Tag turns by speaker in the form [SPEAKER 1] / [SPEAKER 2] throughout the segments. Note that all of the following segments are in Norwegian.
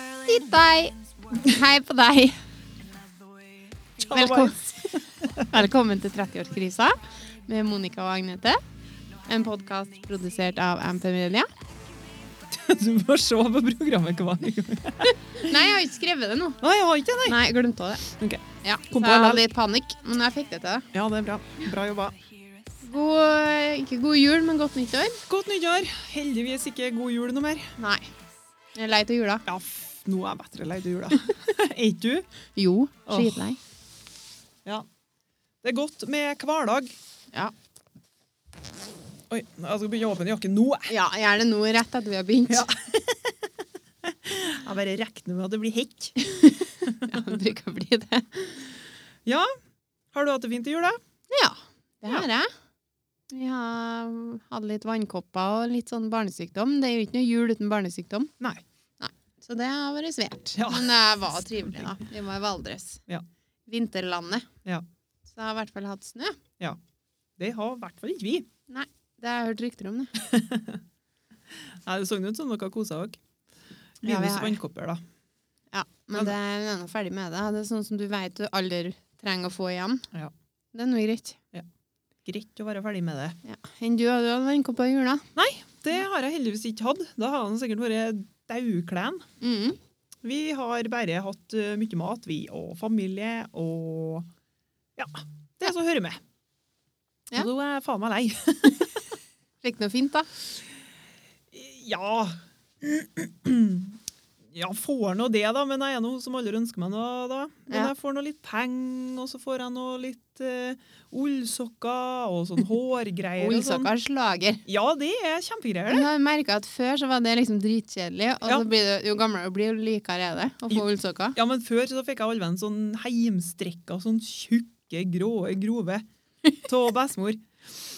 [SPEAKER 1] deg. Hei på deg. Velkommen, Velkommen til 30-årskrisa med Monica og Agnete. En podkast produsert av Amphemedia.
[SPEAKER 2] Du må se på programmet hver gang.
[SPEAKER 1] Nei, jeg har ikke skrevet det nå.
[SPEAKER 2] Nei, jeg har ikke det.
[SPEAKER 1] Nei, jeg glemte også det.
[SPEAKER 2] Ok.
[SPEAKER 1] Ja, så
[SPEAKER 2] Kom på
[SPEAKER 1] jeg hadde
[SPEAKER 2] LL.
[SPEAKER 1] litt panikk, men jeg fikk det til.
[SPEAKER 2] Ja, det er bra. Bra jobba.
[SPEAKER 1] God, ikke god jul, men godt nyttår.
[SPEAKER 2] Godt nyttår. Heldigvis ikke god jul noe mer.
[SPEAKER 1] Nei. Jeg er lei av jula.
[SPEAKER 2] Ja, f nå er jeg bedre lei av jula. Er ikke du?
[SPEAKER 1] Jo,
[SPEAKER 2] Åh.
[SPEAKER 1] skitlei.
[SPEAKER 2] Ja. Det er godt med hverdag.
[SPEAKER 1] Ja.
[SPEAKER 2] Oi, jeg skal begynne å åpne jakken nå.
[SPEAKER 1] ja, gjør det nå rett etter vi har begynt.
[SPEAKER 2] Ja. Jeg bare regner med at det blir hekk.
[SPEAKER 1] Ja, det bruker å bli det.
[SPEAKER 2] Ja. Har du hatt det fint i jula?
[SPEAKER 1] Ja, det har jeg. Vi har hadde litt vannkopper og litt sånn barnesykdom. Det er jo ikke noe jul uten barnesykdom,
[SPEAKER 2] Nei.
[SPEAKER 1] så det har vært svært.
[SPEAKER 2] Ja.
[SPEAKER 1] Men det var trivelig, da. Vi var i Valdres.
[SPEAKER 2] Ja.
[SPEAKER 1] Vinterlandet.
[SPEAKER 2] Ja.
[SPEAKER 1] Så jeg har i hvert fall hatt snø.
[SPEAKER 2] Det har i hvert fall ikke vi.
[SPEAKER 1] Det har jeg hørt rykter om, det.
[SPEAKER 2] Nei, Det så ut som dere kosa dere.
[SPEAKER 1] Ja, vi
[SPEAKER 2] Minus
[SPEAKER 1] har-
[SPEAKER 2] vannkopper, da.
[SPEAKER 1] Ja,
[SPEAKER 2] Ja,
[SPEAKER 1] men det er jeg er nå ferdig med det. Det er sånn som du vet du aldri trenger å få igjen.
[SPEAKER 2] Ja.
[SPEAKER 1] Det er noe greit.
[SPEAKER 2] Greit å være ferdig med det.
[SPEAKER 1] Ja. Enn du, har du hatt vannkopper i jula?
[SPEAKER 2] Det har jeg heldigvis ikke hatt. Da har han sikkert vært dauklen.
[SPEAKER 1] Mm.
[SPEAKER 2] Vi har bare hatt eh, mye mat, vi, og familie, og ja, det som hører med.
[SPEAKER 1] Ja.
[SPEAKER 2] Og Nå er jeg faen meg lei.
[SPEAKER 1] Fikk noe fint, da?
[SPEAKER 2] Ja. Ja, får nå det, da, men jeg er nå som alle ønsker meg noe, da. Men
[SPEAKER 1] Ja.
[SPEAKER 2] jeg får nå litt penger, og så får jeg nå litt uh, ullsokker og sånn hårgreier. og sånn.
[SPEAKER 1] Olsakars lager.
[SPEAKER 2] Ja, det er kjempegreier, det.
[SPEAKER 1] Jeg har merket at Før så var det liksom dritkjedelig, og
[SPEAKER 2] Ja.
[SPEAKER 1] så blir det, jo gamlere du blir, jo likere er det å få
[SPEAKER 2] Jo.
[SPEAKER 1] ullsokker.
[SPEAKER 2] Ja, men før så fikk jeg alven sånn heimstrekka, sånn tjukke, gråe grove av bestemor.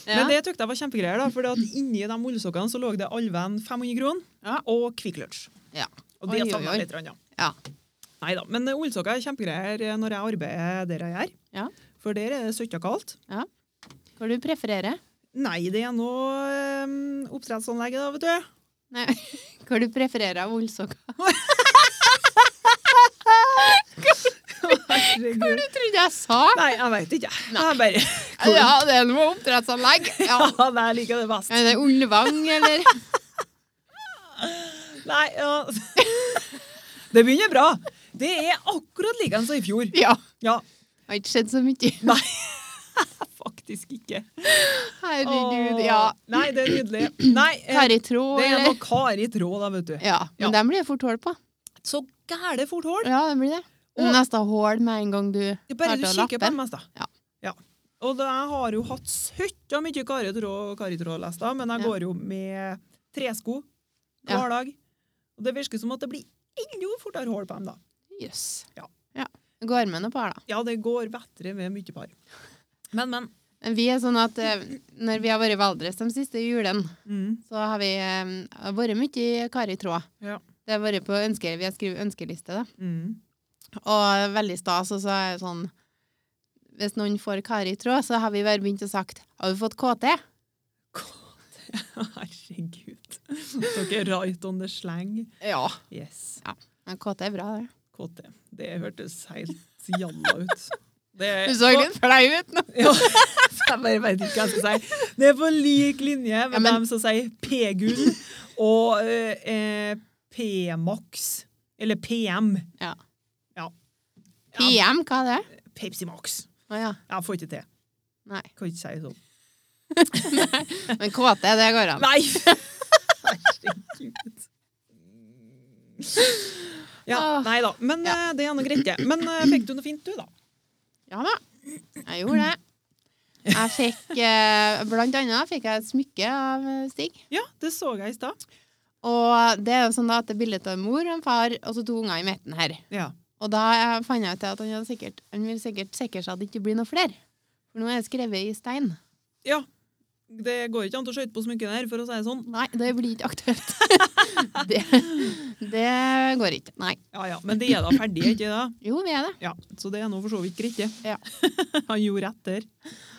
[SPEAKER 1] Ja.
[SPEAKER 2] Men det tykte jeg var kjempegreier, da, for inni de ullsokkene så lå det Alven 500 kroner
[SPEAKER 1] Ja.
[SPEAKER 2] og Kvikk Lunsj.
[SPEAKER 1] Ja.
[SPEAKER 2] Og det
[SPEAKER 1] Oi, oi,
[SPEAKER 2] savner
[SPEAKER 1] oi.
[SPEAKER 2] jeg litt. Ja.
[SPEAKER 1] Ja.
[SPEAKER 2] Nei da, men eh, ullsokker er kjempegreier eh, når jeg arbeider der jeg gjør.
[SPEAKER 1] Ja.
[SPEAKER 2] For der er det søtt og kaldt.
[SPEAKER 1] Hva du prefererer
[SPEAKER 2] Nei, det er nå um, oppdrettsanlegget, da, vet du.
[SPEAKER 1] Nei, hva du prefererer av ullsokker? Hva
[SPEAKER 2] Herregud.
[SPEAKER 1] du trodde jeg sa?
[SPEAKER 2] Nei, jeg veit ikke. Jeg bare Hvor-
[SPEAKER 1] Ja, det er noe oppdrettsanlegg. Ja.
[SPEAKER 2] Ja, det liker jeg det best.
[SPEAKER 1] Er det Ullevang, eller?
[SPEAKER 2] Nei, ja. Det begynner bra. Det er akkurat likeens som i fjor.
[SPEAKER 1] Ja.
[SPEAKER 2] Ja,
[SPEAKER 1] Har ikke skjedd så mye.
[SPEAKER 2] faktisk ikke.
[SPEAKER 1] Herregud,
[SPEAKER 2] Åh.
[SPEAKER 1] ja.
[SPEAKER 2] Nei, det er nydelig. Nei, eh,
[SPEAKER 1] Kari Tråd,
[SPEAKER 2] det er
[SPEAKER 1] eller?
[SPEAKER 2] noe Kari Tråd, da, vet du.
[SPEAKER 1] Ja, men
[SPEAKER 2] Ja.
[SPEAKER 1] den blir det fort hull på.
[SPEAKER 2] Så gæle fort hår.
[SPEAKER 1] Ja, den blir det.
[SPEAKER 2] Og-
[SPEAKER 1] Neste hull med en gang du
[SPEAKER 2] Det er Bare du
[SPEAKER 1] klarte å
[SPEAKER 2] kikker
[SPEAKER 1] lappe.
[SPEAKER 2] på dem mest, da.
[SPEAKER 1] Ja.
[SPEAKER 2] Og da, jeg har jo hatt søtta mye Kari Tråd og Kari Tråd-lester, men jeg
[SPEAKER 1] Ja.
[SPEAKER 2] går jo med tresko
[SPEAKER 1] Ja.
[SPEAKER 2] hver dag. Og det virker som at det blir enda fortere hull på dem, da.
[SPEAKER 1] Jøss.
[SPEAKER 2] Ja.
[SPEAKER 1] Ja. Går med noen par, da.
[SPEAKER 2] Ja, det går bedre med mye par. Men, men.
[SPEAKER 1] Men Vi er sånn at eh, når vi har vært i Valdres de siste julen,
[SPEAKER 2] Mm.
[SPEAKER 1] så har vi eh, vært mye i Kari Tråd.
[SPEAKER 2] Ja.
[SPEAKER 1] Det har vært på ønske, vi har skrevet ønskeliste, da.
[SPEAKER 2] Mm.
[SPEAKER 1] Og veldig stas, og så er det sånn Hvis noen får Kari Tråd, så har vi bare begynt å sagt Har du fått KT?
[SPEAKER 2] Herregud. Dere er right on the slang.
[SPEAKER 1] Ja.
[SPEAKER 2] Yes.
[SPEAKER 1] Men KT er bra, det.
[SPEAKER 2] KT. Det hørtes helt jalla ut. Det er,
[SPEAKER 1] Du så litt flau ut nå.
[SPEAKER 2] Ja, så jeg bare vet ikke hva jeg skal si. Det er på lik linje med
[SPEAKER 1] Ja, men-
[SPEAKER 2] dem som sier P-gull og eh, eh, P-max. Eller PM. Ja.
[SPEAKER 1] PM, hva er det?
[SPEAKER 2] Pepsi Max.
[SPEAKER 1] Å ja.
[SPEAKER 2] Jeg får ikke til.
[SPEAKER 1] Nei.
[SPEAKER 2] Kan ikke si sånn.
[SPEAKER 1] Men KT, det går an.
[SPEAKER 2] Nei! Herregud. Ja,
[SPEAKER 1] Åh.
[SPEAKER 2] nei da. Men eh, det er nå greit, det. Men eh, fikk du noe fint, du, da?
[SPEAKER 1] Ja da. Jeg gjorde det. Jeg fikk eh, Blant annet fikk jeg et smykke av eh, Stig.
[SPEAKER 2] Ja, det så jeg i stad.
[SPEAKER 1] Og det er jo sånn da at det er bilde av en mor og en far og så to unger i midten her.
[SPEAKER 2] Ja.
[SPEAKER 1] Og da eh, fant jeg ut at han, hadde sikkert, han vil sikkert sikre seg at det ikke blir noe flere. For nå er det skrevet i stein.
[SPEAKER 2] Det går ikke an å skøyte på smykket der, for å si det sånn.
[SPEAKER 1] Nei, det blir ikke aktuelt. det, det går ikke. Nei.
[SPEAKER 2] Ja, ja. Men det er da ferdig, ikke det?
[SPEAKER 1] Jo, vi er det.
[SPEAKER 2] Ja, Så det er nå for så vidt greit, det.
[SPEAKER 1] Ja.
[SPEAKER 2] Han gjorde rett der.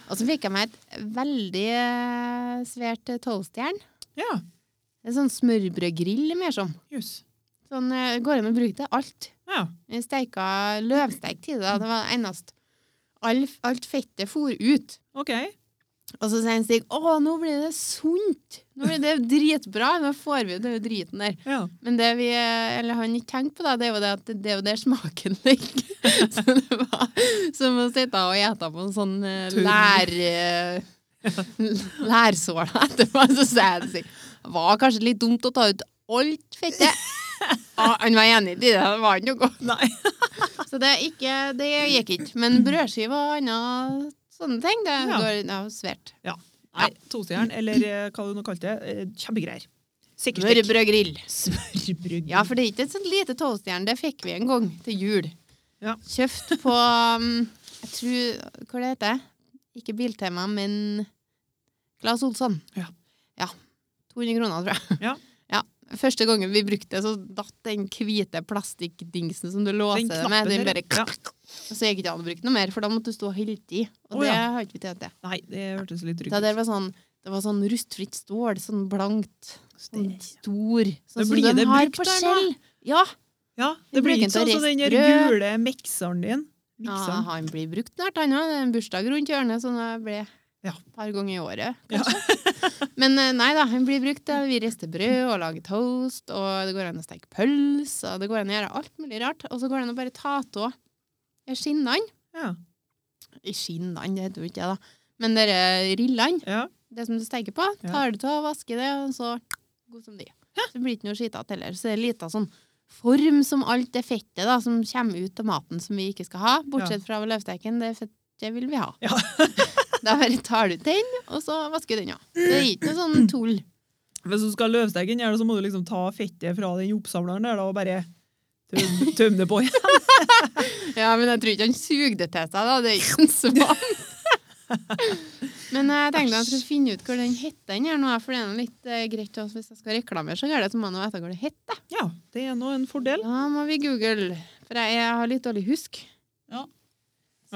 [SPEAKER 1] Og så fikk jeg meg et veldig eh, svært eh, toastjern.
[SPEAKER 2] Ja,
[SPEAKER 1] En sånn smørbrødgrill, mer som.
[SPEAKER 2] jøss.
[SPEAKER 1] Så Sånn, eh, går an å bruke til alt.
[SPEAKER 2] Ja.
[SPEAKER 1] Jeg Steika løvstekt i det. da. Det var det eneste. All, alt fettet for ut.
[SPEAKER 2] OK.
[SPEAKER 1] Og så sier en Stig å, nå blir det sunt. Nå blir det dritbra. Nå får vi ut den driten der.
[SPEAKER 2] Ja.
[SPEAKER 1] Men det vi, eh, eller han ikke tenkte på, da, det er jo det at det er jo der smaken ligger. Så det var som å sitte og ete på en sånn eh,
[SPEAKER 2] Tørr.
[SPEAKER 1] lær... eh, Lærsåla etterpå. Så sa jeg det var kanskje litt dumt å ta ut alt fettet. Ja, han var enig i det. Det var ikke noe godt.
[SPEAKER 2] Nei.
[SPEAKER 1] Så det, er ikke, det gikk ikke. Men brødskive og andre sånne ting, det
[SPEAKER 2] Ja.
[SPEAKER 1] går ja, svært.
[SPEAKER 2] Nei. Tostjern, eller eh, hva du nå kalte det. eh, Kjempegreier. Sikkerstikk.
[SPEAKER 1] Smørbrødgrill.
[SPEAKER 2] Smørbrød.
[SPEAKER 1] Ja, for det er ikke et sånt lite toastjern. Det fikk vi en gang til jul.
[SPEAKER 2] Ja.
[SPEAKER 1] Kjøpt på um, Jeg tror Hva det heter det? Ikke Biltema, men Claes Olsson.
[SPEAKER 2] Ja.
[SPEAKER 1] Ja. 200 kroner, tror jeg.
[SPEAKER 2] Ja.
[SPEAKER 1] Ja, Første gangen vi brukte det, så datt den hvite plastikkdingsen som du låser det med,
[SPEAKER 2] knappen
[SPEAKER 1] den
[SPEAKER 2] der,
[SPEAKER 1] bare
[SPEAKER 2] ja.
[SPEAKER 1] Så gikk det ikke an å bruke noe mer, for da måtte du stå og helte i. Og
[SPEAKER 2] Å,
[SPEAKER 1] det
[SPEAKER 2] ja.
[SPEAKER 1] har ikke vi tid til.
[SPEAKER 2] Nei, det hørtes litt
[SPEAKER 1] Det
[SPEAKER 2] trygt
[SPEAKER 1] der var sånn, det var sånn rustfritt stål, sånn blankt, sånn stor. Sånn
[SPEAKER 2] Men
[SPEAKER 1] som
[SPEAKER 2] blir
[SPEAKER 1] de
[SPEAKER 2] det
[SPEAKER 1] har
[SPEAKER 2] brukt
[SPEAKER 1] på
[SPEAKER 2] der,
[SPEAKER 1] skjell. Ja,
[SPEAKER 2] Ja,
[SPEAKER 1] Vi
[SPEAKER 2] det blir
[SPEAKER 1] bruker
[SPEAKER 2] ikke sånn
[SPEAKER 1] den til å
[SPEAKER 2] som den
[SPEAKER 1] riste
[SPEAKER 2] der gule mikseren din.
[SPEAKER 1] ja
[SPEAKER 2] Mikseren.
[SPEAKER 1] han blir brukt snart, han òg. Det er en bursdag rundt hjørnet, så det blir
[SPEAKER 2] Ja.
[SPEAKER 1] et par ganger i året,
[SPEAKER 2] Ja.
[SPEAKER 1] kanskje. Men eh, nei da, han blir brukt. eh, Vi rister brød og lager toast, og det går an å steke pølse, og det går an å gjøre alt mulig rart. Og så går det an å bare ta av skinnene.
[SPEAKER 2] Ja.
[SPEAKER 1] I Skinnene, det heter jo ikke det, da. Men dere rillene.
[SPEAKER 2] Ja.
[SPEAKER 1] det som du steker på,
[SPEAKER 2] Ja.
[SPEAKER 1] tar du av, vasker det, og så god som de. Så blir det ikke noe skitete heller. Så det er en liten sånn form som alt det fettet da, som kommer ut av maten som vi ikke skal ha, bortsett fra løvsteken, det fettet vil vi ha.
[SPEAKER 2] Ja.
[SPEAKER 1] da bare tar du ut den, og så vasker du den, ja. Det er ikke noe sånn tull.
[SPEAKER 2] Hvis du skal ha løvsteken, gjør det, så må du liksom ta fettet fra den oppsamleren der da, og bare tøm- tømme det på.
[SPEAKER 1] Ja, men jeg tror ikke han suger det til seg, da. Det er ikke en svan. men eh, jeg tenkte jeg skulle finne ut hvor den heter den her nå, for det er nå litt eh, greit også, hvis jeg skal reklamere så gærent, så må jeg nå vite hva det heter.
[SPEAKER 2] Ja, det er nå en fordel.
[SPEAKER 1] Da må vi google, for jeg, jeg har litt dårlig husk.
[SPEAKER 2] Jeg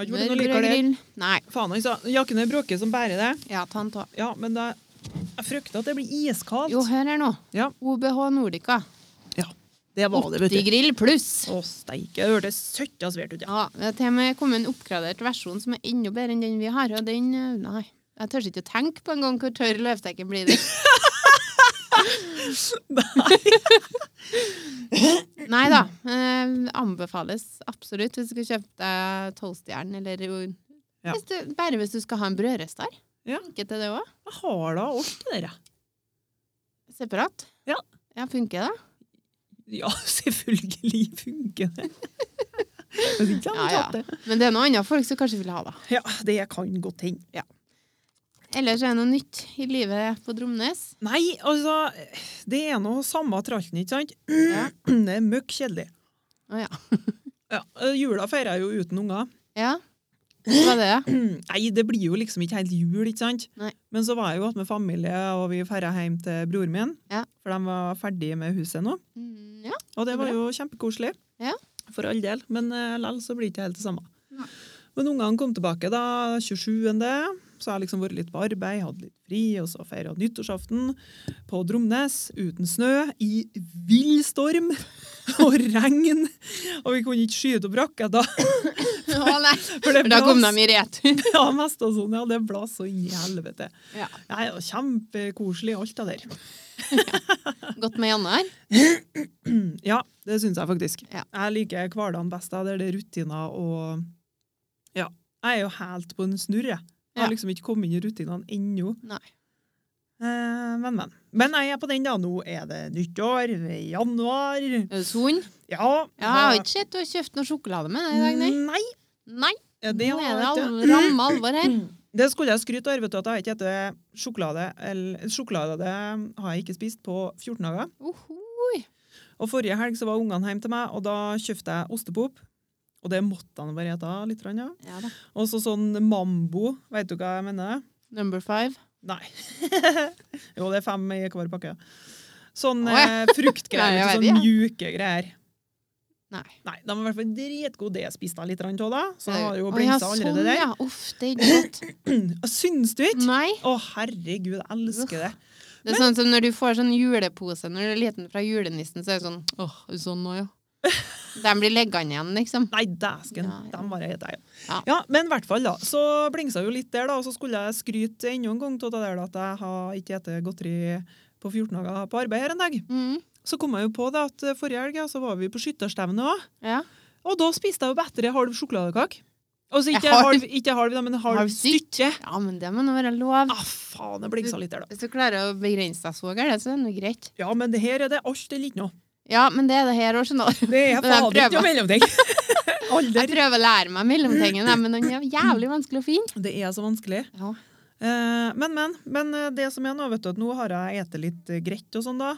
[SPEAKER 2] har ikke vært noe likere det.
[SPEAKER 1] Smørbrødgrill. Nei.
[SPEAKER 2] Faen, han sa jakken er bråket som bærer det.
[SPEAKER 1] Ja, ta den av.
[SPEAKER 2] Ja, men da, jeg frykter at det blir iskaldt.
[SPEAKER 1] Jo, hør her nå.
[SPEAKER 2] Ja.
[SPEAKER 1] OBH Nordica.
[SPEAKER 2] det var det, vet du.
[SPEAKER 1] Optigrill pluss.
[SPEAKER 2] Å, steike. Det hørtes søtt og svært ut, ja.
[SPEAKER 1] Ja, det er til og med kommet en oppgradert versjon som er enda bedre enn den vi har, og den eh, Nei. Jeg tør ikke å tenke på engang hvor tørr løvstekken blir. det. Nei da. Eh, anbefales absolutt hvis du skal kjøpe deg toastjern, eller jo-
[SPEAKER 2] Ja.
[SPEAKER 1] hvis du, Bare hvis du skal ha en brødrest der.
[SPEAKER 2] Ja.
[SPEAKER 1] Tenker til det også.
[SPEAKER 2] Jeg har da alt det der, jeg.
[SPEAKER 1] Separat?
[SPEAKER 2] Ja.
[SPEAKER 1] Ja, Funker det?
[SPEAKER 2] Ja, selvfølgelig funker det. Hvis ikke
[SPEAKER 1] Ja,
[SPEAKER 2] hadde jeg
[SPEAKER 1] ja.
[SPEAKER 2] tatt det.
[SPEAKER 1] Men det er noen andre folk som kanskje vil ha det.
[SPEAKER 2] Ja, det kan godt hende. Ja.
[SPEAKER 1] Ellers er det noe nytt i livet på Dromnes.
[SPEAKER 2] Nei, altså, det er noe samme tralten, ikke sant?
[SPEAKER 1] Ja.
[SPEAKER 2] Det er møkk kjedelig.
[SPEAKER 1] Å, ja.
[SPEAKER 2] Ja, eh, jula feirer jeg jo uten unger.
[SPEAKER 1] ja. Hva var det? da?
[SPEAKER 2] Nei, det blir jo liksom ikke helt jul, ikke sant?
[SPEAKER 1] Nei.
[SPEAKER 2] Men så var jeg jo hatt med familie, og vi feira hjem til broren min.
[SPEAKER 1] Ja.
[SPEAKER 2] For de var ferdige med huset nå.
[SPEAKER 1] Mm, Ja.
[SPEAKER 2] Og det
[SPEAKER 1] Så
[SPEAKER 2] var
[SPEAKER 1] bra.
[SPEAKER 2] jo kjempekoselig.
[SPEAKER 1] Ja.
[SPEAKER 2] For all del. Men uh, likevel så blir det ikke helt det samme.
[SPEAKER 1] Nei.
[SPEAKER 2] Men ungene kom tilbake da 27. Så jeg har liksom vært litt på arbeid, hadde litt fri, og så feira nyttårsaften på Dromnes uten snø, i vill storm og regn. Og vi kunne ikke skyte opp
[SPEAKER 1] Å,
[SPEAKER 2] raketter.
[SPEAKER 1] nei.
[SPEAKER 2] For det
[SPEAKER 1] For da kom de
[SPEAKER 2] blåste-
[SPEAKER 1] i retur.
[SPEAKER 2] ja, mest og sånn, ja, det blåste så inn i helvete.
[SPEAKER 1] Ja.
[SPEAKER 2] Nei, det var kjempekoselig, alt det der.
[SPEAKER 1] Godt med januar.
[SPEAKER 2] Ja, det syns jeg faktisk.
[SPEAKER 1] Ja.
[SPEAKER 2] Jeg liker hverdagen best. da, Der det er rutiner og Ja. Jeg er jo helt på en snurr, jeg. Jeg har
[SPEAKER 1] Ja.
[SPEAKER 2] liksom ikke kommet inn i rutinene ennå.
[SPEAKER 1] Nei.
[SPEAKER 2] Eh, men, men. Men jeg er på den, da. Nå er det nyttår, det er januar
[SPEAKER 1] Er du sunn?
[SPEAKER 2] Ja.
[SPEAKER 1] Ja, jeg har ikke sett du har kjøpt noe sjokolade med deg i dag, nei.
[SPEAKER 2] Nei,
[SPEAKER 1] Nei,
[SPEAKER 2] Mm. ja, det
[SPEAKER 1] nå
[SPEAKER 2] har
[SPEAKER 1] er det
[SPEAKER 2] jeg
[SPEAKER 1] al
[SPEAKER 2] ikke.
[SPEAKER 1] ramme alvor her.
[SPEAKER 2] Det skulle jeg skryte av, vet du, at jeg ikke heter sjokolade. Eller, sjokolade det har jeg ikke spist på 14 dager.
[SPEAKER 1] Ohoi.
[SPEAKER 2] Og forrige helg så var ungene hjemme til meg, og da kjøpte jeg ostepop. Og det måtte han bare spise litt, grann, ja.
[SPEAKER 1] Ja da.
[SPEAKER 2] Og så sånn mambo, vet du hva jeg mener?
[SPEAKER 1] Number five.
[SPEAKER 2] Nei. jo, det er fem i hver pakke. Sånn
[SPEAKER 1] Å, ja.
[SPEAKER 2] eh, fruktgreier,
[SPEAKER 1] Nei, jeg
[SPEAKER 2] vet du,
[SPEAKER 1] vet
[SPEAKER 2] sånn mjuke greier.
[SPEAKER 1] Nei.
[SPEAKER 2] Nei, de var i hvert fall dritgode. Det spiste jeg litt grann av, da. Så jeg har jo
[SPEAKER 1] Å, ja,
[SPEAKER 2] blingsa allerede
[SPEAKER 1] sånn,
[SPEAKER 2] der.
[SPEAKER 1] Ja. Uff, det er ikke godt.
[SPEAKER 2] Syns du ikke?
[SPEAKER 1] Nei.
[SPEAKER 2] Å, herregud, jeg elsker det.
[SPEAKER 1] Det er sånn som når du får sånn julepose når du er liten fra julenissen, så er det sånn åh, sånn nå, ja. De blir liggende igjen, liksom.
[SPEAKER 2] Nei, dæsken!
[SPEAKER 1] Ja, ja.
[SPEAKER 2] Dem var jeg het, jeg, ja.
[SPEAKER 1] Ja.
[SPEAKER 2] ja. Men i hvert fall, da. Så blingsa jo litt der, da. Og så skulle jeg skryte enda en gang av det der da, at jeg har ikke spist godteri på 14 dager på arbeid her en dag.
[SPEAKER 1] Mm.
[SPEAKER 2] Så kom jeg jo på det at eh, forrige helg ja, så var vi på skytterstevne òg.
[SPEAKER 1] Ja.
[SPEAKER 2] Og da spiste jeg jo bedre halv sjokoladekake. Altså ikke
[SPEAKER 1] Jeg har-
[SPEAKER 2] halv, ikke halv da, men halv
[SPEAKER 1] Halv stykke.
[SPEAKER 2] stykke.
[SPEAKER 1] ja, men det må nå være lov.
[SPEAKER 2] Ah, faen, jeg blingsa litt der, da.
[SPEAKER 1] Hvis du klarer å begrense deg så gærent, så er det nå greit.
[SPEAKER 2] Ja, men det her er det alt eller ikke noe.
[SPEAKER 1] Ja, men det er det her òg, skjønner du.
[SPEAKER 2] Det er
[SPEAKER 1] Men jeg
[SPEAKER 2] fader ikke
[SPEAKER 1] prøver.
[SPEAKER 2] noe mellomting.
[SPEAKER 1] Jeg
[SPEAKER 2] Alder.
[SPEAKER 1] prøver å lære meg mellomtingen, jeg, men den er jævlig vanskelig å finne.
[SPEAKER 2] Det er så vanskelig.
[SPEAKER 1] Ja.
[SPEAKER 2] Eh, men, men. Men eh, det som er nå, vet du, at nå har jeg spist litt eh, grøt og sånn, da.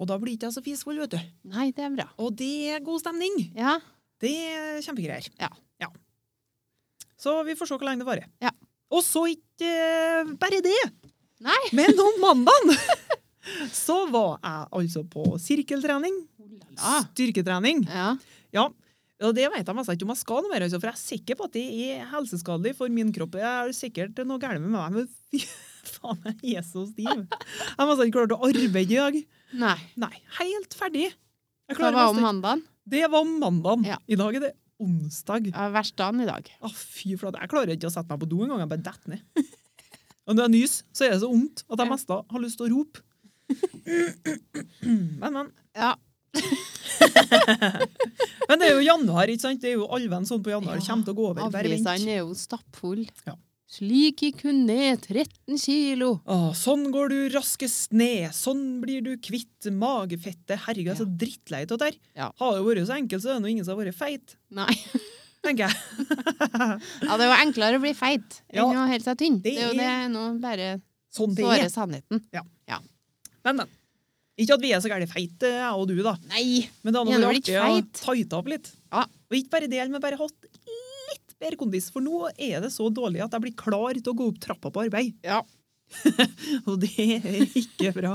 [SPEAKER 2] Og da blir ikke jeg så fisfull, vet du.
[SPEAKER 1] Nei, det er bra.
[SPEAKER 2] Og det er god stemning.
[SPEAKER 1] Ja.
[SPEAKER 2] Det er kjempegreier.
[SPEAKER 1] Ja.
[SPEAKER 2] Så vi får se hvor lenge det varer.
[SPEAKER 1] Ja.
[SPEAKER 2] Og så ikke eh, bare det.
[SPEAKER 1] Nei.
[SPEAKER 2] Men om mandagen så var jeg altså på sirkeltrening.
[SPEAKER 1] Ja.
[SPEAKER 2] Styrketrening.
[SPEAKER 1] ja.
[SPEAKER 2] Ja. Og det vet jeg mest ikke om jeg skal noe mer, altså, for jeg er sikker på at det er helseskadelig for min kropp. Jeg er sikkert noe galt med meg, men fy faen, jeg er så stiv. Jeg har mest ikke klart å arbeide i dag.
[SPEAKER 1] Nei.
[SPEAKER 2] Nei, helt ferdig. Jeg
[SPEAKER 1] Hva
[SPEAKER 2] klarer
[SPEAKER 1] var om
[SPEAKER 2] mest ikke-
[SPEAKER 1] mandagen?
[SPEAKER 2] Det var mandagen.
[SPEAKER 1] Ja.
[SPEAKER 2] I dag er det onsdag.
[SPEAKER 1] Ja, Vertsdagen i dag.
[SPEAKER 2] Å, fy flate. Jeg klarer ikke å sette meg på do engang. Jeg bare detter ned. Og når jeg nyser, så er det så vondt at jeg
[SPEAKER 1] Ja.
[SPEAKER 2] mest da har lyst til å rope. Men, men.
[SPEAKER 1] Ja.
[SPEAKER 2] Men det er jo januar, ikke sant? Det er jo alven sånn på januar.
[SPEAKER 1] Ja,
[SPEAKER 2] Kommer til å gå over. Bare vent.
[SPEAKER 1] Avisene er jo stappfulle.
[SPEAKER 2] Ja.
[SPEAKER 1] Slik gikk hun ned 13 kilo.
[SPEAKER 2] Å, sånn går du raskest ned. Sånn blir du kvitt magefettet. Herregud, jeg er så drittlei av det der.
[SPEAKER 1] Ja.
[SPEAKER 2] Har det vært så enkelt, så er det nå ingen som har vært feit,
[SPEAKER 1] Nei.
[SPEAKER 2] tenker jeg.
[SPEAKER 1] Ja, det er jo enklere å bli feit
[SPEAKER 2] Ja.
[SPEAKER 1] enn å holde seg tynn.
[SPEAKER 2] Det
[SPEAKER 1] Det er jo
[SPEAKER 2] er-
[SPEAKER 1] det nå bare
[SPEAKER 2] Sånn det
[SPEAKER 1] såre
[SPEAKER 2] er.
[SPEAKER 1] sannheten.
[SPEAKER 2] Men, men. Ikke at vi er så gærent feite, jeg og du, da.
[SPEAKER 1] Nei!
[SPEAKER 2] Men det
[SPEAKER 1] Gjerne
[SPEAKER 2] hadde vært
[SPEAKER 1] litt
[SPEAKER 2] artig å
[SPEAKER 1] feit.
[SPEAKER 2] tighte opp litt.
[SPEAKER 1] Ja.
[SPEAKER 2] Og ikke bare det, men bare hatt litt bedre kondis. For nå er det så dårlig at jeg blir klar til å gå opp trappa på arbeid.
[SPEAKER 1] Ja.
[SPEAKER 2] Og det er ikke bra.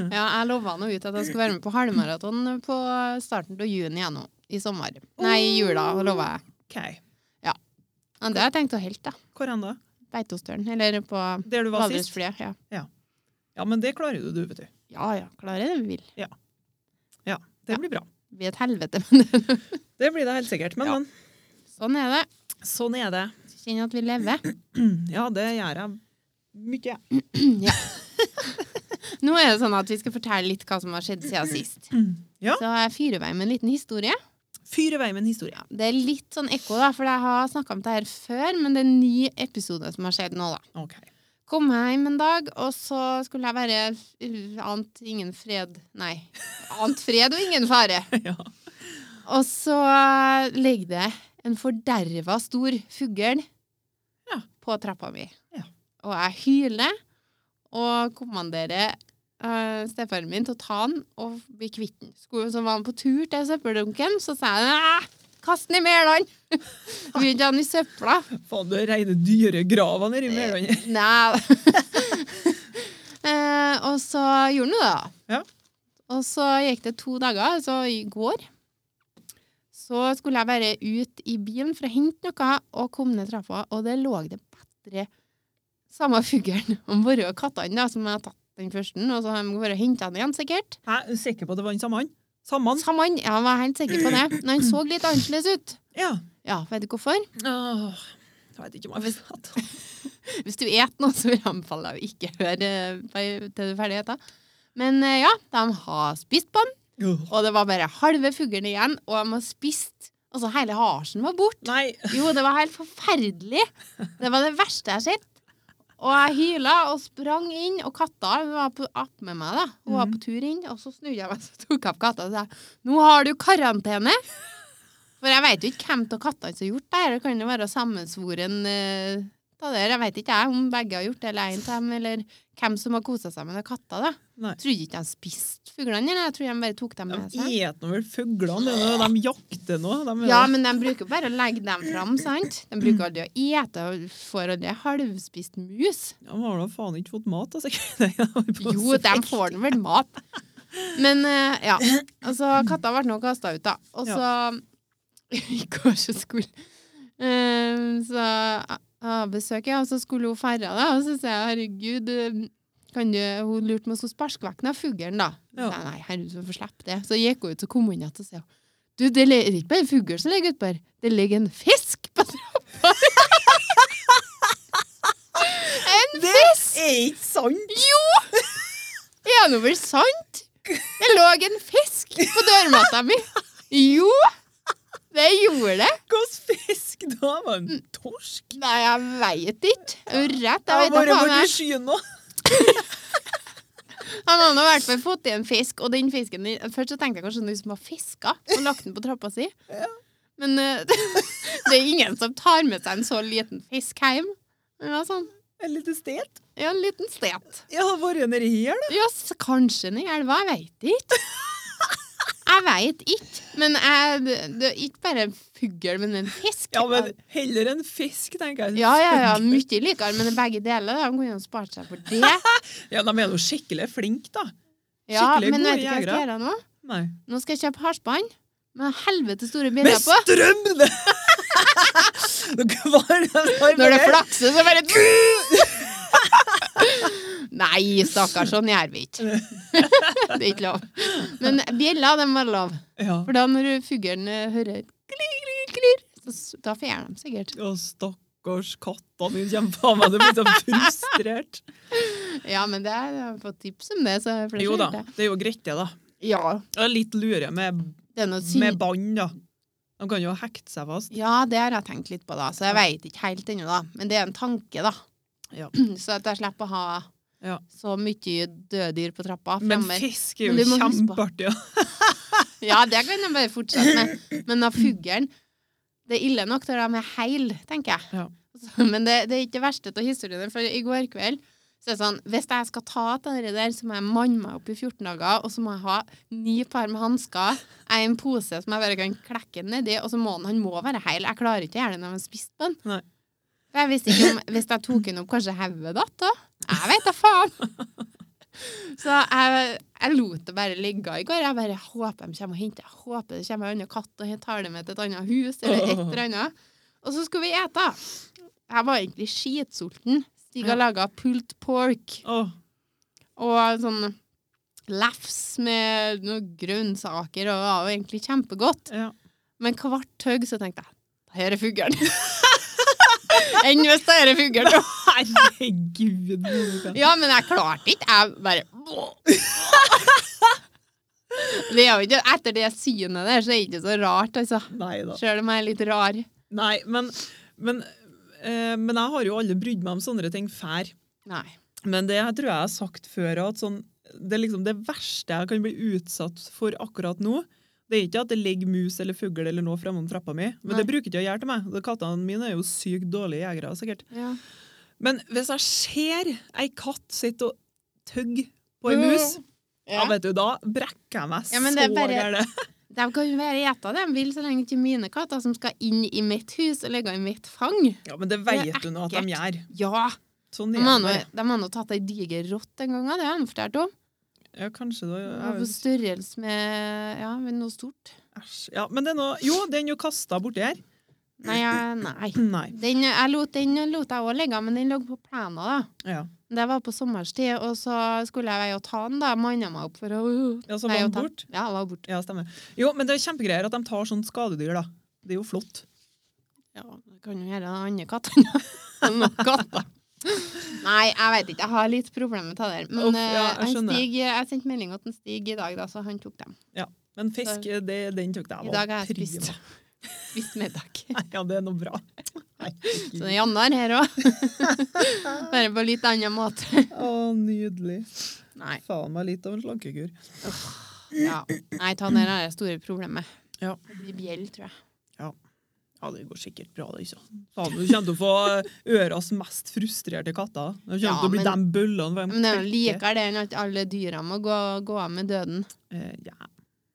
[SPEAKER 1] Ja, jeg lova nå ut at jeg skulle være med på halvmaraton på starten av juni igjen nå. I sommer. Nei, i jula, lova jeg.
[SPEAKER 2] OK.
[SPEAKER 1] Men det har jeg tenkt å holde, da.
[SPEAKER 2] Hvor enn da?
[SPEAKER 1] Beitostølen. Eller på
[SPEAKER 2] Der du var sist?
[SPEAKER 1] Valdresflyet. Ja.
[SPEAKER 2] Ja, men det klarer du, du, vet du.
[SPEAKER 1] ja ja, klarer jeg det vi vil.
[SPEAKER 2] Det
[SPEAKER 1] Ja.
[SPEAKER 2] blir bra.
[SPEAKER 1] Det blir et helvete, men det-
[SPEAKER 2] Det blir det helt sikkert. Men,
[SPEAKER 1] Ja.
[SPEAKER 2] men.
[SPEAKER 1] sånn er det.
[SPEAKER 2] Sånn er det.
[SPEAKER 1] Kjenner at vi lever.
[SPEAKER 2] Ja, det gjør jeg mye.
[SPEAKER 1] Nå er det sånn at vi skal fortelle litt hva som har skjedd siden sist.
[SPEAKER 2] Ja.
[SPEAKER 1] Så jeg fyrer i vei med en liten historie.
[SPEAKER 2] Fyr i vei med en historie.
[SPEAKER 1] Det er litt sånn ekko, da, for jeg har snakka om det her før, men det er en ny episode som har skjedd nå, da.
[SPEAKER 2] OK.
[SPEAKER 1] Kom jeg hjem en dag, og så skulle jeg være f- ant ingen fred Nei, ant fred og ingen fare.
[SPEAKER 2] Ja.
[SPEAKER 1] Og så ligger det en forderva stor fugl
[SPEAKER 2] Ja.
[SPEAKER 1] på trappa mi.
[SPEAKER 2] Ja.
[SPEAKER 1] Og jeg hyler og kommanderer uh, stefaren min til å ta den og bli kvitt den. Skulle- Så var han på tur til søppeldunken, så sa jeg "Æ, kast den i Mæland! Vil ikke ha den i søpla.
[SPEAKER 2] Faen, du er reine dyregrava nedi Mæland.
[SPEAKER 1] Nei. eh, og så gjorde han jo det, da.
[SPEAKER 2] Ja.
[SPEAKER 1] Og så gikk det to dager, så i går så skulle jeg bare ut i bilen for å hente noe, og kom ned trappa, og det lå det bedre samme fuglen om våre og kattene da, som jeg har tatt den første, og så har de vært og henta den igjen, sikkert.
[SPEAKER 2] Hæ, er du sikker på at det var den samme han? Samme han?
[SPEAKER 1] Samme han, ja, jeg var helt sikker på det, men han så litt annerledes ut.
[SPEAKER 2] Ja.
[SPEAKER 1] Ja, vet du hvorfor?
[SPEAKER 2] Åh, jeg vet ikke om jeg vil at
[SPEAKER 1] Hvis du et noe, så vil jeg anbefale deg å ikke høre eh, fe- til du er ferdig etter. Men eh, ja, de har spist på den, og det var bare halve fuglen igjen, og de har spist, og så hele harsen var bort.
[SPEAKER 2] Nei.
[SPEAKER 1] Jo, det var helt forferdelig. Det var det verste jeg har sett. Og jeg hyla og sprang inn, og katta hun var på app med meg. da. Hun var
[SPEAKER 2] Mhm.
[SPEAKER 1] på tur inn, og så snudde jeg meg og tok jeg opp katta og sa nå har du karantene. For jeg veit jo ikke hvem av kattene som har gjort det. her. Det kan jo være sammensvoren eh, ta det her. Jeg veit ikke jeg om begge har gjort det, eller én av dem, eller hvem som har kosa seg med de katta. da.
[SPEAKER 2] Nei.
[SPEAKER 1] Jeg trodde ikke de spiste fuglene, eller jeg tror de bare tok dem
[SPEAKER 2] De
[SPEAKER 1] med seg.
[SPEAKER 2] eter nå vel fuglene, det er noe, de jakter nå. De er
[SPEAKER 1] Ja,
[SPEAKER 2] noe-
[SPEAKER 1] men de bruker bare å legge dem fram, sant? De bruker aldri å ete og får aldri halvspist mus.
[SPEAKER 2] De har da faen ikke fått mat, altså. Nei, de har på
[SPEAKER 1] Jo,
[SPEAKER 2] så
[SPEAKER 1] de
[SPEAKER 2] vekt.
[SPEAKER 1] får den vel mat. Men eh, ja, altså katta ble nå kasta ut, da. Og så I går så skulle eh, Så jeg har besøk, ja, og så skulle hun ferde, da. Og så sier jeg herregud, eh, kan du, hun lurte meg om jeg skulle sparke vekk den av fuglen, da.
[SPEAKER 2] Ja.
[SPEAKER 1] Nei, nei, herregud, så får slippe det. Så gikk hun ut, så kom hun inn igjen og sa du, det er ikke bare en fugl som ligger utpå her, det ligger en fisk på trappa! en
[SPEAKER 2] Det
[SPEAKER 1] fisk!
[SPEAKER 2] er ikke sant!
[SPEAKER 1] Jo! Er nå vel sant? Det lå en fisk på dørmatta mi! Jo! Det gjorde det.
[SPEAKER 2] Hvilken fisk da? Var det en torsk?
[SPEAKER 1] Nei, jeg veit ikke. Mm. Det er jo Rett, jeg
[SPEAKER 2] Jeg har
[SPEAKER 1] vet da
[SPEAKER 2] bare
[SPEAKER 1] faen.
[SPEAKER 2] vært i
[SPEAKER 1] jeg.
[SPEAKER 2] skyen nå.
[SPEAKER 1] Han hadde i hvert fall fått i en fisk, og den fisken Først så tenkte jeg kanskje noen som har fiska og lagt den på trappa si. Men eh, det er ingen som tar med seg en så liten fisk hjem. Men det var sånn,
[SPEAKER 2] Et lite sted.
[SPEAKER 1] ja, en liten stet.
[SPEAKER 2] Jeg har vært nedi her, da.
[SPEAKER 1] Ja, s- kanskje den i elva, jeg veit ikke. Jeg veit ikke. Men jeg, det- det er ikke bare en fugl, men en fisk.
[SPEAKER 2] Ja, men heller en fisk, tenker jeg.
[SPEAKER 1] ja, ja, ja, mye likere, men begge deler. da. De kunne jo spart seg for det.
[SPEAKER 2] Ja, de er jo skikkelig flinke, da.
[SPEAKER 1] Ja,
[SPEAKER 2] Skikkelig
[SPEAKER 1] men
[SPEAKER 2] gode
[SPEAKER 1] vet du hva jeg skal gjøre nå?
[SPEAKER 2] Nei.
[SPEAKER 1] Nå skal jeg kjøpe halsbånd med helvete store
[SPEAKER 2] Med
[SPEAKER 1] bilder på.
[SPEAKER 2] strøm! det- Dere var
[SPEAKER 1] Når det flakser, så bare Nei, stakkars, sånn gjør vi ikke. Det er ikke lov. Men bjeller, den var lov.
[SPEAKER 2] Ja.
[SPEAKER 1] For da når fuglen eh, hører klir, klir, klir, så s- da fjerner de sikkert.
[SPEAKER 2] Å, stakkars kattene dine kommer faen meg til å bli så frustrert.
[SPEAKER 1] Ja, men det er, jeg har fått tips om det. Så jeg får
[SPEAKER 2] Jo da,
[SPEAKER 1] skjønt det.
[SPEAKER 2] det er jo greit, det, da.
[SPEAKER 1] Ja,
[SPEAKER 2] Jeg er litt lure med,
[SPEAKER 1] det er noe
[SPEAKER 2] med
[SPEAKER 1] syn...
[SPEAKER 2] bånd, da. De kan jo hekte seg fast.
[SPEAKER 1] Ja, det har jeg tenkt litt på, da. Så jeg veit ikke helt ennå, da. Men det er en tanke, da.
[SPEAKER 2] Ja.
[SPEAKER 1] Så at jeg slipper å ha
[SPEAKER 2] Ja.
[SPEAKER 1] så mye døddyr på trappa
[SPEAKER 2] Men
[SPEAKER 1] fremover.
[SPEAKER 2] fisk er
[SPEAKER 1] Men
[SPEAKER 2] jo
[SPEAKER 1] du må huske på-
[SPEAKER 2] kjempeartig. ja.
[SPEAKER 1] Ja, det kan de bare fortsette med. Men av fuglen Det er ille nok når de er heil, tenker jeg.
[SPEAKER 2] Ja.
[SPEAKER 1] Så- Men det, det er ikke det verste av historien. For i går kveld så er det sånn Hvis jeg skal ta til det der, så må jeg manne meg opp i 14 dager, og så må jeg ha ni par med hansker, ei en pose som jeg bare kan klekke den nedi, og så må den, han må være heil. Jeg klarer ikke å gjøre det når jeg har spist på den.
[SPEAKER 2] Nei.
[SPEAKER 1] For jeg visste ikke om, Hvis jeg tok den opp, kanskje hodet datt òg? Jeg vet da faen! Så jeg, jeg lot det bare ligge i går. Jeg bare håper de kommer og henter. Jeg håper det kommer en annen katt og jeg tar det med til et annet hus. eller et eller annet. Og så skulle vi ete. Jeg var egentlig skitsulten. Stig har
[SPEAKER 2] Ja.
[SPEAKER 1] laga pulled pork
[SPEAKER 2] Åh,
[SPEAKER 1] og sånn lefs med noen grønnsaker, og det var jo egentlig kjempegodt.
[SPEAKER 2] ja.
[SPEAKER 1] Men hvert høgg så tenkte jeg det her er fuglen. Enn hvis det her er fuglen.
[SPEAKER 2] Herregud. Monica.
[SPEAKER 1] Ja, men jeg klarte ikke. Jeg bare det er jo ikke, Etter det synet der, så er det ikke så rart, altså.
[SPEAKER 2] Nei da.
[SPEAKER 1] Sjøl om jeg er litt rar.
[SPEAKER 2] Nei, men, men, eh, men jeg har jo aldri brydd meg om sånne ting før.
[SPEAKER 1] Nei.
[SPEAKER 2] Men det tror jeg jeg har sagt før at sånn, det, er liksom det verste jeg kan bli utsatt for akkurat nå, det er ikke at det ligger mus eller fugl eller noe fremom trappa mi. Men det
[SPEAKER 1] Nei.
[SPEAKER 2] bruker ikke å gjøre til meg. De Kattene mine er jo sykt dårlige jegere, sikkert.
[SPEAKER 1] Ja.
[SPEAKER 2] Men hvis jeg ser ei katt sitte og tygge på ei mus, ja.
[SPEAKER 1] Mm, Ja.
[SPEAKER 2] vet du, da brekker jeg meg
[SPEAKER 1] Ja, men det er
[SPEAKER 2] så
[SPEAKER 1] bare-
[SPEAKER 2] gærent.
[SPEAKER 1] De kan jo være gjeta, de vil, så lenge ikke mine katter som skal inn i mitt hus og ligge i mitt fang.
[SPEAKER 2] Ja, men det
[SPEAKER 1] Det er
[SPEAKER 2] vet du nå at de gjør.
[SPEAKER 1] Ja!
[SPEAKER 2] Sånn
[SPEAKER 1] De
[SPEAKER 2] er
[SPEAKER 1] har
[SPEAKER 2] det
[SPEAKER 1] nå-
[SPEAKER 2] bare.
[SPEAKER 1] de har nå tatt ei diger rott en gang, ja, det har de fortalt om.
[SPEAKER 2] Ja, kanskje da.
[SPEAKER 1] Det var På størrelse med ja, med noe stort.
[SPEAKER 2] Æsj. Ja, men det er noe, jo, den er jo kasta borti her.
[SPEAKER 1] Nei, jeg, nei.
[SPEAKER 2] Nei.
[SPEAKER 1] Den, jeg lot, den lot jeg òg ligge, men den lå på plena, da.
[SPEAKER 2] Ja.
[SPEAKER 1] Det var på sommerstid, og så skulle jeg veie å ta den. da. Jeg manna meg opp for å uh,
[SPEAKER 2] Ja, så
[SPEAKER 1] veie
[SPEAKER 2] var
[SPEAKER 1] å
[SPEAKER 2] den
[SPEAKER 1] ta
[SPEAKER 2] bort?
[SPEAKER 1] Ja, jeg var borte.
[SPEAKER 2] Ja, stemmer. Jo, men det er kjempegreier at de tar sånne skadedyr, da. Det er jo flott.
[SPEAKER 1] Ja, det kan jo gjøre den andre katten. Nok katt, da. Nei, jeg vet ikke. Jeg har litt problemer med det der. Men
[SPEAKER 2] Uff, ja, jeg
[SPEAKER 1] eh, en
[SPEAKER 2] skjønner.
[SPEAKER 1] Stig, jeg sendte melding til en Stig i dag, da, så han tok dem.
[SPEAKER 2] Men fisk, eh, det, den tok jeg
[SPEAKER 1] I dag har jeg spist, spist middag.
[SPEAKER 2] Ja, det er noe bra.
[SPEAKER 1] Så det er Jannar her òg. Bare på litt annen måte.
[SPEAKER 2] Å, nydelig.
[SPEAKER 1] Nei,
[SPEAKER 2] Faen meg litt av en slankekur.
[SPEAKER 1] ja. Nei ta den der er det store problemet.
[SPEAKER 2] Ja.
[SPEAKER 1] Det blir bjell, tror jeg.
[SPEAKER 2] Ja, det går sikkert bra, det, ikke sant. Faen, du kommer til å få eh, øras mest frustrerte katter. De kommer
[SPEAKER 1] Ja,
[SPEAKER 2] til å bli
[SPEAKER 1] men-
[SPEAKER 2] de bøllene. for de
[SPEAKER 1] Men det er jo
[SPEAKER 2] klekker.
[SPEAKER 1] likere det enn at alle dyra må gå, gå av med døden.
[SPEAKER 2] Eh, ja.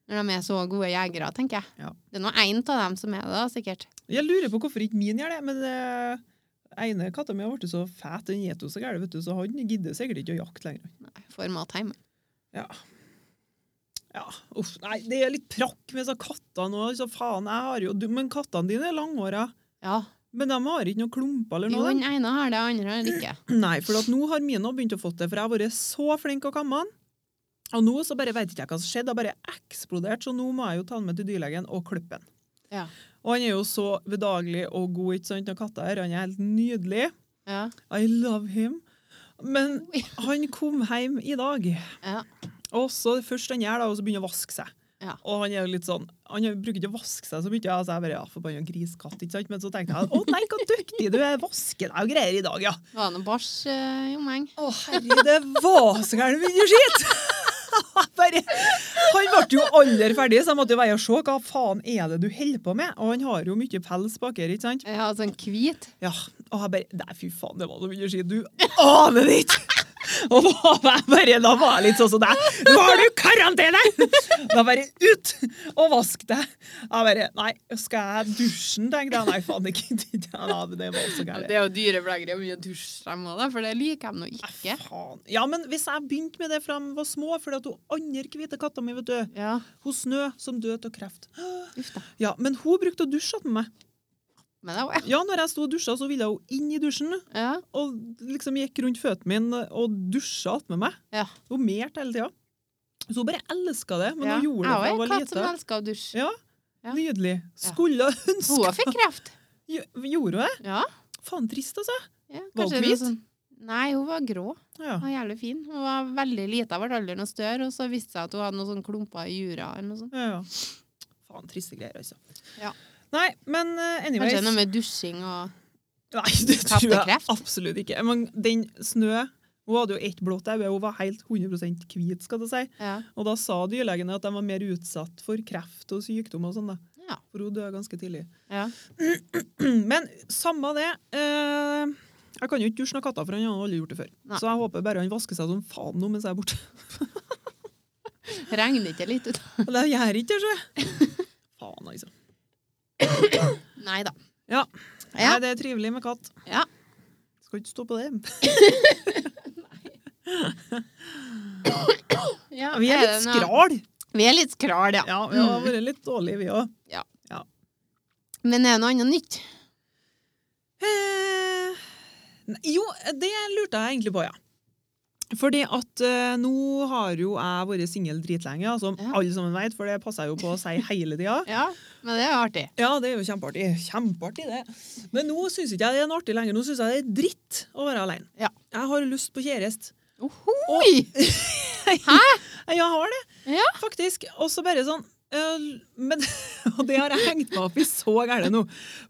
[SPEAKER 1] Når de er så gode jegere, tenker jeg.
[SPEAKER 2] Ja.
[SPEAKER 1] Det er nå én av dem som er det, da, sikkert.
[SPEAKER 2] Jeg lurer på hvorfor ikke min gjør det, men eh, ene katta mi har blitt så fet, den gjeter jo så gærent, vet du, så han gidder sikkert ikke å jakte lenger.
[SPEAKER 1] Nei, Får mat hjemme.
[SPEAKER 2] Ja. ja. Uff, nei, det er litt prakk med disse kattene òg. faen, jeg har jo du- Men kattene dine er langhåra.
[SPEAKER 1] Ja.
[SPEAKER 2] Men de har ikke noen klumper eller
[SPEAKER 1] Jo,
[SPEAKER 2] noe?
[SPEAKER 1] den
[SPEAKER 2] de.
[SPEAKER 1] ene har det, den andre har det ikke.
[SPEAKER 2] Nei, for at nå har mine også begynt å få det, for jeg har vært så flink å kamme den. Og nå så bare vet ikke jeg hva som skjedde, det har bare eksplodert, så nå må jeg jo ta den med til dyrlegen og klippe den.
[SPEAKER 1] Ja.
[SPEAKER 2] Og han er jo så bedagelig og god, ikke sant, og katta her, han er helt nydelig.
[SPEAKER 1] Ja.
[SPEAKER 2] I love him. Men han kom hjem i dag.
[SPEAKER 1] Ja.
[SPEAKER 2] Og så det første han gjør, da, er å begynne å vaske seg.
[SPEAKER 1] Ja.
[SPEAKER 2] Og han er jo litt sånn, han bruker ikke å vaske seg så mye. ja, Så jeg bare, ja, forbanna griskatt, ikke sant? Men så tenkte jeg, å nei, hvor dyktig du er, vasker deg og greier i dag, ja.
[SPEAKER 1] Var det noe bæsj, eh, Jomeng?
[SPEAKER 2] Å herre, det var så gærent mye skitt! Bare, han ble jo aldri ferdig, så jeg måtte jo være og se hva faen er det du holder på med. Og han har jo mye pels bak her, ikke sant?
[SPEAKER 1] Jeg har sånn hvit.
[SPEAKER 2] Ja, og jeg bare Nei, fy faen, det var så mye skitt, du aner det ikke! Og da var jeg bare, da var jeg litt sånn som deg. Nå har du karantene! Da bare ut og vask deg. Jeg bare Nei, skal jeg dusje, tenkte jeg. Nei, faen, det gidder ikke jeg. Nei, men Det var så gærent.
[SPEAKER 1] Det er jo dyreplagere og mye dusjrem òg, for det liker de nå ikke.
[SPEAKER 2] Faen. Ja, men hvis jeg begynte med det fra de var små, fordi at hun andre hvite katta mi, vet du,
[SPEAKER 1] Ja,
[SPEAKER 2] hun Snø, som døde av kreft.
[SPEAKER 1] uff da.
[SPEAKER 2] Ja, men hun brukte å dusje med meg.
[SPEAKER 1] Men det var,
[SPEAKER 2] Ja, når jeg sto og dusja, så ville hun inn i dusjen
[SPEAKER 1] ja.
[SPEAKER 2] og liksom gikk rundt føttene mine og dusja med meg.
[SPEAKER 1] Ja.
[SPEAKER 2] Hun melte hele tida. Så hun bare elska det, men
[SPEAKER 1] ja.
[SPEAKER 2] hun gjorde det da
[SPEAKER 1] Jeg
[SPEAKER 2] hun
[SPEAKER 1] var
[SPEAKER 2] var
[SPEAKER 1] katt som
[SPEAKER 2] lita.
[SPEAKER 1] elska å dusje.
[SPEAKER 2] Ja.
[SPEAKER 1] Ja.
[SPEAKER 2] Nydelig. Skulle ønske
[SPEAKER 1] Hun fikk kreft.
[SPEAKER 2] Jo- Gjorde hun det?
[SPEAKER 1] Ja.
[SPEAKER 2] Faen, trist, altså.
[SPEAKER 1] ja
[SPEAKER 2] Var hun
[SPEAKER 1] kanskje det
[SPEAKER 2] hvit?
[SPEAKER 1] sånn- Nei, hun var grå.
[SPEAKER 2] Ja.
[SPEAKER 1] Hun var jævlig fin. Hun var veldig lita, ble aldri noe større, og så viste det seg at hun hadde noen sånne klumper i jura eller noe sånt.
[SPEAKER 2] ja, ja. Faen, triste greier, altså.
[SPEAKER 1] Ja.
[SPEAKER 2] Nei, men eh, anyways.
[SPEAKER 1] Kanskje noe med dusjing og
[SPEAKER 2] Nei, det tror jeg
[SPEAKER 1] Kattekreft?
[SPEAKER 2] absolutt ikke. Men den snø Hun hadde jo ett blått øye, hun var helt 100 hvit, skal det si.
[SPEAKER 1] Ja.
[SPEAKER 2] Og da sa dyrlegene at de var mer utsatt for kreft og sykdom og sånn, da.
[SPEAKER 1] Ja.
[SPEAKER 2] For hun døde ganske tidlig. Mm,
[SPEAKER 1] ja.
[SPEAKER 2] Men samme det. Eh, jeg kan jo ikke dusje noen katter, for han har aldri gjort det før.
[SPEAKER 1] Nei.
[SPEAKER 2] Så jeg håper bare han vasker seg som faen nå mens jeg er borte.
[SPEAKER 1] Regner ikke litt ut?
[SPEAKER 2] Og det gjør ikke det, sjø. Faen, altså.
[SPEAKER 1] Nei da. Ja.
[SPEAKER 2] Ja. Nei, det er trivelig med katt.
[SPEAKER 1] Ja.
[SPEAKER 2] Skal ikke stå på det.
[SPEAKER 1] Ja,
[SPEAKER 2] Vi er
[SPEAKER 1] det
[SPEAKER 2] litt
[SPEAKER 1] noe-
[SPEAKER 2] skral.
[SPEAKER 1] Vi er litt skral, ja.
[SPEAKER 2] Ja, vi har vært litt dårlige, vi òg.
[SPEAKER 1] Men er det noe annet nytt?
[SPEAKER 2] Eh, nei, jo, det lurte jeg egentlig på, ja. Fordi at eh, nå har jo jeg vært singel dritlenge, ja, som
[SPEAKER 1] Ja.
[SPEAKER 2] alle sammen vet, for det passer jeg jo på å si hele tida.
[SPEAKER 1] Ja, men det er jo artig.
[SPEAKER 2] Ja, det er jo kjempeartig. Kjempeartig, det. Men nå syns ikke jeg det er noe artig lenger. Nå syns jeg det er dritt å være alene.
[SPEAKER 1] Ja.
[SPEAKER 2] Jeg har lyst på kjæreste.
[SPEAKER 1] Ohoi!
[SPEAKER 2] Ja, Jeg har det,
[SPEAKER 1] Ja.
[SPEAKER 2] faktisk. Og så bare sånn eh, men, og det har jeg hengt meg opp i så gæle nå.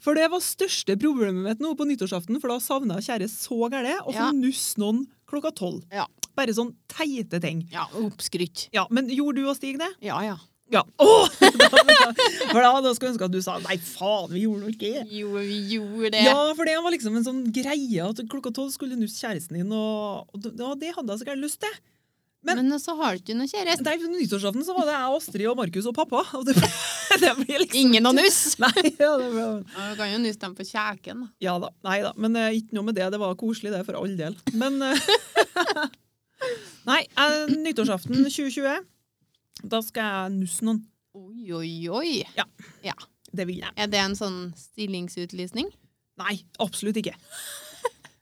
[SPEAKER 2] For det var største problemet mitt nå på nyttårsaften, for da savna jeg kjære så gæle
[SPEAKER 1] Ja.
[SPEAKER 2] og fornuss noen klokka tolv.
[SPEAKER 1] Ja.
[SPEAKER 2] Bare sånn teite ting.
[SPEAKER 1] Ja, oppskrytt.
[SPEAKER 2] Ja, Men gjorde du og Stig det?
[SPEAKER 1] Ja, ja.
[SPEAKER 2] Ja. Åh! For da, da skulle jeg ønske at du sa nei, faen, vi gjorde nok ikke det.
[SPEAKER 1] Jo, vi gjorde det.
[SPEAKER 2] Ja, for det var liksom en sånn greie at klokka tolv skulle nusse kjæresten din, og, og det, og det hadde jeg så gæren lyst til. men-
[SPEAKER 1] men, så har du ikke noe kjæreste.
[SPEAKER 2] Nei, på nyttårsaften så var det jeg, Astrid og Markus og pappa. Og det, det blir liksom
[SPEAKER 1] Ingen å nusse!
[SPEAKER 2] Nei, ja, det ble-
[SPEAKER 1] Ja, Du kan jo nusse dem på kjeken, da.
[SPEAKER 2] ja da. Nei da. Men eh, ikke noe med det. Det var koselig, det, for all del. Men eh, Nei, eh, nyttårsaften 2020, da skal jeg nusse noen.
[SPEAKER 1] Oi, oi, oi.
[SPEAKER 2] Det vil jeg.
[SPEAKER 1] Er det en sånn stillingsutlysning?
[SPEAKER 2] Nei, absolutt ikke.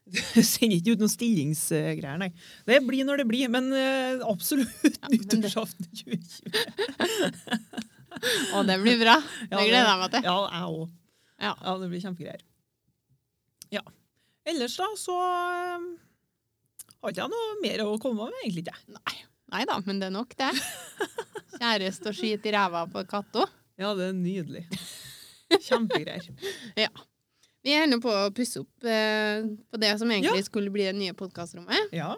[SPEAKER 2] Sender ikke ut noen stillingsgreier, nei. Det blir når det blir, men eh, absolutt
[SPEAKER 1] men det-
[SPEAKER 2] nyttårsaften 2020.
[SPEAKER 1] Å, det blir bra.
[SPEAKER 2] Ja,
[SPEAKER 1] Det gleder jeg meg til.
[SPEAKER 2] Ja, jeg òg.
[SPEAKER 1] Ja.
[SPEAKER 2] Ja, det blir kjempegreier. Ja. Ellers da, så eh, har ikke jeg noe mer å komme med, egentlig ikke.
[SPEAKER 1] Nei. Nei da, men det er nok, det. Kjæreste og skit i ræva på katta.
[SPEAKER 2] Ja, det er nydelig. Kjempegreier.
[SPEAKER 1] Vi er nå på å pusse opp eh, på det som egentlig skulle bli det nye podkastrommet.
[SPEAKER 2] Ja.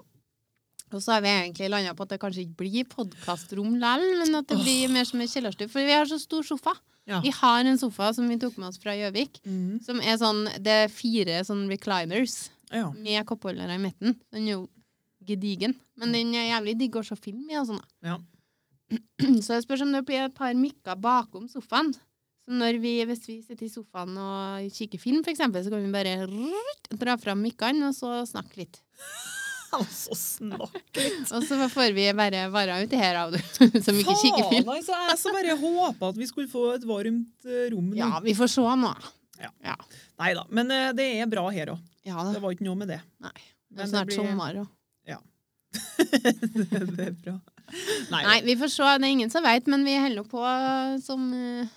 [SPEAKER 1] Og så har vi egentlig landa på at det kanskje ikke blir podkastrom likevel, men at det blir mer som en kjellerstue. For vi har så stor sofa.
[SPEAKER 2] Ja.
[SPEAKER 1] Vi har en sofa som vi tok med oss fra Gjøvik.
[SPEAKER 2] Mm,
[SPEAKER 1] Som er sånn, Det er fire sånn recliners
[SPEAKER 2] ja.
[SPEAKER 1] med koppholdere i midten. Den er jo gedigen. Men den er jævlig digg å se film i og sånn. da.
[SPEAKER 2] Mm. Ja.
[SPEAKER 1] Så jeg spørs om det blir et par mikker bakom sofaen. Så når vi, hvis vi sitter i sofaen og kikker film, for eksempel, så kan vi bare rrrt, dra fram mikkene og så snakke litt.
[SPEAKER 2] Altså, snakk.
[SPEAKER 1] Og så får vi bare varer uti her av du, som ikke kikker
[SPEAKER 2] Faen,
[SPEAKER 1] film.
[SPEAKER 2] altså. Jeg så bare håpa at vi skulle få et varmt eh, rom nå.
[SPEAKER 1] Ja, vi får se nå.
[SPEAKER 2] Nei da. Men eh, det er bra her òg.
[SPEAKER 1] Ja da.
[SPEAKER 2] Det var ikke noe med det.
[SPEAKER 1] Det
[SPEAKER 2] men
[SPEAKER 1] er
[SPEAKER 2] det
[SPEAKER 1] snart
[SPEAKER 2] blir-
[SPEAKER 1] sommer òg.
[SPEAKER 2] det er bra. Nei,
[SPEAKER 1] Nei, vi får se. Det er ingen som vet, men vi holder på som uh,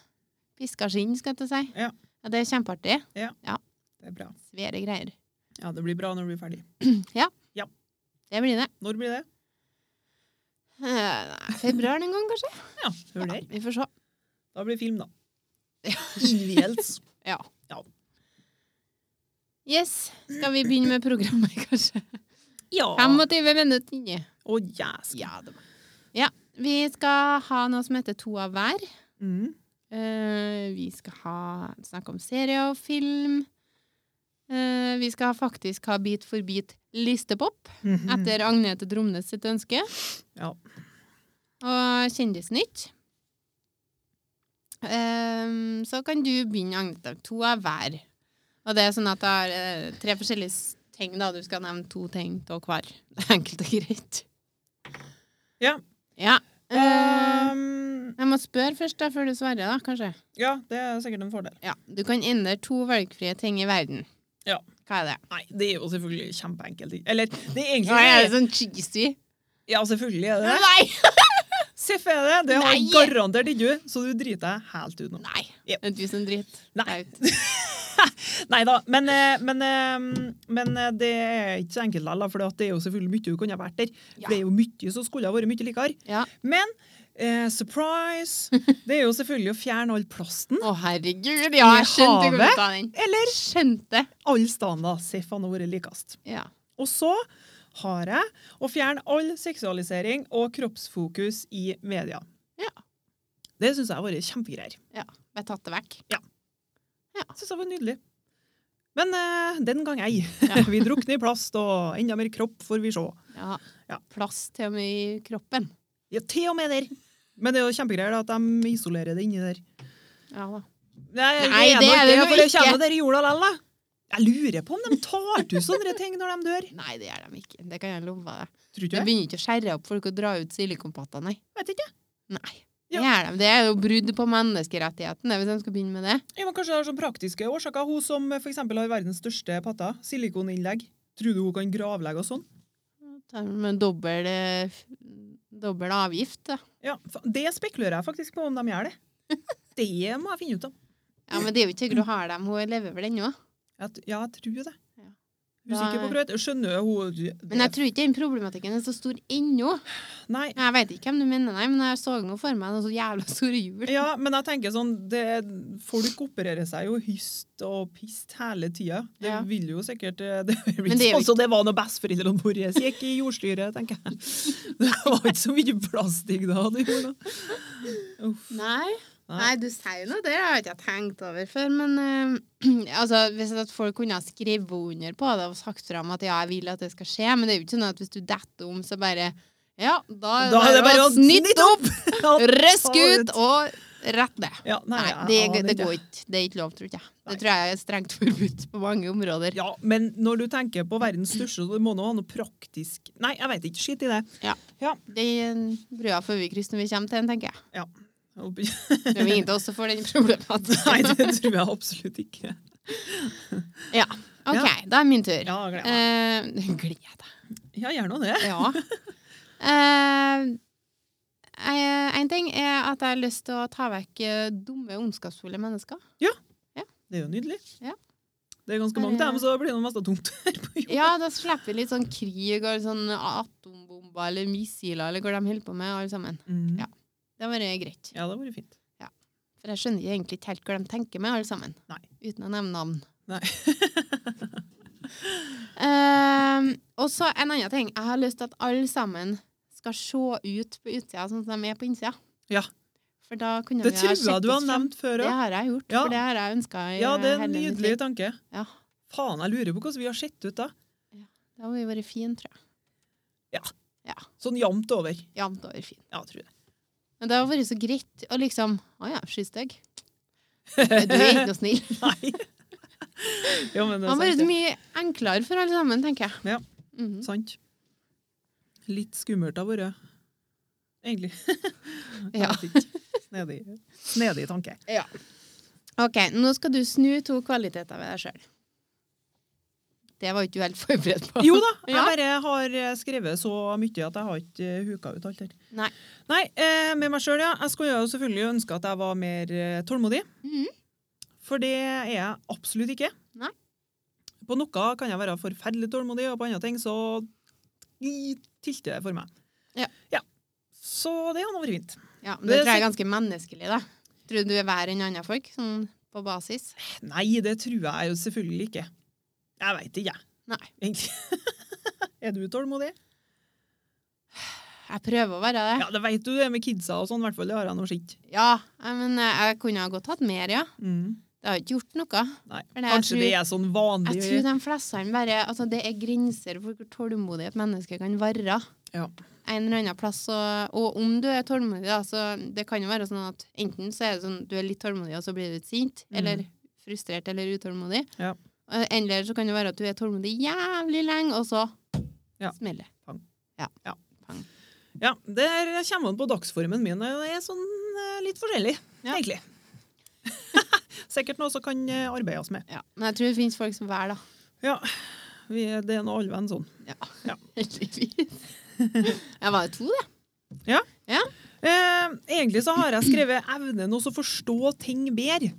[SPEAKER 1] piska skinn, skal jeg til å si.
[SPEAKER 2] Ja.
[SPEAKER 1] det er kjempeartig.
[SPEAKER 2] det er bra.
[SPEAKER 1] Svære greier.
[SPEAKER 2] Ja, det blir bra når du blir ferdig.
[SPEAKER 1] Det blir det.
[SPEAKER 2] Når blir det?
[SPEAKER 1] Eh, nei, februar en gang, kanskje?
[SPEAKER 2] Ja, hør der.
[SPEAKER 1] vi får se.
[SPEAKER 2] Da blir det film, da.
[SPEAKER 1] Ja.
[SPEAKER 2] Innviels.
[SPEAKER 1] Yes. Skal vi begynne med programmet, kanskje?
[SPEAKER 2] Ja.
[SPEAKER 1] 25 minutter inni.
[SPEAKER 2] Å, jæsk.
[SPEAKER 1] Ja, det var. ja. Vi skal ha noe som heter To av hver.
[SPEAKER 2] Mm.
[SPEAKER 1] Eh, vi skal ha, snakke om serier og film. Eh, vi skal faktisk ha bit for bit listepop etter Agnete Dromnes sitt ønske.
[SPEAKER 2] Ja.
[SPEAKER 1] Og Kjendisnytt. Eh, så kan du begynne, Agnete. To av hver. Og det er sånn at det er eh, tre forskjellige s- ting. da Du skal nevne to ting av hver. Det er enkelt og greit.
[SPEAKER 2] Ja.
[SPEAKER 1] ja. Eh,
[SPEAKER 2] Um,
[SPEAKER 1] jeg må spørre først, da, før du svarer, da, kanskje.
[SPEAKER 2] ja, det er sikkert en fordel.
[SPEAKER 1] Ja, Du kan endre to valgfrie ting i verden.
[SPEAKER 2] Ja.
[SPEAKER 1] Hva er det?
[SPEAKER 2] Nei, det er jo selvfølgelig kjempeenkelt. Eller, det er egentlig
[SPEAKER 1] Nå er det sånn cheesy.
[SPEAKER 2] Ja, selvfølgelig er det det.
[SPEAKER 1] Nei!
[SPEAKER 2] Seff er det. Det har jeg
[SPEAKER 1] Nei.
[SPEAKER 2] garantert ikke du, så du driter deg helt ut nå.
[SPEAKER 1] Nei.
[SPEAKER 2] Ja.
[SPEAKER 1] Det er du som dritt.
[SPEAKER 2] Nei.
[SPEAKER 1] Ut.
[SPEAKER 2] Nei da, men, eh, men, eh, men eh, det er ikke så enkelt likevel, for det er jo selvfølgelig mye du kunne ha vært der.
[SPEAKER 1] Ja.
[SPEAKER 2] Det er jo mye som skulle ha vært mye likere.
[SPEAKER 1] Ja.
[SPEAKER 2] Men eh, surprise! Det er jo selvfølgelig å fjerne all plasten.
[SPEAKER 1] Å, herregud. Ja, jeg skjønte hvor
[SPEAKER 2] havet?
[SPEAKER 1] du ta den.
[SPEAKER 2] Eller
[SPEAKER 1] Skjønte.
[SPEAKER 2] all steder da, Seff hadde vært likest.
[SPEAKER 1] Ja.
[SPEAKER 2] Og så har jeg å fjerne all seksualisering og kroppsfokus i media.
[SPEAKER 1] Ja.
[SPEAKER 2] Det syns jeg har vært kjempegreier.
[SPEAKER 1] Jeg tatt det vekk.
[SPEAKER 2] Synes jeg var nydelig. Men eh, den gang ei. vi drukner i plast, og enda mer kropp får vi se.
[SPEAKER 1] Ja.
[SPEAKER 2] Ja.
[SPEAKER 1] Plass til og med i kroppen.
[SPEAKER 2] Ja, til og med der. Men det er jo kjempegreier da, at de isolerer det inni der.
[SPEAKER 1] Ja da.
[SPEAKER 2] Nei,
[SPEAKER 1] Nei, det er det nå
[SPEAKER 2] for det
[SPEAKER 1] ikke.
[SPEAKER 2] kommer jo der i jorda lell, da. Jeg lurer på om de tar til sånne ting når de dør.
[SPEAKER 1] Nei, det gjør de ikke. Det kan jeg love deg.
[SPEAKER 2] Tror
[SPEAKER 1] De
[SPEAKER 2] ikke det?
[SPEAKER 1] begynner ikke å skjære opp folk og dra ut silikonpatter, nei.
[SPEAKER 2] Vet ikke.
[SPEAKER 1] Nei.
[SPEAKER 2] Ja.
[SPEAKER 1] Det gjør de. Det er jo brudd på menneskerettighetene hvis de skal begynne med det.
[SPEAKER 2] Ja, men kanskje det er sånn praktiske årsaker. Hun som eh, for eksempel har verdens største patta, silikoninnlegg. Tror du hun kan gravlegge og sånn?
[SPEAKER 1] Det er med dobbel, eh, f- dobbel avgift, da.
[SPEAKER 2] Ja, fa- Det spekulerer jeg faktisk på om de gjør det. Det må jeg finne ut av.
[SPEAKER 1] Ja, men det er jo ikke sikkert du har dem. Hun lever vel ennå.
[SPEAKER 2] Jeg t- Ja, jeg tror det.
[SPEAKER 1] Ja.
[SPEAKER 2] Usikker på brøt. Skjønner hun det-
[SPEAKER 1] Men jeg tror ikke den problematikken er så stor ennå.
[SPEAKER 2] Nei.
[SPEAKER 1] Jeg vet ikke hvem du mener, nei, men jeg så noe for meg noen så jævla store hjul.
[SPEAKER 2] Ja, men jeg tenker sånn det, Folk opererer seg jo hyst og pist hele tida. Det
[SPEAKER 1] Ja.
[SPEAKER 2] vil jo sikkert eh, Det, blir
[SPEAKER 1] Men det er jo
[SPEAKER 2] sånn som det var når besteforeldrene våre gikk i jordstyret, tenker jeg. Det var ikke så mye plastikk da. Det gjorde da. Uff.
[SPEAKER 1] Nei.
[SPEAKER 2] Nei.
[SPEAKER 1] nei, du sier noe der, jeg har ikke jeg tenkt over før, men eh, altså, hvis at folk kunne ha skrevet under på det og sagt fra om at ja, jeg vil at det skal skje, men det er jo ikke sånn at hvis du detter om, så bare ja, da,
[SPEAKER 2] Da er det bare å snitte opp!
[SPEAKER 1] røsk ut og rett ned.
[SPEAKER 2] Ja, nei,
[SPEAKER 1] Nei, det,
[SPEAKER 2] jeg aner
[SPEAKER 1] det
[SPEAKER 2] ikke.
[SPEAKER 1] går ikke. Det er ikke lov, tror ikke jeg. Det
[SPEAKER 2] Nei.
[SPEAKER 1] tror jeg er strengt forbudt på mange områder.
[SPEAKER 2] Ja, men når du tenker på verdens største, så må det ha noe praktisk Nei, jeg veit ikke. Skitt i det.
[SPEAKER 1] Det brua får vi krysse når vi kommer til den, tenker jeg.
[SPEAKER 2] Nei,
[SPEAKER 1] Det er jo ingen av oss som får den problematikken.
[SPEAKER 2] det tror jeg absolutt ikke.
[SPEAKER 1] OK, da er min tur.
[SPEAKER 2] Ja, jeg gleder meg.
[SPEAKER 1] Eh, Gleder jeg deg.
[SPEAKER 2] Ja, gjerne det.
[SPEAKER 1] Ja. Eh, eh, en ting er at jeg har lyst til å ta vekk eh, dumme, ondskapsfulle mennesker.
[SPEAKER 2] Det er jo nydelig.
[SPEAKER 1] Ja. Eh,
[SPEAKER 2] Det er ganske mange av dem, så blir det mest tungt her på jorda.
[SPEAKER 1] Ja, da slipper vi litt sånn krig og sånn atombomber eller missiler eller hva de holder på med, alle sammen.
[SPEAKER 2] Mhm.
[SPEAKER 1] Ja. Det har vært greit.
[SPEAKER 2] ja, det hadde vært fint.
[SPEAKER 1] For jeg skjønner egentlig ikke helt hva de tenker med, alle sammen.
[SPEAKER 2] Nei.
[SPEAKER 1] Uten å nevne navn.
[SPEAKER 2] Nei.
[SPEAKER 1] Ehm, og så en annen ting. Jeg har lyst til at alle sammen skal se ut på utsida sånn som de er på innsida.
[SPEAKER 2] Ja.
[SPEAKER 1] For da kunne
[SPEAKER 2] Det
[SPEAKER 1] vi ha
[SPEAKER 2] tror
[SPEAKER 1] sett
[SPEAKER 2] jeg du
[SPEAKER 1] oss
[SPEAKER 2] har
[SPEAKER 1] fram.
[SPEAKER 2] nevnt før
[SPEAKER 1] Det
[SPEAKER 2] òg.
[SPEAKER 1] har jeg gjort,
[SPEAKER 2] Ja.
[SPEAKER 1] for det har jeg ønska i
[SPEAKER 2] Ja, det er
[SPEAKER 1] hele
[SPEAKER 2] en
[SPEAKER 1] mitt
[SPEAKER 2] nydelig
[SPEAKER 1] liv.
[SPEAKER 2] tanke.
[SPEAKER 1] Ja.
[SPEAKER 2] Faen, jeg lurer på hvordan vi har sett ut da.
[SPEAKER 1] Da hadde vi vært fine, tror jeg.
[SPEAKER 2] Sånn jevnt over.
[SPEAKER 1] Jevnt over fin.
[SPEAKER 2] Ja, tror jeg.
[SPEAKER 1] Men det har vært så greit å liksom Å ja, skystygg. Men Du er ikke noe snill.
[SPEAKER 2] Nei. Jo, men det
[SPEAKER 1] Det
[SPEAKER 2] er
[SPEAKER 1] har vært så
[SPEAKER 2] sant. det.
[SPEAKER 1] mye enklere for alle sammen, tenker jeg.
[SPEAKER 2] Ja.
[SPEAKER 1] Mhm.
[SPEAKER 2] sant. Litt skummelt av vært. Egentlig. Jeg
[SPEAKER 1] ja.
[SPEAKER 2] vet ikke. Snedig. Snedig tanke.
[SPEAKER 1] OK, nå skal du snu to kvaliteter ved deg sjøl. Det var jo ikke du helt forberedt på.
[SPEAKER 2] Jo da, jeg
[SPEAKER 1] Ja.
[SPEAKER 2] bare har eh, skrevet så mye at jeg har ikke eh, huka ut alt her.
[SPEAKER 1] Nei.
[SPEAKER 2] Nei, eh, med meg sjøl, ja. Jeg skulle jo selvfølgelig ønske at jeg var mer eh, tålmodig.
[SPEAKER 1] Mhm.
[SPEAKER 2] For det er jeg absolutt ikke.
[SPEAKER 1] Nei.
[SPEAKER 2] På noe kan jeg være forferdelig tålmodig, og på andre ting så i- tilter det for meg.
[SPEAKER 1] Ja.
[SPEAKER 2] Så det hadde vært fint.
[SPEAKER 1] Ja, men det
[SPEAKER 2] Det
[SPEAKER 1] tror jeg er
[SPEAKER 2] er
[SPEAKER 1] ganske menneskelig, da. Tror du du er verre enn andre folk, sånn på basis?
[SPEAKER 2] Nei, det tror jeg jo selvfølgelig ikke. Jeg veit ikke, jeg.
[SPEAKER 1] Nei.
[SPEAKER 2] Egentlig. er du tålmodig?
[SPEAKER 1] Jeg prøver å være det.
[SPEAKER 2] Ja, det veit du det med kidsa og sånn, i hvert fall. Det har jeg nå sett.
[SPEAKER 1] Ja, eh, men eh, jeg kunne ha godt hatt mer, ja.
[SPEAKER 2] Mm.
[SPEAKER 1] Det har ikke gjort noe.
[SPEAKER 2] Nei.
[SPEAKER 1] For det- jeg
[SPEAKER 2] Kanskje
[SPEAKER 1] tror-
[SPEAKER 2] det er sånn vanlig
[SPEAKER 1] Jeg tror de fleste bare Altså, det er grenser for hvor tålmodig et menneske kan være.
[SPEAKER 2] Ja.
[SPEAKER 1] En eller annen plass. Og, og om du er tålmodig, da, så det kan jo være sånn at enten så er det sånn du er litt tålmodig, og så blir du litt sint,
[SPEAKER 2] Mm.
[SPEAKER 1] eller frustrert eller utålmodig.
[SPEAKER 2] Ja.
[SPEAKER 1] Eh, Eller så kan det være at du er tålmodig jævlig lenge, og så
[SPEAKER 2] Ja.
[SPEAKER 1] smeller det.
[SPEAKER 2] Pang.
[SPEAKER 1] Ja.
[SPEAKER 2] Ja.
[SPEAKER 1] Pang.
[SPEAKER 2] Ja, der kommer han på dagsformen min. Det er sånn eh, litt forskjellig,
[SPEAKER 1] Ja.
[SPEAKER 2] egentlig. Sikkert noe som kan eh, arbeides med.
[SPEAKER 1] Ja. Men jeg tror det finnes folk som velger, da.
[SPEAKER 2] Ja, vi, er- det er noe allvenn sånn.
[SPEAKER 1] Heldigvis. Jeg var jo to, det.
[SPEAKER 2] Eh, egentlig så har jeg skrevet evnen også å forstå ting bedre.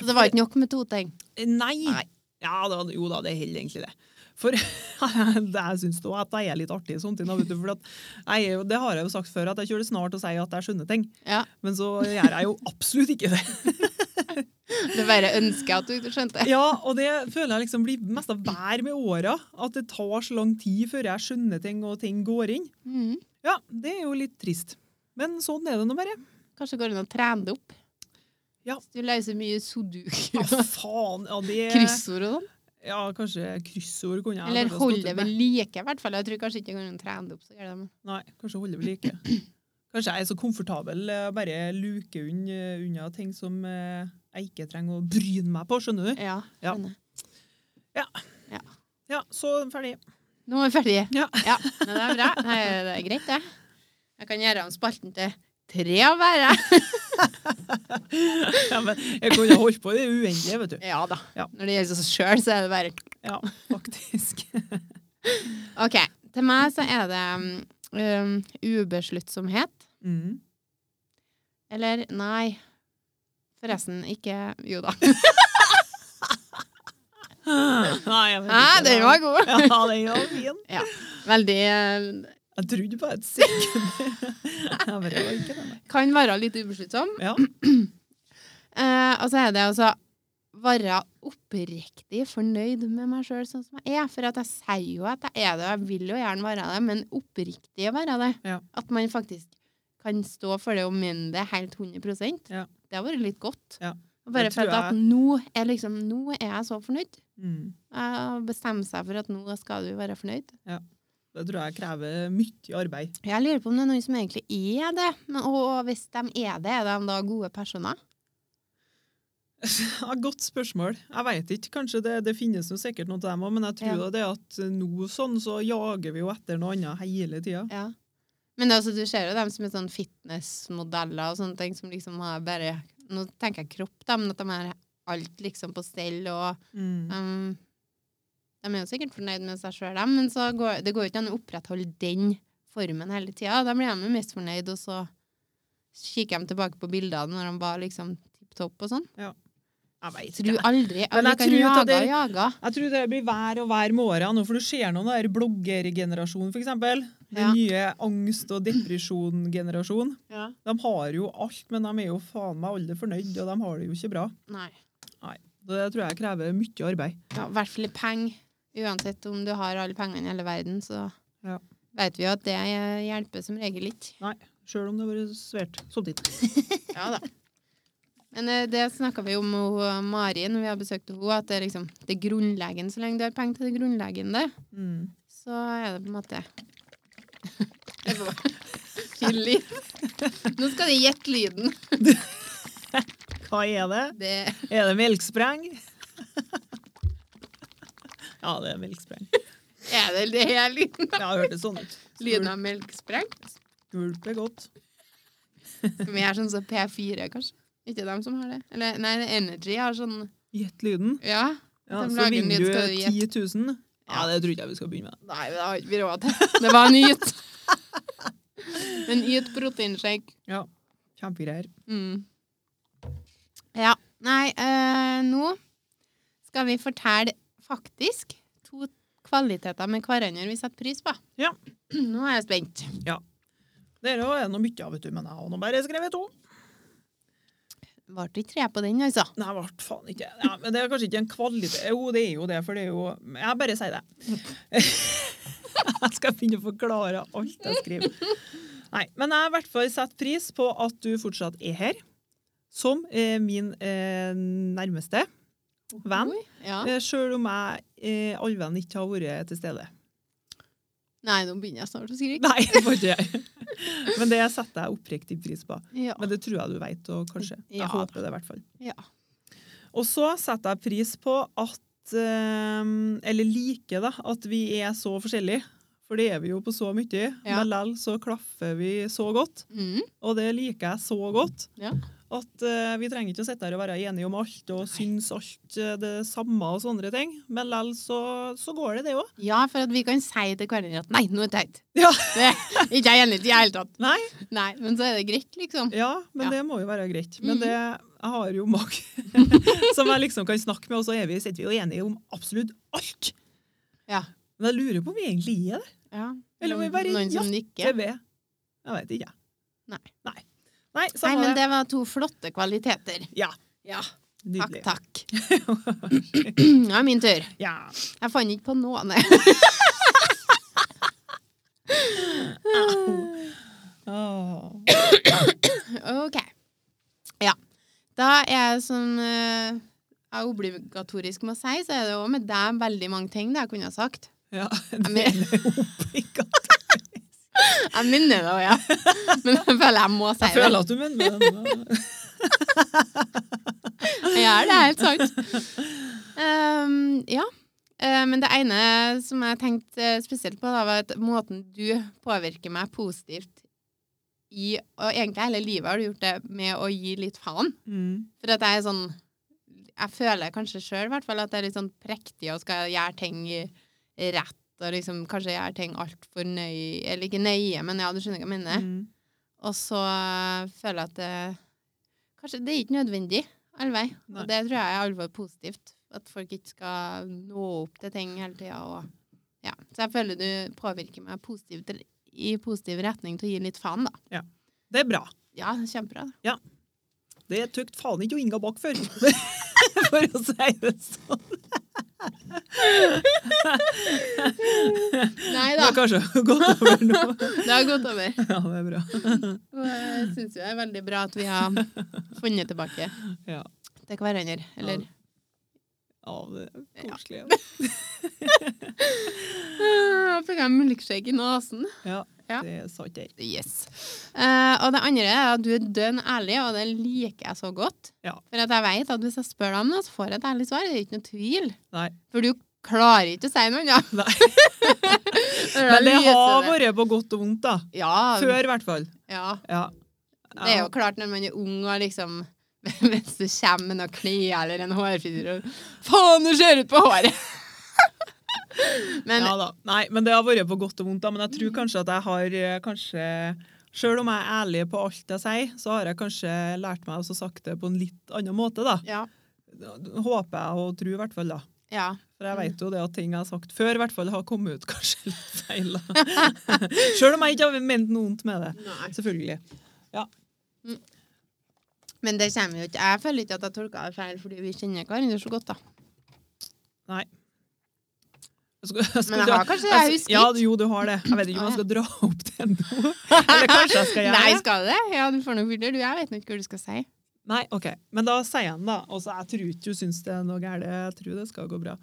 [SPEAKER 1] Så det var ikke nok med to ting.
[SPEAKER 2] Eh, Nei.
[SPEAKER 1] Nei.
[SPEAKER 2] Ja, da, jo da, det holder egentlig det. For det jeg syns da at jeg er litt artig samtidig. vet du, For at jeg, er jo- det har jeg jo sagt før, at jeg kjører snart og sier at jeg skjønner ting.
[SPEAKER 1] Ja.
[SPEAKER 2] Men så gjør jeg jo absolutt ikke det.
[SPEAKER 1] Det bare ønsker jeg at du skjønte.
[SPEAKER 2] Ja, og det føler jeg liksom blir mest av vær med åra. At det tar så lang tid før jeg skjønner ting og ting går inn.
[SPEAKER 1] Mhm.
[SPEAKER 2] Ja, det er jo litt trist. Men sånn er det nå bare.
[SPEAKER 1] Kanskje det går an å trene det opp?
[SPEAKER 2] Ja.
[SPEAKER 1] Hvis Du løser mye sudoku
[SPEAKER 2] Ja,
[SPEAKER 1] og
[SPEAKER 2] faen. Ja, det,
[SPEAKER 1] kryssord og sånn.
[SPEAKER 2] ja, kanskje kryssord kunne jeg
[SPEAKER 1] Eller
[SPEAKER 2] kanskje
[SPEAKER 1] holde
[SPEAKER 2] stått
[SPEAKER 1] det
[SPEAKER 2] ut med.
[SPEAKER 1] ved like, i hvert fall. Jeg tror kanskje ikke det går an å trene det opp. Så gjør det men-
[SPEAKER 2] Nei, kanskje holde ved like. Kanskje jeg er så komfortabel eh, bare luke unn- unna ting som eh, jeg ikke trenger å bryne meg på, skjønner du?
[SPEAKER 1] Ja, eh,
[SPEAKER 2] Ja.
[SPEAKER 1] skjønner.
[SPEAKER 2] Ja, så ferdig.
[SPEAKER 1] Nå er vi ferdige.
[SPEAKER 2] Ja.
[SPEAKER 1] Men det er bra. Nei, det er greit, det. Jeg kan gjøre om spalten til tre av hver.
[SPEAKER 2] Ja, men jeg kunne holdt på i det uendelige, vet du.
[SPEAKER 1] Ja da.
[SPEAKER 2] Ja.
[SPEAKER 1] Når det gjelder oss sjøl, så er det bare
[SPEAKER 2] Ja, faktisk.
[SPEAKER 1] OK. Til meg så er det um, ubesluttsomhet.
[SPEAKER 2] Mm.
[SPEAKER 1] Eller nei. Forresten, ikke Jo da.
[SPEAKER 2] Nei, jeg vet
[SPEAKER 1] Hæ,
[SPEAKER 2] ikke.
[SPEAKER 1] den var god!
[SPEAKER 2] Ja, den var fin.
[SPEAKER 1] Veldig eh,
[SPEAKER 2] Jeg trodde på et sekund. Jeg bare var ikke det. nei.
[SPEAKER 1] kan være litt ubesluttsom.
[SPEAKER 2] Ja.
[SPEAKER 1] Eh, og så er det altså være oppriktig fornøyd med meg sjøl sånn som jeg er. For at jeg sier jo at jeg er det, og jeg vil jo gjerne være det, men oppriktig være det.
[SPEAKER 2] Ja.
[SPEAKER 1] At man faktisk kan stå for det og mene det helt 100
[SPEAKER 2] Ja.
[SPEAKER 1] Det har vært litt godt.
[SPEAKER 2] Ja.
[SPEAKER 1] Og bare
[SPEAKER 2] Det tror
[SPEAKER 1] følt at
[SPEAKER 2] jeg-
[SPEAKER 1] nå er, liksom, nå er jeg så fornøyd.
[SPEAKER 2] Mm.
[SPEAKER 1] Eh, Bestemme seg for at nå skal du være fornøyd.
[SPEAKER 2] Det tror jeg krever mye arbeid.
[SPEAKER 1] Jeg lurer på om det er noen som egentlig er det. Men, og hvis de er det, er de da gode personer?
[SPEAKER 2] Ja, godt spørsmål. Jeg vet ikke. Kanskje det, det finnes jo sikkert noe til dem òg, men jeg tror det at nå sånn så jager vi jo etter noe annet hele tida.
[SPEAKER 1] Ja. Men altså, du ser jo dem som er sånn fitnessmodeller og sånne ting som liksom har bare Nå tenker jeg kropp, da, men at de har alt liksom på stell og
[SPEAKER 2] Mm.
[SPEAKER 1] um, De er jo sikkert fornøyd med seg sjøl, dem, men så går, det går jo ikke an å opprettholde den formen hele tida. Da blir de jo mest fornøyd, og så kikker de tilbake på bildene når de var liksom tipp topp og sånn.
[SPEAKER 2] Jeg vet
[SPEAKER 1] Tror
[SPEAKER 2] ikke.
[SPEAKER 1] aldri at
[SPEAKER 2] Men
[SPEAKER 1] vi
[SPEAKER 2] jeg
[SPEAKER 1] kan
[SPEAKER 2] tror at
[SPEAKER 1] jage
[SPEAKER 2] det-
[SPEAKER 1] og jage.
[SPEAKER 2] Jeg tror det blir vær og vær med åra nå, for du ser noen der bloggergenerasjonen, for eksempel. Den nye angst- og depresjongenerasjonen. De har jo alt, men de er jo faen meg aldri fornøyd, og de har det jo ikke bra.
[SPEAKER 1] Nei.
[SPEAKER 2] Det tror jeg krever mye arbeid.
[SPEAKER 1] Ja, I hvert fall i penger. Uansett om du har alle pengene i hele verden, så
[SPEAKER 2] Ja.
[SPEAKER 1] vet vi jo at det eh, hjelper som regel ikke.
[SPEAKER 2] Sjøl om det har vært svært samtidig.
[SPEAKER 1] Ja da. Men eh, det snakka vi om med hun, Mari når vi har besøkt henne, at det er liksom det er grunnleggende. Så lenge du har penger til det grunnleggende,
[SPEAKER 2] Mm.
[SPEAKER 1] så er det på en måte Jeg får bare Chille litt. Nå skal de gjette lyden.
[SPEAKER 2] Hva er det?
[SPEAKER 1] Det
[SPEAKER 2] Er det melkspreng? ja, det er melkspreng.
[SPEAKER 1] er det, det er lyden.
[SPEAKER 2] Jeg har hørt det sånn ut.
[SPEAKER 1] Lyden av melkespreng.
[SPEAKER 2] Skvulp er godt.
[SPEAKER 1] Skal vi gjøre sånn som P4, kanskje? Ikke dem som har det. Eller, nei, Energy har sånn
[SPEAKER 2] Gjett lyden.
[SPEAKER 1] Ja.
[SPEAKER 2] Ja,
[SPEAKER 1] De
[SPEAKER 2] så
[SPEAKER 1] lager en
[SPEAKER 2] vinner
[SPEAKER 1] lyd,
[SPEAKER 2] du
[SPEAKER 1] skal du
[SPEAKER 2] 10
[SPEAKER 1] gjette.
[SPEAKER 2] 000. Ja,
[SPEAKER 1] Ja.
[SPEAKER 2] det tror ikke jeg vi skal begynne med.
[SPEAKER 1] Nei, det har ikke vi råd til. Det var en yt. en yt proteinshake.
[SPEAKER 2] Ja, Kjempegreier.
[SPEAKER 1] Mm. Ja. Nei, eh, nå skal vi fortelle faktisk to kvaliteter med hverandre vi setter pris på.
[SPEAKER 2] Ja.
[SPEAKER 1] Nå er jeg spent.
[SPEAKER 2] Dere er nå mye av, vet du, men jeg har nå bare skrevet to.
[SPEAKER 1] Ble det ikke tre på den, altså?
[SPEAKER 2] Nei, i hvert faen ikke. Ja, men det er kanskje ikke en kvalitet Jo, det er jo det, for det er jo Jeg bare sier det. Jeg skal begynne å forklare alt jeg skriver. Nei, men jeg har i hvert fall satt pris på at du fortsatt er her. Som eh, min eh, nærmeste venn.
[SPEAKER 1] Oi, Ja.
[SPEAKER 2] Eh, Sjøl om jeg eh, allvenn ikke har vært til stede.
[SPEAKER 1] Nei, nå begynner jeg snart å skrike.
[SPEAKER 2] Nei, det får ikke jeg. Men det setter jeg oppriktig pris på.
[SPEAKER 1] Ja.
[SPEAKER 2] Men det tror jeg du vet, og kanskje. Jeg
[SPEAKER 1] Ja.
[SPEAKER 2] håper det, i hvert fall.
[SPEAKER 1] ja.
[SPEAKER 2] Og så setter jeg pris på at eh, Eller liker da, at vi er så forskjellige. For det er vi jo på så mye.
[SPEAKER 1] Ja.
[SPEAKER 2] Men likevel så klaffer vi så godt.
[SPEAKER 1] Mm.
[SPEAKER 2] Og det liker jeg så godt.
[SPEAKER 1] Ja.
[SPEAKER 2] At eh, vi trenger ikke å sitte her og være enige om alt og synes alt eh, det samme og sånne ting. Men likevel så, så går det, det òg.
[SPEAKER 1] ja, for at vi kan si til hverandre at nei, nå er det teit.
[SPEAKER 2] Ja.
[SPEAKER 1] Det, ikke jeg enig i det hele tatt.
[SPEAKER 2] Nei,
[SPEAKER 1] Nei, men så er det greit, liksom.
[SPEAKER 2] ja, men
[SPEAKER 1] Ja.
[SPEAKER 2] det må jo være greit. Men
[SPEAKER 1] Mhm.
[SPEAKER 2] det, jeg har jo mange som jeg liksom kan snakke med, og så er vi, sitter vi jo enige om absolutt alt.
[SPEAKER 1] Ja.
[SPEAKER 2] Men jeg lurer på om vi egentlig er det.
[SPEAKER 1] Ja.
[SPEAKER 2] Eller må vi bare
[SPEAKER 1] Noen som
[SPEAKER 2] Jeg
[SPEAKER 1] nikker.
[SPEAKER 2] vet. Jeg vet ikke. jeg.
[SPEAKER 1] Nei.
[SPEAKER 2] Nei. Nei,
[SPEAKER 1] Nei,
[SPEAKER 2] samme
[SPEAKER 1] men
[SPEAKER 2] det.
[SPEAKER 1] det var to flotte kvaliteter.
[SPEAKER 2] Ja.
[SPEAKER 1] Ja, takk,
[SPEAKER 2] Nydelig.
[SPEAKER 1] takk. Nå er min tur.
[SPEAKER 2] Ja.
[SPEAKER 1] Jeg fant ikke på noe, nei.
[SPEAKER 2] Åh.
[SPEAKER 1] Ok. Ja. Da er jeg som eh, er obligatorisk med å si, så er det jo med deg veldig mange ting det jeg kunne ha sagt.
[SPEAKER 2] Ja,
[SPEAKER 1] Jeg men-
[SPEAKER 2] det er oppikka.
[SPEAKER 1] Jeg minner det, ja. Men jeg føler jeg må si
[SPEAKER 2] Jeg
[SPEAKER 1] det.
[SPEAKER 2] føler at du mener det.
[SPEAKER 1] Ja, det er helt sant. Ehm, ja. Eh, men det ene som jeg tenkte eh, spesielt på, da, var at måten du påvirker meg positivt i Og egentlig hele livet har du gjort det med å gi litt faen.
[SPEAKER 2] Mm.
[SPEAKER 1] For at jeg er sånn Jeg føler kanskje sjøl i hvert fall at jeg er litt sånn prektig og skal gjøre ting rett. Og liksom kanskje gjøre ting altfor nøye Eller ikke nøye, men ja, du skjønner hva jeg mener.
[SPEAKER 2] Mm.
[SPEAKER 1] Og så eh, føler jeg at det, Kanskje det er ikke nødvendig all vei.
[SPEAKER 2] Nei.
[SPEAKER 1] Og det tror jeg er alvor positivt. At folk ikke skal nå opp til ting hele tida. Ja. Så jeg føler du påvirker meg positivt i positiv retning til å gi litt faen, da.
[SPEAKER 2] Det er bra.
[SPEAKER 1] Ja, kjempebra.
[SPEAKER 2] Det tok faen ikke Inga bak før. For å si det sånn.
[SPEAKER 1] Nei
[SPEAKER 2] Det
[SPEAKER 1] da,
[SPEAKER 2] har kanskje gått over nå.
[SPEAKER 1] det har gått over.
[SPEAKER 2] Ja, det er bra.
[SPEAKER 1] Og jeg syns jo det er veldig bra at vi har funnet tilbake
[SPEAKER 2] Ja.
[SPEAKER 1] til hverandre. Eller
[SPEAKER 2] Ja, det er koselig.
[SPEAKER 1] ah, Fikk jeg en milkshake i nesen?
[SPEAKER 2] Ja,
[SPEAKER 1] Ja.
[SPEAKER 2] det sa ikke jeg.
[SPEAKER 1] Yes. Eh, og det andre er at du er dønn ærlig, og det liker jeg så godt.
[SPEAKER 2] Ja.
[SPEAKER 1] For at jeg vet at hvis jeg spør deg om noe, så får jeg et ærlig svar. Det er ikke noe tvil.
[SPEAKER 2] Nei.
[SPEAKER 1] For du klarer ikke å si noe annet.
[SPEAKER 2] Nei.
[SPEAKER 1] Ja.
[SPEAKER 2] Men det har
[SPEAKER 1] Lyser det.
[SPEAKER 2] vært på godt og vondt, da.
[SPEAKER 1] ja,
[SPEAKER 2] Før, i hvert fall.
[SPEAKER 1] ja.
[SPEAKER 2] Ja.
[SPEAKER 1] Det er jo klart når man er ung og liksom Hvis du kommer med noen klær eller en hårfrisyr og Faen, du ser ut på håret! Men Mm.
[SPEAKER 2] ja da. Nei, men det har vært på godt og vondt, da. Men jeg tror kanskje at jeg har eh, kanskje Sjøl om jeg er ærlig på alt jeg sier, så har jeg kanskje lært meg å sagt det på en litt annen måte, da.
[SPEAKER 1] ja.
[SPEAKER 2] Håper jeg og tror i hvert fall, da.
[SPEAKER 1] ja. Mm.
[SPEAKER 2] For jeg vet jo det at ting jeg har sagt før, i hvert fall har kommet ut kanskje litt feil. da. Sjøl om jeg ikke har ment noe vondt med det. Selvfølgelig.
[SPEAKER 1] Men det kommer jo ikke Jeg føler ikke at jeg tolka det feil, fordi vi kjenner hverandre så godt, da.
[SPEAKER 2] Jeg skulle- jeg skulle
[SPEAKER 1] Men jeg
[SPEAKER 2] dra-
[SPEAKER 1] har kanskje- jeg
[SPEAKER 2] jeg s-
[SPEAKER 1] husker
[SPEAKER 2] Ja,
[SPEAKER 1] ikke.
[SPEAKER 2] jo, du har det. Jeg vet ikke om jeg
[SPEAKER 1] Ah, ja.
[SPEAKER 2] skal dra opp det nå. Eller kanskje jeg skal gjøre
[SPEAKER 1] Nei,
[SPEAKER 2] det.
[SPEAKER 1] skal du det? Ja, du får noe bilder. Du, jeg vet nå ikke hva du skal si.
[SPEAKER 2] Nei, ok. Men da sier jeg den, da. Altså, jeg tror ikke hun syns det er noe galt. Jeg tror det skal gå bra.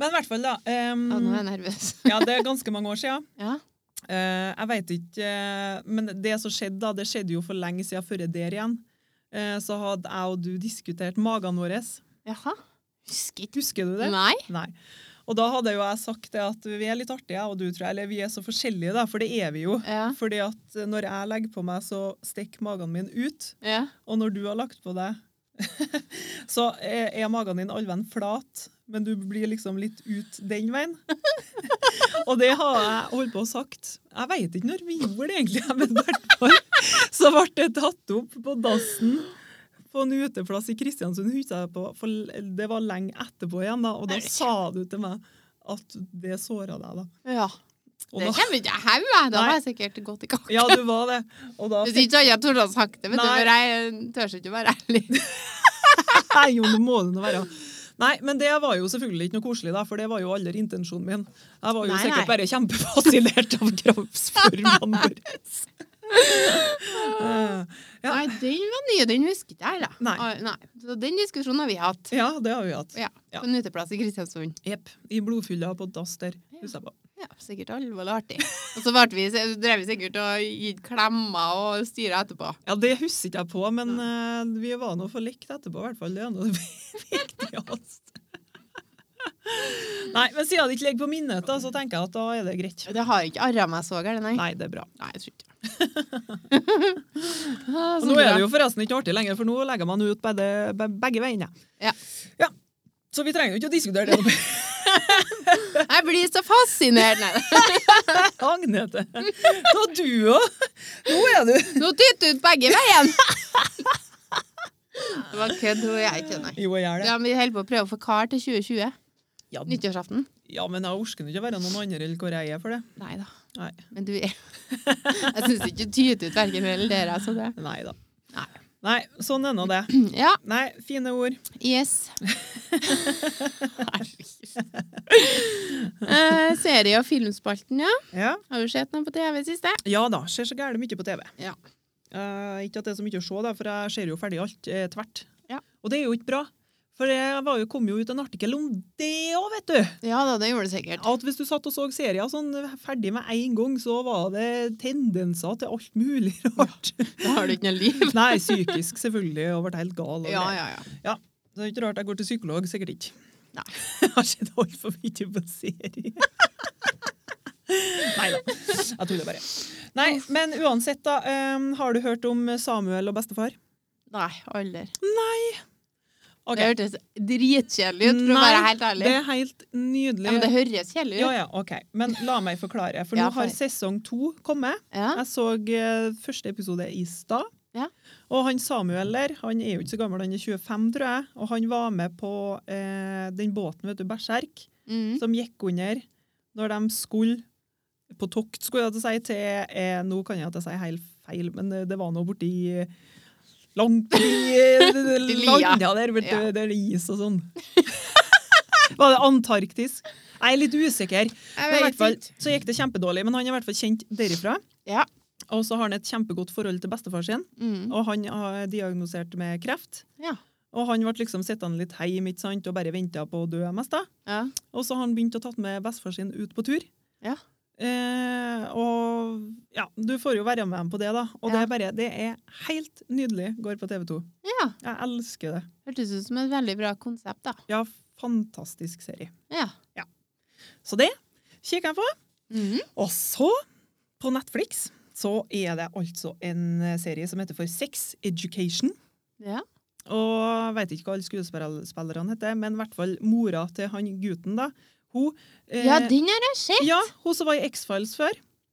[SPEAKER 2] Men i hvert fall, da. ehm,
[SPEAKER 1] Ja, nå er jeg nervøs.
[SPEAKER 2] ja, det er ganske mange år siden.
[SPEAKER 1] Mm. Ja.
[SPEAKER 2] Eh, jeg vet ikke eh, Men det som skjedde, da, det skjedde jo for lenge siden før jeg der igjen. Eh, så hadde jeg og du diskutert magene våre.
[SPEAKER 1] Jaha. Husker ikke
[SPEAKER 2] Husker du det?
[SPEAKER 1] Nei.
[SPEAKER 2] Nei. Og da hadde jo jeg sagt det at vi er litt artige, jeg og du, tror jeg. Eller vi er så forskjellige, da, for det er vi jo.
[SPEAKER 1] Ja.
[SPEAKER 2] eh, Fordi at når jeg legger på meg, så stikker magen min ut.
[SPEAKER 1] ja.
[SPEAKER 2] Og når du har lagt på deg, Så er er magen din allvenn flat, men du blir liksom litt ut den veien. Og det har jeg holdt på og sagt. Jeg veit ikke når vi gjorde det egentlig, men i hvert fall så ble det tatt opp på dassen på en uteplass i Kristiansund, husker jeg på, for l- det var lenge etterpå igjen, da, og da sa du til meg at det såra deg, da.
[SPEAKER 1] Ja.
[SPEAKER 2] Og
[SPEAKER 1] Det
[SPEAKER 2] da
[SPEAKER 1] kommer ikke jeg hau, jeg. Da var jeg sikkert godt i gang.
[SPEAKER 2] ja, du var det. Og da
[SPEAKER 1] Hvis
[SPEAKER 2] fikk
[SPEAKER 1] ikke hadde jeg torde å ha sagt det, vet du,
[SPEAKER 2] Nei.
[SPEAKER 1] for jeg eh, tør ikke å være ærlig.
[SPEAKER 2] Nei, jo, det må det nå være. Nei, men det var jo selvfølgelig ikke noe koselig, da, for det var jo aldri intensjonen min. Jeg var jo
[SPEAKER 1] Nei,
[SPEAKER 2] sikkert
[SPEAKER 1] nei.
[SPEAKER 2] bare kjempefascinert av kroppsformene våre. Eh, Ja.
[SPEAKER 1] Nei, den var ny, den husker ikke jeg, da.
[SPEAKER 2] Nei.
[SPEAKER 1] Ah, Nei. Så den diskusjonen har vi hatt.
[SPEAKER 2] Ja, det har vi hatt.
[SPEAKER 1] Ja,
[SPEAKER 2] Ja.
[SPEAKER 1] På en uteplass i Kristiansund.
[SPEAKER 2] Jepp. I blodfylla på dass der. Husker jeg på.
[SPEAKER 1] Ja, Sikkert alvorlig artig. Og så ble vi, drev vi sikkert og gitt klemmer og styra etterpå.
[SPEAKER 2] Ja, det husker ikke jeg på, men eh, vi var nå for lekt etterpå, i hvert fall. Det er nå det viktigste. Nei, men siden det ikke ligger på minnet, da, så tenker jeg at da er det greit.
[SPEAKER 1] Det har ikke arra meg så gærent, nei.
[SPEAKER 2] Nei, det er bra.
[SPEAKER 1] Nei, jeg tror ikke det. Ah,
[SPEAKER 2] Og
[SPEAKER 1] så
[SPEAKER 2] nå er
[SPEAKER 1] bra.
[SPEAKER 2] det jo forresten ikke artig lenger, for nå legger man ut begge, be- begge veiene.
[SPEAKER 1] Ja.
[SPEAKER 2] Ja. Så vi trenger jo ikke å diskutere det. nå.
[SPEAKER 1] Jeg blir så fascinert! Nei.
[SPEAKER 2] Agnete, da du òg! Nå er du
[SPEAKER 1] Nå tyter ut begge veien! Det var kødd, hun og jeg kødder.
[SPEAKER 2] Jo, jeg gjør det.
[SPEAKER 1] Ja, men vi holder på å prøve å forklare til 2020.
[SPEAKER 2] Ja,
[SPEAKER 1] Nyttårsaften.
[SPEAKER 2] ja men jeg orker nå ikke å være noen andre eller hvor jeg er for det.
[SPEAKER 1] Nei da.
[SPEAKER 2] Nei.
[SPEAKER 1] Men du er Jeg syns ikke du tyter ut verken eller dere, altså det.
[SPEAKER 2] Nei da.
[SPEAKER 1] Nei.
[SPEAKER 2] Nei, sånn er nå det.
[SPEAKER 1] Ja,
[SPEAKER 2] Nei, fine ord.
[SPEAKER 1] yes. Eh, serie- og filmspalten, ja.
[SPEAKER 2] Ja,
[SPEAKER 1] Har du sett noe på TV siste?
[SPEAKER 2] ja da, ser så gærent mye på TV.
[SPEAKER 1] Ja.
[SPEAKER 2] Eh, ikke at det er så mye å se, da, for jeg ser jo ferdig alt eh, tvert.
[SPEAKER 1] Ja.
[SPEAKER 2] Og det er jo ikke bra. For det var jo, kom jo ut en artikkel om det òg, vet du!
[SPEAKER 1] Ja da, det gjorde det sikkert.
[SPEAKER 2] At hvis du satt og så serier sånn ferdig med en gang, så var det tendenser til alt mulig rart.
[SPEAKER 1] Da har du ikke noe liv.
[SPEAKER 2] Nei, psykisk selvfølgelig, og ble helt gal. Og
[SPEAKER 1] Ja,
[SPEAKER 2] greier.
[SPEAKER 1] ja, ja.
[SPEAKER 2] Så det er ikke rart jeg går til psykolog, sikkert ikke.
[SPEAKER 1] Nei.
[SPEAKER 2] Jeg har sett altfor mye på serie. Nei da, jeg tuller bare. Nei, men uansett, da. em, har du hørt om Samuel og bestefar?
[SPEAKER 1] Nei, aldri.
[SPEAKER 2] Ok.
[SPEAKER 1] Det hørtes dritkjedelig ut, for å
[SPEAKER 2] Nei,
[SPEAKER 1] være helt ærlig.
[SPEAKER 2] Det er helt nydelig.
[SPEAKER 1] Ja, men det høres kjedelig
[SPEAKER 2] ja,
[SPEAKER 1] ut.
[SPEAKER 2] ja, ok. Men la meg forklare, for
[SPEAKER 1] Ja,
[SPEAKER 2] nå har
[SPEAKER 1] for-
[SPEAKER 2] sesong to kommet.
[SPEAKER 1] Ja.
[SPEAKER 2] Jeg så eh, første episode i stad.
[SPEAKER 1] Ja.
[SPEAKER 2] Og han Samuel der, han er jo ikke så gammel, han er 25, tror jeg. Og han var med på eh, den båten, vet du, Berserk,
[SPEAKER 1] Mm.
[SPEAKER 2] som gikk under når de skulle på tokt, skulle jeg til å si, til eh, Nå kan jeg til å si helt feil, men eh, det var nå borti eh, Langt i
[SPEAKER 1] Til Lia.
[SPEAKER 2] landa der, vet du,
[SPEAKER 1] Ja.
[SPEAKER 2] der det er is og sånn. Var det Antarktis? Jeg er litt usikker.
[SPEAKER 1] Jeg
[SPEAKER 2] Men i hvert
[SPEAKER 1] vet
[SPEAKER 2] fall,
[SPEAKER 1] ikke.
[SPEAKER 2] så gikk det kjempedårlig, men han er i hvert fall kjent derifra.
[SPEAKER 1] Ja.
[SPEAKER 2] Og så har han et kjempegodt forhold til bestefar sin,
[SPEAKER 1] Mm.
[SPEAKER 2] og han er diagnosert med kreft.
[SPEAKER 1] Ja.
[SPEAKER 2] Og han ble liksom sittende litt heim, ikke sant, og bare venta på å dø mest da.
[SPEAKER 1] ja.
[SPEAKER 2] Og så har han begynt å tatt med bestefar sin ut på tur.
[SPEAKER 1] Ja.
[SPEAKER 2] Eh, og ja, du får jo være med ham på det, da. Og det
[SPEAKER 1] Ja.
[SPEAKER 2] er bare Det er helt nydelig. Går på TV 2.
[SPEAKER 1] ja.
[SPEAKER 2] Jeg elsker det.
[SPEAKER 1] Hørtes ut som et veldig bra konsept, da.
[SPEAKER 2] Ja, fantastisk serie.
[SPEAKER 1] Ja.
[SPEAKER 2] Så det kikker jeg på.
[SPEAKER 1] Mhm.
[SPEAKER 2] Og så, på Netflix, så er det altså en serie som heter for Sex Education.
[SPEAKER 1] ja.
[SPEAKER 2] Og jeg vet ikke hva alle skuespillerne heter, men i hvert fall mora til han gutten, da. Hun, eh,
[SPEAKER 1] ja, den har jeg sett!
[SPEAKER 2] ja, hun som var i X-Files før.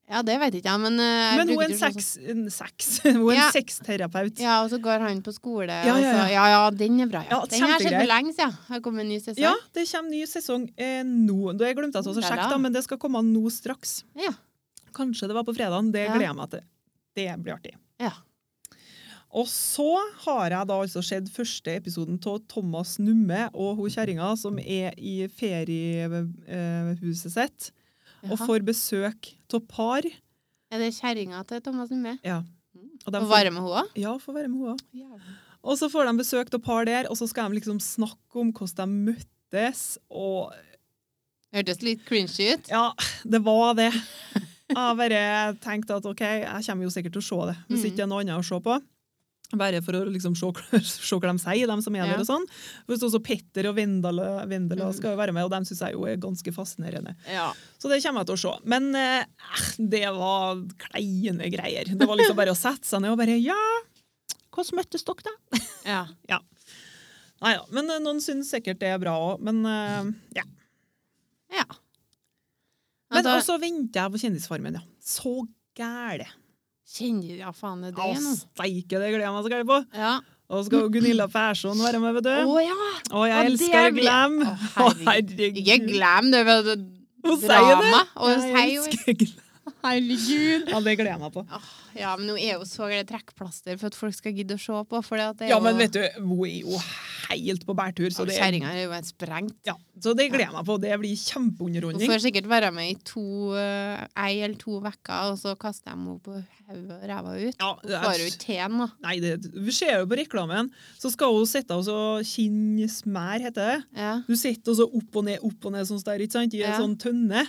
[SPEAKER 1] Ja, det vet ikke jeg, men eh, jeg
[SPEAKER 2] Men hun
[SPEAKER 1] bruker
[SPEAKER 2] er en,
[SPEAKER 1] ikke å se
[SPEAKER 2] sex, en, sex, hun er
[SPEAKER 1] Ja.
[SPEAKER 2] en sexterapeut.
[SPEAKER 1] Ja, og så går han på skole.
[SPEAKER 2] ja,
[SPEAKER 1] og
[SPEAKER 2] ja.
[SPEAKER 1] så, ja, ja den er bra. Ja.
[SPEAKER 2] Ja,
[SPEAKER 1] den har jeg sett
[SPEAKER 2] kjempegrei.
[SPEAKER 1] for lenge siden. Har kommet en ny sesong.
[SPEAKER 2] Ja, det kommer ny sesong eh, nå. Da jeg glemte at jeg å
[SPEAKER 1] Ja,
[SPEAKER 2] sjekke,
[SPEAKER 1] da.
[SPEAKER 2] da, men det skal komme nå straks.
[SPEAKER 1] Ja.
[SPEAKER 2] Kanskje det var på fredagen. Det
[SPEAKER 1] Ja.
[SPEAKER 2] gleder jeg meg til. Det blir artig.
[SPEAKER 1] Ja.
[SPEAKER 2] Og så har jeg da altså sett første episoden av Thomas Numme og hun kjerringa som er i feriehuset sitt og
[SPEAKER 1] Jaha.
[SPEAKER 2] får besøk av par.
[SPEAKER 1] Er det kjerringa til Thomas Numme?
[SPEAKER 2] Og de
[SPEAKER 1] Og
[SPEAKER 2] får,
[SPEAKER 1] varme hun òg?
[SPEAKER 2] ja, får være med hun også. Og så får de besøk av par der, og så skal de liksom snakke om hvordan de møttes. og
[SPEAKER 1] Hørtes litt cringy ut.
[SPEAKER 2] Ja, det var det. Jeg bare tenkte at ok, jeg kommer jo sikkert til å se det, hvis
[SPEAKER 1] Mm.
[SPEAKER 2] ikke det er noe annet å se på. Bare for å liksom se, hva- se hva de sier, de som er
[SPEAKER 1] Ja.
[SPEAKER 2] der og sånn. For det står også Petter og Vendela, Vendela
[SPEAKER 1] Mm.
[SPEAKER 2] skal jo være med, og dem syns jeg jo er ganske fascinerende.
[SPEAKER 1] Ja.
[SPEAKER 2] Så det kommer jeg til å se. Men eh, det var kleine greier. Det var liksom bare å sette seg ned og bare ja, hvordan møttes dere da?
[SPEAKER 1] ja.
[SPEAKER 2] Nei da. Men eh, noen syns sikkert det er bra òg. Men eh, ja.
[SPEAKER 1] Ja.
[SPEAKER 2] Men
[SPEAKER 1] da-
[SPEAKER 2] også venter jeg på Kjendisfarmen, ja. Så gæle.
[SPEAKER 1] Kjenner Ja, faen, er
[SPEAKER 2] Å,
[SPEAKER 1] det nå?
[SPEAKER 2] steike, det gleder jeg meg så gæli på!
[SPEAKER 1] Ja.
[SPEAKER 2] Og skal Gunilla Persson være med, vet du.
[SPEAKER 1] Å ja!
[SPEAKER 2] Og
[SPEAKER 1] og
[SPEAKER 2] jeg
[SPEAKER 1] det
[SPEAKER 2] elsker
[SPEAKER 1] blir-
[SPEAKER 2] Glam.
[SPEAKER 1] Å,
[SPEAKER 2] Å,
[SPEAKER 1] herregud. Ikke
[SPEAKER 2] herregud.
[SPEAKER 1] glem det ved det
[SPEAKER 2] Hun sier
[SPEAKER 1] drama. Og hun sier
[SPEAKER 2] Jeg
[SPEAKER 1] jo
[SPEAKER 2] elsker Glam.
[SPEAKER 1] Herregud.
[SPEAKER 2] Ja, det gleder jeg meg på.
[SPEAKER 1] Ja, men nå er jo så glad i trekkplaster for at folk skal gidde å se på. For det at det er
[SPEAKER 2] Ja, men
[SPEAKER 1] jo-
[SPEAKER 2] vet du, hun er jo helt på bærtur, så det,
[SPEAKER 1] Kjerringa er jo helt sprengt.
[SPEAKER 2] ja, så det gleder jeg meg på. Det blir
[SPEAKER 1] Hun
[SPEAKER 2] kjempeunderholdning.
[SPEAKER 1] får sikkert være med i to, eh, ei eller to uker, og så kaster de henne på hodet og ræva ut.
[SPEAKER 2] Ja,
[SPEAKER 1] Hun får jo ikke til den, da.
[SPEAKER 2] Nei, det, vi ser jo på reklamen, så skal hun sitte og så kinnsmær, heter det.
[SPEAKER 1] Ja.
[SPEAKER 2] Du sitter og så opp og ned, opp og ned sånn der, ikke sant? I en
[SPEAKER 1] Ja.
[SPEAKER 2] sånn tønne.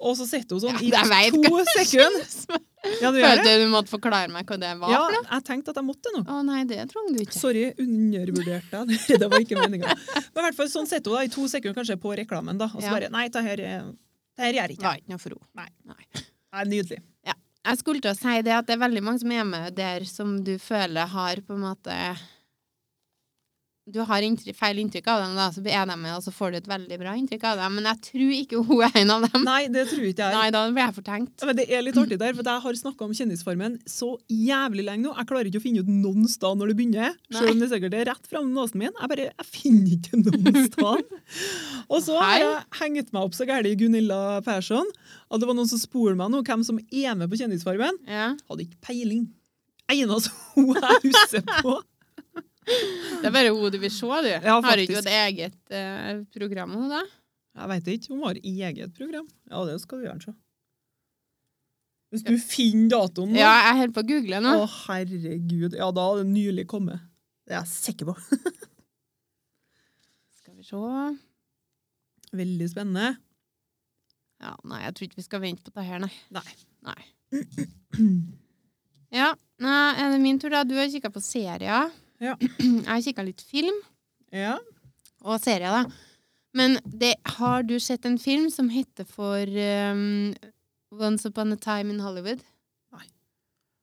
[SPEAKER 2] Og så sitter hun sånn
[SPEAKER 1] Ja,
[SPEAKER 2] i
[SPEAKER 1] jeg vet
[SPEAKER 2] to sekunder. Ja, du gjør det?
[SPEAKER 1] Følte du måtte forklare meg hva det var?
[SPEAKER 2] Ja,
[SPEAKER 1] for noe?
[SPEAKER 2] jeg tenkte at jeg måtte nå.
[SPEAKER 1] Å nei, det trengte du ikke.
[SPEAKER 2] Sorry, undervurderte jeg. det. Det var ikke meninga. Men i hvert fall sånn sitter hun da i to sekunder kanskje på reklamen, da. Og så
[SPEAKER 1] Ja.
[SPEAKER 2] bare Nei, det her, er- det her gjør jeg
[SPEAKER 1] Det
[SPEAKER 2] ikke.
[SPEAKER 1] var ikke noe for henne.
[SPEAKER 2] Nei.
[SPEAKER 1] Nei.
[SPEAKER 2] Nei, nydelig.
[SPEAKER 1] Jeg skulle til å si det at det er veldig mange som er med der som du føler har på en måte Du har inntrykk, feil inntrykk av dem, da, så er de med, og så får du et veldig bra inntrykk av dem. Men jeg tror ikke hun er en av dem.
[SPEAKER 2] Nei, det tror ikke jeg.
[SPEAKER 1] Nei, da blir jeg fortenkt.
[SPEAKER 2] Ja, Men det er litt artig der, for jeg har snakka om Kjendisfarmen så jævlig lenge nå. Jeg klarer ikke å finne ut noen sted når det begynner, selv om det sikkert er rett fram nesen min. Jeg bare, jeg finner ikke noen sted. Og så har jeg hengt meg opp så gærent i Gunilla Persson at det var noen som spurte meg nå hvem som er med på Kjendisfarmen.
[SPEAKER 1] Ja.
[SPEAKER 2] Hadde ikke peiling. Eneste hun jeg husker på.
[SPEAKER 1] Det er bare hun du vil se, du.
[SPEAKER 2] Ja,
[SPEAKER 1] har ikke
[SPEAKER 2] faktisk.
[SPEAKER 1] hun et eget eh, program, hun da?
[SPEAKER 2] Jeg veit ikke, hun har eget program. Ja, det skal du gjerne se. Hvis du finner datoen nå
[SPEAKER 1] Ja, jeg holder på å google nå.
[SPEAKER 2] Å, herregud. Ja, da hadde det nylig kommet. Det er jeg sikker på.
[SPEAKER 1] Skal vi se
[SPEAKER 2] Veldig spennende.
[SPEAKER 1] Ja, nei, jeg tror ikke vi skal vente på det her, nei.
[SPEAKER 2] Nei.
[SPEAKER 1] Nei. Ja, nå er det min tur, da. Du har kikka på serier.
[SPEAKER 2] Ja.
[SPEAKER 1] Jeg har kikka litt film
[SPEAKER 2] Ja.
[SPEAKER 1] og serier, da. Men det, har du sett en film som heter for um, Once Upon a Time in Hollywood?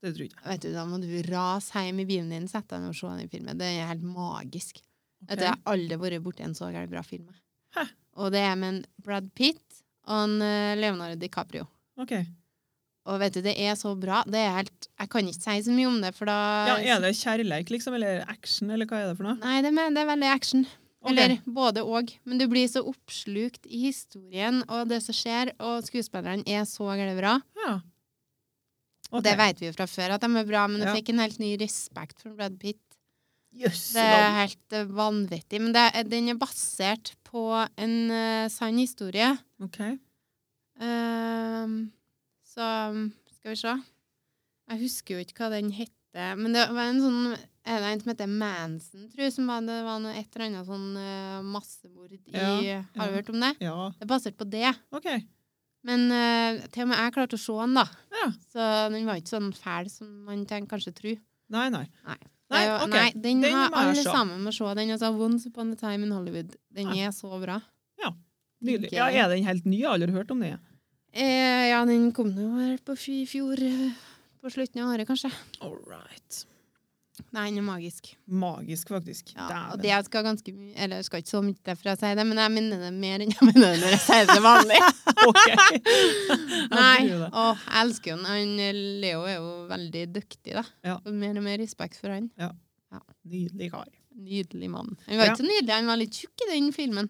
[SPEAKER 2] Det tror jeg ikke.
[SPEAKER 1] Vet du, Da må du rase hjem i bilen din, sette deg ned og se den i filmen. Den er helt magisk. Vet du, Jeg
[SPEAKER 2] Ok.
[SPEAKER 1] har aldri vært borti en så gæren bra film. jeg.
[SPEAKER 2] Hæ?
[SPEAKER 1] Og det er med en Brad Pitt og en eh, Leonardo DiCaprio.
[SPEAKER 2] Ok.
[SPEAKER 1] Og vet du, det er så bra. Det er helt, jeg kan ikke si så mye om det, for da
[SPEAKER 2] Ja, er det kjærleik, liksom? Eller action, eller hva er det for noe?
[SPEAKER 1] Nei, det er, det er veldig action.
[SPEAKER 2] Ok.
[SPEAKER 1] Eller både og. Men du blir så oppslukt i historien og det som skjer, og skuespillerne er så gærent bra.
[SPEAKER 2] Ja.
[SPEAKER 1] Og det vet vi jo fra før at de er bra, men jeg
[SPEAKER 2] Ja.
[SPEAKER 1] fikk en helt ny respekt for Brad Pitt.
[SPEAKER 2] Jøss.
[SPEAKER 1] Det er helt eh, vanvittig. Men det, er- den er basert på en eh, sann historie.
[SPEAKER 2] Ok.
[SPEAKER 1] Ehm, så um, skal vi se. Jeg husker jo ikke hva den hette, men det var en sånn er det en som heter Manson, tror jeg, som var, det var noe, et eller annet sånn eh, massemord i
[SPEAKER 2] Ja,
[SPEAKER 1] Har du
[SPEAKER 2] ja.
[SPEAKER 1] hørt om det?
[SPEAKER 2] Ja.
[SPEAKER 1] Det er basert på det.
[SPEAKER 2] Ok.
[SPEAKER 1] Men eh, til og med jeg klarte å se den, da.
[SPEAKER 2] Ja.
[SPEAKER 1] Så den var ikke sånn fæl som man tenker, kanskje tror.
[SPEAKER 2] Nei, nei.
[SPEAKER 1] Nei.
[SPEAKER 2] Nei,
[SPEAKER 1] Det er jo-
[SPEAKER 2] ok.
[SPEAKER 1] nei, den,
[SPEAKER 2] Den
[SPEAKER 1] har
[SPEAKER 2] må jeg
[SPEAKER 1] alle
[SPEAKER 2] se.
[SPEAKER 1] sammen må se. Den altså Once Upon a Time in Hollywood. Den
[SPEAKER 2] Ja.
[SPEAKER 1] er så bra.
[SPEAKER 2] Ja, Nydelig. Ja, er den helt ny? Jeg har aldri hørt om det.
[SPEAKER 1] Eh, ja, den kom nå her på fj- i fjor. eh, På slutten av året, kanskje.
[SPEAKER 2] All right.
[SPEAKER 1] Nei, den er magisk.
[SPEAKER 2] Magisk, faktisk.
[SPEAKER 1] Ja, og
[SPEAKER 2] Dæven.
[SPEAKER 1] det jeg skal ganske mye Eller jeg skal ikke så mye derfor jeg sier det, men jeg minner det mer enn jeg minner det når jeg sier det til vanlig.
[SPEAKER 2] Ok.
[SPEAKER 1] Nei.
[SPEAKER 2] tror det.
[SPEAKER 1] Åh, jeg elsker jo han. han. eh, Leo er jo veldig dyktig, da.
[SPEAKER 2] Ja.
[SPEAKER 1] Og mer og mer respekt for han.
[SPEAKER 2] Nydelig kar.
[SPEAKER 1] Nydelig mann. Han var
[SPEAKER 2] Ja.
[SPEAKER 1] ikke så nydelig, han var litt tjukk i den filmen.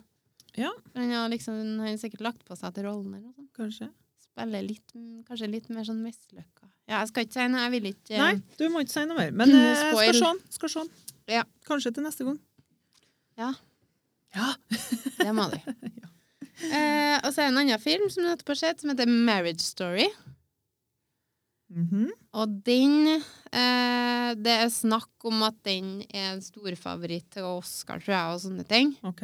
[SPEAKER 2] Ja.
[SPEAKER 1] Han har liksom, han har sikkert lagt på seg til rollen eller noe sånt.
[SPEAKER 2] Kanskje.
[SPEAKER 1] Spiller litt, kanskje litt mer sånn mislykka. Ja, jeg skal ikke si noe, jeg vil ikke eh,
[SPEAKER 2] Nei, du må ikke si noe mer. Men eh, skal
[SPEAKER 1] Spoil.
[SPEAKER 2] sånn. Skal sånn.
[SPEAKER 1] Ja.
[SPEAKER 2] Kanskje til neste gang.
[SPEAKER 1] Ja.
[SPEAKER 2] Ja.
[SPEAKER 1] Det må du. eh, og så er det en annen film som du nettopp har sett, som heter Marriage Story.
[SPEAKER 2] Mhm.
[SPEAKER 1] Og den eh, Det er snakk om at den er en storfavoritt til Oscar, tror jeg, og sånne ting.
[SPEAKER 2] Ok.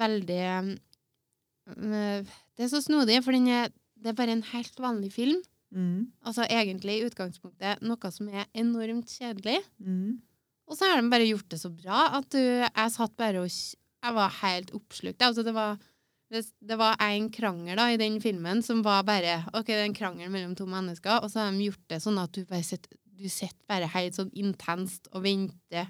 [SPEAKER 1] Veldig eh, Det er så snodig, for den er, det er bare en helt vanlig film.
[SPEAKER 2] Mm.
[SPEAKER 1] Altså egentlig i utgangspunktet noe som er enormt kjedelig.
[SPEAKER 2] Mm.
[SPEAKER 1] Og så har de bare gjort det så bra at du, jeg satt bare og kj- Jeg var helt oppslukt. Altså, det var det, det var en krangel da, i den filmen som var bare Ok, det er en krangel mellom to mennesker, og så har de gjort det sånn at du bare sitter du sitter bare helt sånn intenst og venter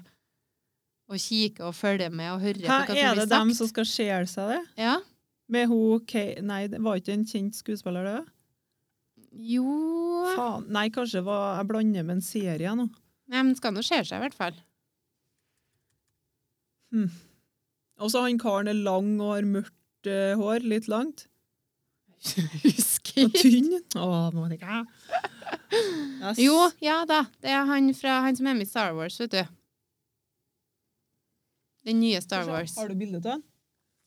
[SPEAKER 1] og kikker og følger med og hører
[SPEAKER 2] Hæ,
[SPEAKER 1] på hva
[SPEAKER 2] er
[SPEAKER 1] som
[SPEAKER 2] det
[SPEAKER 1] blir
[SPEAKER 2] dem
[SPEAKER 1] sagt.
[SPEAKER 2] som skal skjele seg det?
[SPEAKER 1] Ja.
[SPEAKER 2] Med ho, Kay, nei, det var ikke en kjent skuespiller, det?
[SPEAKER 1] Jo
[SPEAKER 2] Faen. Nei, kanskje det var, jeg blander med en serie nå.
[SPEAKER 1] Nei, men skal nå se seg, i hvert fall.
[SPEAKER 2] Og så han karen er lang og har mørkt eh, hår, litt langt.
[SPEAKER 1] Husker
[SPEAKER 2] Og tynn. Å, Monica. Yes.
[SPEAKER 1] Jo, ja da. Det er han, fra, han som er med i Star Wars, vet du. Den nye Star Wars.
[SPEAKER 2] Har du bilde av den?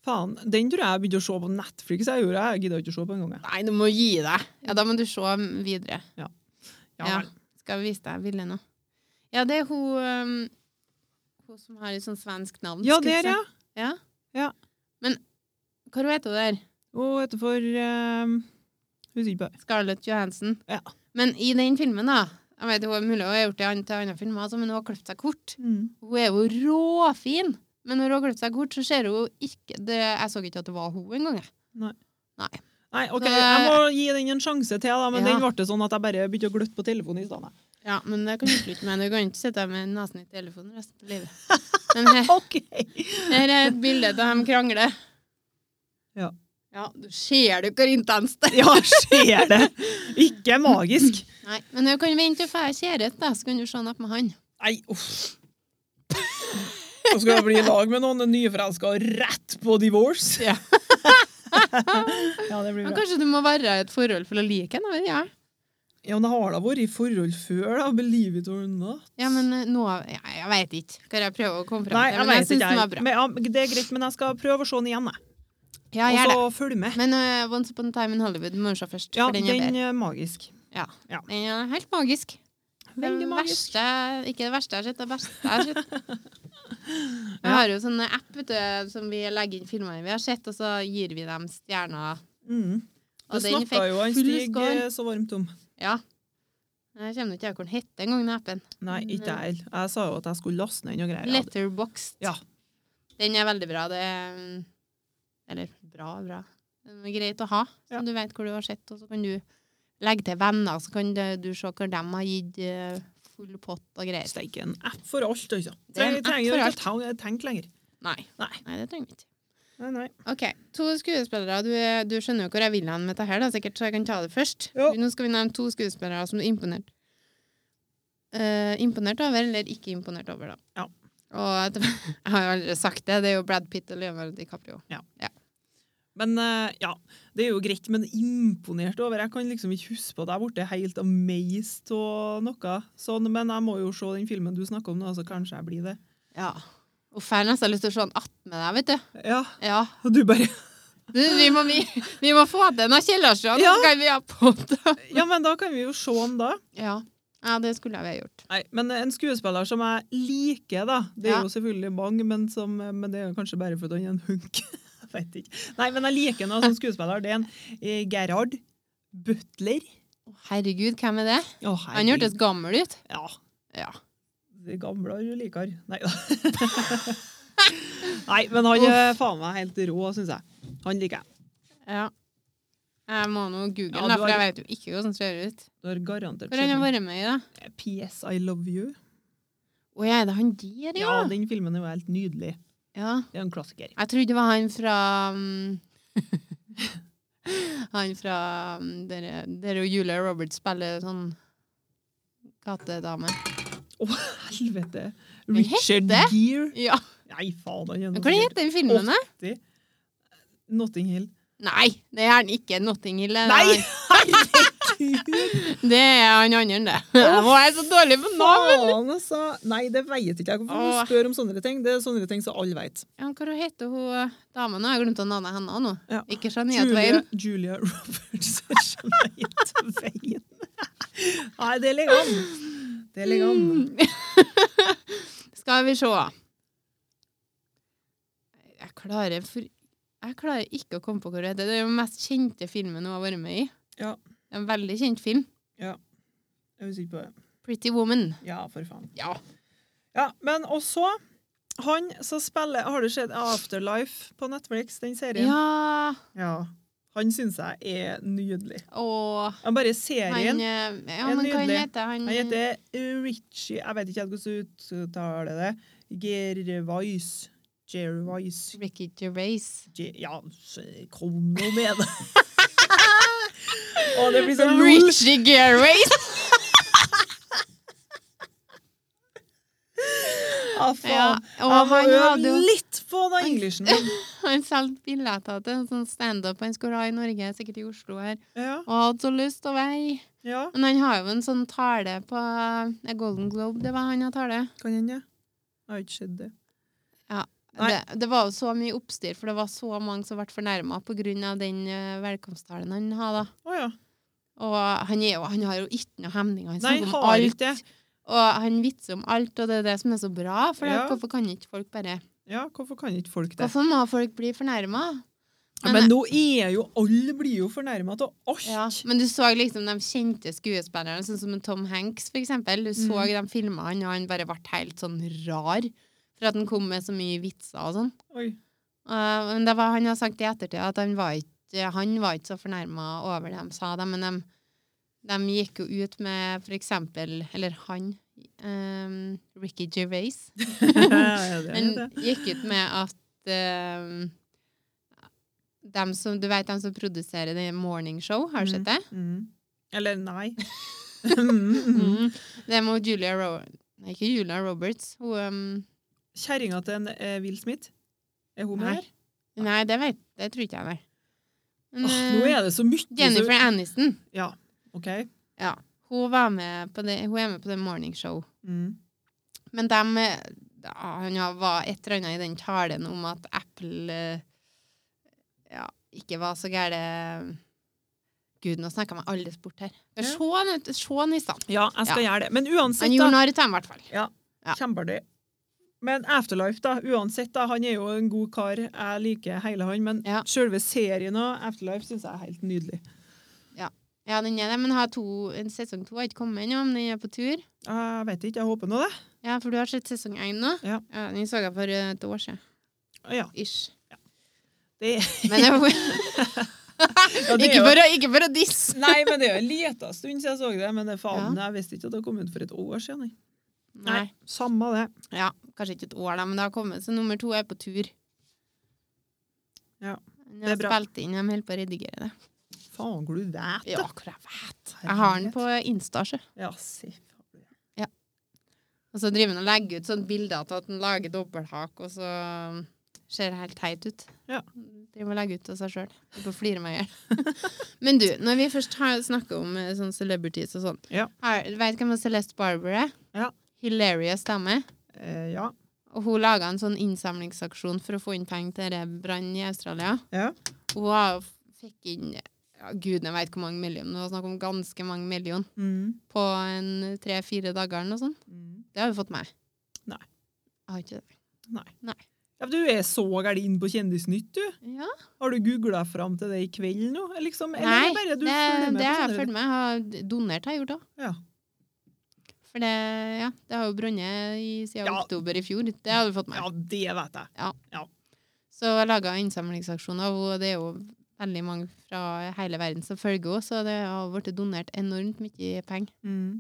[SPEAKER 2] Faen, den tror jeg jeg begynte å se på Netflix. Jeg gjorde det. Jeg gidder ikke å se på den gangen.
[SPEAKER 1] Nei, du må gi deg! Ja, da må du se videre. Ja.
[SPEAKER 2] vel.
[SPEAKER 1] Skal vi vise deg bildet nå? Ja, det er hun øhm, Hun som har et sånn svensk navn.
[SPEAKER 2] ja
[SPEAKER 1] skulle jeg
[SPEAKER 2] der,
[SPEAKER 1] si.
[SPEAKER 2] ja.
[SPEAKER 1] Ja.
[SPEAKER 2] Ja.
[SPEAKER 1] Men hva heter hun der?
[SPEAKER 2] Og etterfor um, Husker ikke på det.
[SPEAKER 1] Scarlett Johansen.
[SPEAKER 2] Ja.
[SPEAKER 1] Men i den filmen, da Jeg vet hun er mulig hun har gjort det i an- til andre filmer, altså, men hun har klippet seg kort.
[SPEAKER 2] Mm.
[SPEAKER 1] Hun er jo råfin, men når hun har klippet seg kort, så ser hun jo ikke det, Jeg så ikke at det var hun engang. jeg.
[SPEAKER 2] Nei, OK,
[SPEAKER 1] Så-
[SPEAKER 2] jeg må gi den en sjanse til, da, men
[SPEAKER 1] Ja.
[SPEAKER 2] den ble det sånn at jeg bare begynte å gløtte på telefonen i stedet.
[SPEAKER 1] Ja, men det kan du slutte med. Du kan ikke sitte her med nesen i telefonen resten av livet. Men her,
[SPEAKER 2] OK!
[SPEAKER 1] her er et bilde av dem krangler.
[SPEAKER 2] Ja.
[SPEAKER 1] Ja, du ser du hvor intenst det er.
[SPEAKER 2] Ja, skjer det! Ikke magisk.
[SPEAKER 1] Nei, men hun kan vente og få kjæreste, da, så kan du se henne opp med han.
[SPEAKER 2] Nei, uff. Så skal jeg bli i lag med noen nyforelska og rett på divorce.
[SPEAKER 1] Ja.
[SPEAKER 2] ja, det blir
[SPEAKER 1] Men
[SPEAKER 2] bra.
[SPEAKER 1] kanskje du må være i et forhold for å like henne? vet jeg.
[SPEAKER 2] Ja, men jeg har da vært i forhold før, da. Believe it or not.
[SPEAKER 1] Ja, men eh, nå ja, Jeg veit ikke. Skal jeg prøve å komme fram
[SPEAKER 2] Nei,
[SPEAKER 1] til
[SPEAKER 2] jeg
[SPEAKER 1] Men jeg
[SPEAKER 2] vet
[SPEAKER 1] syns
[SPEAKER 2] ikke.
[SPEAKER 1] den var
[SPEAKER 2] jeg.
[SPEAKER 1] bra.
[SPEAKER 2] Men, ja, det er greit, men jeg skal prøve å se den igjen, jeg.
[SPEAKER 1] Ja,
[SPEAKER 2] Og
[SPEAKER 1] gjør det.
[SPEAKER 2] så følge med.
[SPEAKER 1] Men eh, Once Upon a Time in Hollywood må du se først.
[SPEAKER 2] Ja,
[SPEAKER 1] for den er
[SPEAKER 2] den
[SPEAKER 1] bedre.
[SPEAKER 2] er magisk.
[SPEAKER 1] Den er helt magisk.
[SPEAKER 2] Veldig
[SPEAKER 1] det
[SPEAKER 2] magisk.
[SPEAKER 1] verste Ikke det verste jeg har sett, det beste jeg har sett. Jeg
[SPEAKER 2] Ja.
[SPEAKER 1] har jo sånn app vet du, som vi legger inn filmene vi har sett, og så gir vi dem stjerner.
[SPEAKER 2] Mm.
[SPEAKER 1] Og
[SPEAKER 2] Det
[SPEAKER 1] den
[SPEAKER 2] snakka
[SPEAKER 1] fikk
[SPEAKER 2] jo han
[SPEAKER 1] full
[SPEAKER 2] Stig
[SPEAKER 1] score.
[SPEAKER 2] eh, så varmt om.
[SPEAKER 1] Ja. Jeg kommer ikke til hvor den heter engang, den appen.
[SPEAKER 2] Nei,
[SPEAKER 1] Men,
[SPEAKER 2] ikke jeg. Jeg sa jo at jeg skulle laste ned noen greier. jeg hadde.
[SPEAKER 1] Letterboxed.
[SPEAKER 2] Ja.
[SPEAKER 1] Den er veldig bra. Det er, mm, eller bra, bra. Den er greit å ha, så
[SPEAKER 2] Ja.
[SPEAKER 1] du vet hvor du har sett, og så kan du legge til venner, så kan det- du se hvor de har gitt eh, full pott og greier.
[SPEAKER 2] Steike, en app for alt, altså.
[SPEAKER 1] Det er en
[SPEAKER 2] Trenger,
[SPEAKER 1] app
[SPEAKER 2] trenger
[SPEAKER 1] for
[SPEAKER 2] jo ikke å ta- tenke lenger.
[SPEAKER 1] Nei.
[SPEAKER 2] Nei.
[SPEAKER 1] Nei, det trenger vi ikke.
[SPEAKER 2] Nei, nei.
[SPEAKER 1] Ok, to skuespillere. Du, er- du skjønner jo hvor jeg vil hen med dette her, da, sikkert, så jeg kan ta det først.
[SPEAKER 2] Ja.
[SPEAKER 1] Nå skal vi nevne to skuespillere som du er imponert. eh, imponert over, eller ikke imponert over, da.
[SPEAKER 2] Ja.
[SPEAKER 1] Og at- jeg har jo allerede sagt det, det er jo Brad Pitt og Leonardo DiCaprio.
[SPEAKER 2] Men eh, ja, det er jo greit, men imponert over. Jeg kan liksom ikke huske på at jeg ble helt amazed av noe sånn, men jeg må jo se den filmen du snakker om nå, så kanskje jeg blir det.
[SPEAKER 1] Ja. Og får nesten lyst til å se han att med deg, vet du.
[SPEAKER 2] Ja,
[SPEAKER 1] Ja.
[SPEAKER 2] og du bare
[SPEAKER 1] Du, vi, må, vi, vi må få til noe Kjellersjøen,
[SPEAKER 2] Ja.
[SPEAKER 1] så kan vi ha på det.
[SPEAKER 2] Ja, men da kan vi jo se den da.
[SPEAKER 1] Ja. ja, det skulle jeg ha gjort.
[SPEAKER 2] Nei, men en skuespiller som jeg liker, da Det er
[SPEAKER 1] Ja.
[SPEAKER 2] jo selvfølgelig mange, men, som, men det er jo kanskje bare fordi han er en hunk. Jeg vet ikke. Nei, men jeg liker ham som skuespiller. Det er en eh, Gerhard Butler.
[SPEAKER 1] Å, Herregud, hvem er det?
[SPEAKER 2] Å,
[SPEAKER 1] Han hørtes gammel ut.
[SPEAKER 2] Ja,
[SPEAKER 1] Ja.
[SPEAKER 2] Det gamle er jo likere. Nei da. Nei, men han er faen meg helt rå, syns jeg. Han liker jeg.
[SPEAKER 1] ja. Jeg må nå google,
[SPEAKER 2] Ja,
[SPEAKER 1] da,
[SPEAKER 2] du
[SPEAKER 1] for jeg
[SPEAKER 2] har-
[SPEAKER 1] vet jo ikke hvordan det ser ut.
[SPEAKER 2] Du har garantert
[SPEAKER 1] Hvor har han
[SPEAKER 2] sett
[SPEAKER 1] vært med i, da?
[SPEAKER 2] den. PS I Love You.
[SPEAKER 1] Å ja, er det han der, ja?
[SPEAKER 2] Ja, den filmen er jo helt nydelig.
[SPEAKER 1] ja.
[SPEAKER 2] Det er en klassiker.
[SPEAKER 1] Jeg trodde det var han fra mm, Han fra mm, dere- Der og Julia Roberts spiller sånn gatedame.
[SPEAKER 2] Å, helvete!
[SPEAKER 1] Men
[SPEAKER 2] Richard
[SPEAKER 1] hette?
[SPEAKER 2] Gere.
[SPEAKER 1] Ja.
[SPEAKER 2] Nei, faen, han er
[SPEAKER 1] Men
[SPEAKER 2] noe
[SPEAKER 1] Hva
[SPEAKER 2] sikkert.
[SPEAKER 1] heter den filmen, da?
[SPEAKER 2] Notting Hill.
[SPEAKER 1] Nei, det er han ikke. Notting Hill. er det
[SPEAKER 2] Nei!
[SPEAKER 1] han.
[SPEAKER 2] Herregud!
[SPEAKER 1] Det er han andre, det. Jeg må være så dårlig på navn!
[SPEAKER 2] Faen, altså! Nei, det vet ikke jeg. Hvorfor
[SPEAKER 1] Åh.
[SPEAKER 2] du spør om sånne ting? Det er sånne ting som alle vet.
[SPEAKER 1] Ja, hva heter hun dama nå? Jeg glemte navnet hennes nå.
[SPEAKER 2] Ja.
[SPEAKER 1] Ikke Shania
[SPEAKER 2] Julia,
[SPEAKER 1] Twain.
[SPEAKER 2] Julia Roberts og Shania Twain. Nei, det ligger an. Det ligger an.
[SPEAKER 1] Mm. Skal vi se. Jeg klarer, for... jeg klarer ikke å komme på hva det heter. Det er den mest kjente filmen hun har vært med i.
[SPEAKER 2] Ja.
[SPEAKER 1] Det er En veldig kjent film.
[SPEAKER 2] Jeg husker ikke på det.
[SPEAKER 1] Pretty Woman.
[SPEAKER 2] Ja, for faen.
[SPEAKER 1] Ja.
[SPEAKER 2] Ja, men også han som spiller Har du sett Afterlife på Netflix, den serien?
[SPEAKER 1] Ja
[SPEAKER 2] Ja. Han syns jeg er nydelig.
[SPEAKER 1] Og
[SPEAKER 2] Han bare
[SPEAKER 1] han
[SPEAKER 2] serien.
[SPEAKER 1] eh, Ja,
[SPEAKER 2] Er
[SPEAKER 1] men hva han
[SPEAKER 2] nydelig.
[SPEAKER 1] heter han?
[SPEAKER 2] Han heter Richie Jeg vet ikke helt hvordan du uttaler det. Gervais. Gervais.
[SPEAKER 1] Ricky Gervais.
[SPEAKER 2] Ge- Ja, s- kom nå med det! Å, det blir så lol!
[SPEAKER 1] Richie Gervais!
[SPEAKER 2] Ah, faen.
[SPEAKER 1] Ja, og
[SPEAKER 2] Jeg må
[SPEAKER 1] han hadde
[SPEAKER 2] øve
[SPEAKER 1] jo-
[SPEAKER 2] litt på den englishen min.
[SPEAKER 1] Han solgte billetter til en sånn standup han skulle ha i Norge, sikkert i Oslo her,
[SPEAKER 2] Ja,
[SPEAKER 1] og hadde så lyst til å være i.
[SPEAKER 2] ja.
[SPEAKER 1] Men han har jo en sånn tale på eh, Golden Globe, det var han hadde tale.
[SPEAKER 2] Kan hende. Jeg har ikke sett det. Nei.
[SPEAKER 1] Det, det var jo så mye oppstyr, for det var så mange som ble fornærma pga. den eh, velkomsttalen han hadde. da.
[SPEAKER 2] Å ja.
[SPEAKER 1] Og han, er jo, han har jo ikke noe hemninger. Han
[SPEAKER 2] Nei,
[SPEAKER 1] snakker om
[SPEAKER 2] har
[SPEAKER 1] alt.
[SPEAKER 2] ikke det.
[SPEAKER 1] Og han vitser om alt, og det er det som er så bra. For
[SPEAKER 2] Ja.
[SPEAKER 1] hvorfor kan ikke folk bare
[SPEAKER 2] Ja, hvorfor kan ikke folk det?
[SPEAKER 1] Hvorfor må folk bli fornærma?
[SPEAKER 2] Ja, men nå er jo alle blir jo fornærma av alt.
[SPEAKER 1] Ja, men du så liksom de kjente skuespillerne, sånn som en Tom Hanks, for eksempel. Du så
[SPEAKER 2] Mm.
[SPEAKER 1] de filma han, og han bare ble helt sånn rar for at han kom med så mye vitser og sånn.
[SPEAKER 2] Oi.
[SPEAKER 1] Eh, men det var, han har sagt i ettertid at han var ikke, han var ikke så fornærma over det de sa, da, men de, de gikk jo ut med for eksempel Eller han, eh, Ricky Gervais,
[SPEAKER 2] Ja, det er
[SPEAKER 1] han
[SPEAKER 2] det.
[SPEAKER 1] gikk ut med at eh, dem som, du vet dem som produserer det morning show, har du sett det?
[SPEAKER 2] Mm. Eller nei. Mm, mm.
[SPEAKER 1] Mm. Det må Julia Roberts Nei, ikke Julia Roberts. Hun, um,
[SPEAKER 2] Kjerringa til en eh, Will Smith. Er hun med
[SPEAKER 1] Nei.
[SPEAKER 2] her?
[SPEAKER 1] nei, det vet Det tror ikke jeg, nei. Men,
[SPEAKER 2] Åh, nå
[SPEAKER 1] eh,
[SPEAKER 2] er det så mye så-
[SPEAKER 1] Jennifer Aniston.
[SPEAKER 2] Ja, OK.
[SPEAKER 1] Ja. Hun, var med på det, hun er med på det morning show.
[SPEAKER 2] Mm.
[SPEAKER 1] Men dem eh, ja, Han ja, var et eller annet i den talen om at Apple eh, ja, ikke var så gære Gud, nå snakka jeg meg aldri bort her. Men
[SPEAKER 2] Ja.
[SPEAKER 1] Se han ut- se han i stand.
[SPEAKER 2] Ja, jeg skal gjøre det. Men uansett,
[SPEAKER 1] Han gjorde
[SPEAKER 2] da.
[SPEAKER 1] narr av ham, i hvert fall. ja.
[SPEAKER 2] Kjempeartig. Men Afterlife, da. Uansett, da. Han er jo en god kar. Jeg liker hele han. Men
[SPEAKER 1] Ja.
[SPEAKER 2] selve serien og Afterlife syns jeg er helt nydelig.
[SPEAKER 1] Ja, den er det, men har to, en sesong to har ikke kommet ennå, men den er på tur.
[SPEAKER 2] Jeg vet ikke, jeg håper nå det.
[SPEAKER 1] Ja, for du har sett sesong én nå?
[SPEAKER 2] Ja.
[SPEAKER 1] Den så jeg for eh, et år siden.
[SPEAKER 2] Ja,
[SPEAKER 1] Ish.
[SPEAKER 2] det er
[SPEAKER 1] Men jeg,
[SPEAKER 2] Ja, det er
[SPEAKER 1] ikke,
[SPEAKER 2] jo-
[SPEAKER 1] for å, ikke for å disse!
[SPEAKER 2] Nei, men det er jo en liten stund siden jeg så det. Men det er faen, jeg visste ikke at det kom ut for et år siden. nei.
[SPEAKER 1] Nei.
[SPEAKER 2] Samme det.
[SPEAKER 1] Ja, kanskje ikke et år, da, men det har kommet. Så nummer to er på tur.
[SPEAKER 2] Ja,
[SPEAKER 1] Den
[SPEAKER 2] det er
[SPEAKER 1] har
[SPEAKER 2] bra.
[SPEAKER 1] Spilt inn, de holder på å redigere det.
[SPEAKER 2] Faen, hvor du vet det.
[SPEAKER 1] Ja, hvor jeg vet. Jeg har den på Insta, sjø.
[SPEAKER 2] Ja, se. faen.
[SPEAKER 1] Og så driver han og legger ut sånne bilder til at han lager dobbelthak, og så um, ser det helt teit ut.
[SPEAKER 2] Ja.
[SPEAKER 1] Driver og legger ut av seg sjøl. På fliremeyer. men du, når vi først har snakka om eh, sånne celebrities og sånn,
[SPEAKER 2] Ja.
[SPEAKER 1] her- vet du hvem Celeste Barber er?
[SPEAKER 2] Ja.
[SPEAKER 1] Hilarious dame.
[SPEAKER 2] Eh, ja.
[SPEAKER 1] Og hun laga en sånn innsamlingsaksjon for å få inn penger til denne brannen i Australia.
[SPEAKER 2] Ja.
[SPEAKER 1] Hun har- fikk inn ja, gud, jeg vet hvor mange millioner. Det var snakk om ganske mange millioner
[SPEAKER 2] Mm.
[SPEAKER 1] på en tre-fire dager eller noe sånt.
[SPEAKER 2] Mm.
[SPEAKER 1] Det har hun fått med.
[SPEAKER 2] Nei.
[SPEAKER 1] Jeg har ikke det.
[SPEAKER 2] Nei.
[SPEAKER 1] Nei.
[SPEAKER 2] Ja, men du er så gæren inn på Kjendisnytt, du.
[SPEAKER 1] Ja,
[SPEAKER 2] Har du googla fram til det i kveld nå? Liksom? Eller
[SPEAKER 1] Nei,
[SPEAKER 2] er det bare du
[SPEAKER 1] det,
[SPEAKER 2] følger med
[SPEAKER 1] det
[SPEAKER 2] på
[SPEAKER 1] har jeg
[SPEAKER 2] sånne-
[SPEAKER 1] fulgt med. Jeg har d- donert har jeg gjort òg.
[SPEAKER 2] Ja.
[SPEAKER 1] For det, ja, det har jo brunnet i- siden
[SPEAKER 2] Ja.
[SPEAKER 1] oktober i fjor. Det har du fått med.
[SPEAKER 2] ja, det vet jeg.
[SPEAKER 1] Så jeg laga innsamlingsaksjoner, og det er jo veldig mange fra hele verden som følger henne, så det har blitt donert enormt mye penger.
[SPEAKER 2] Mm.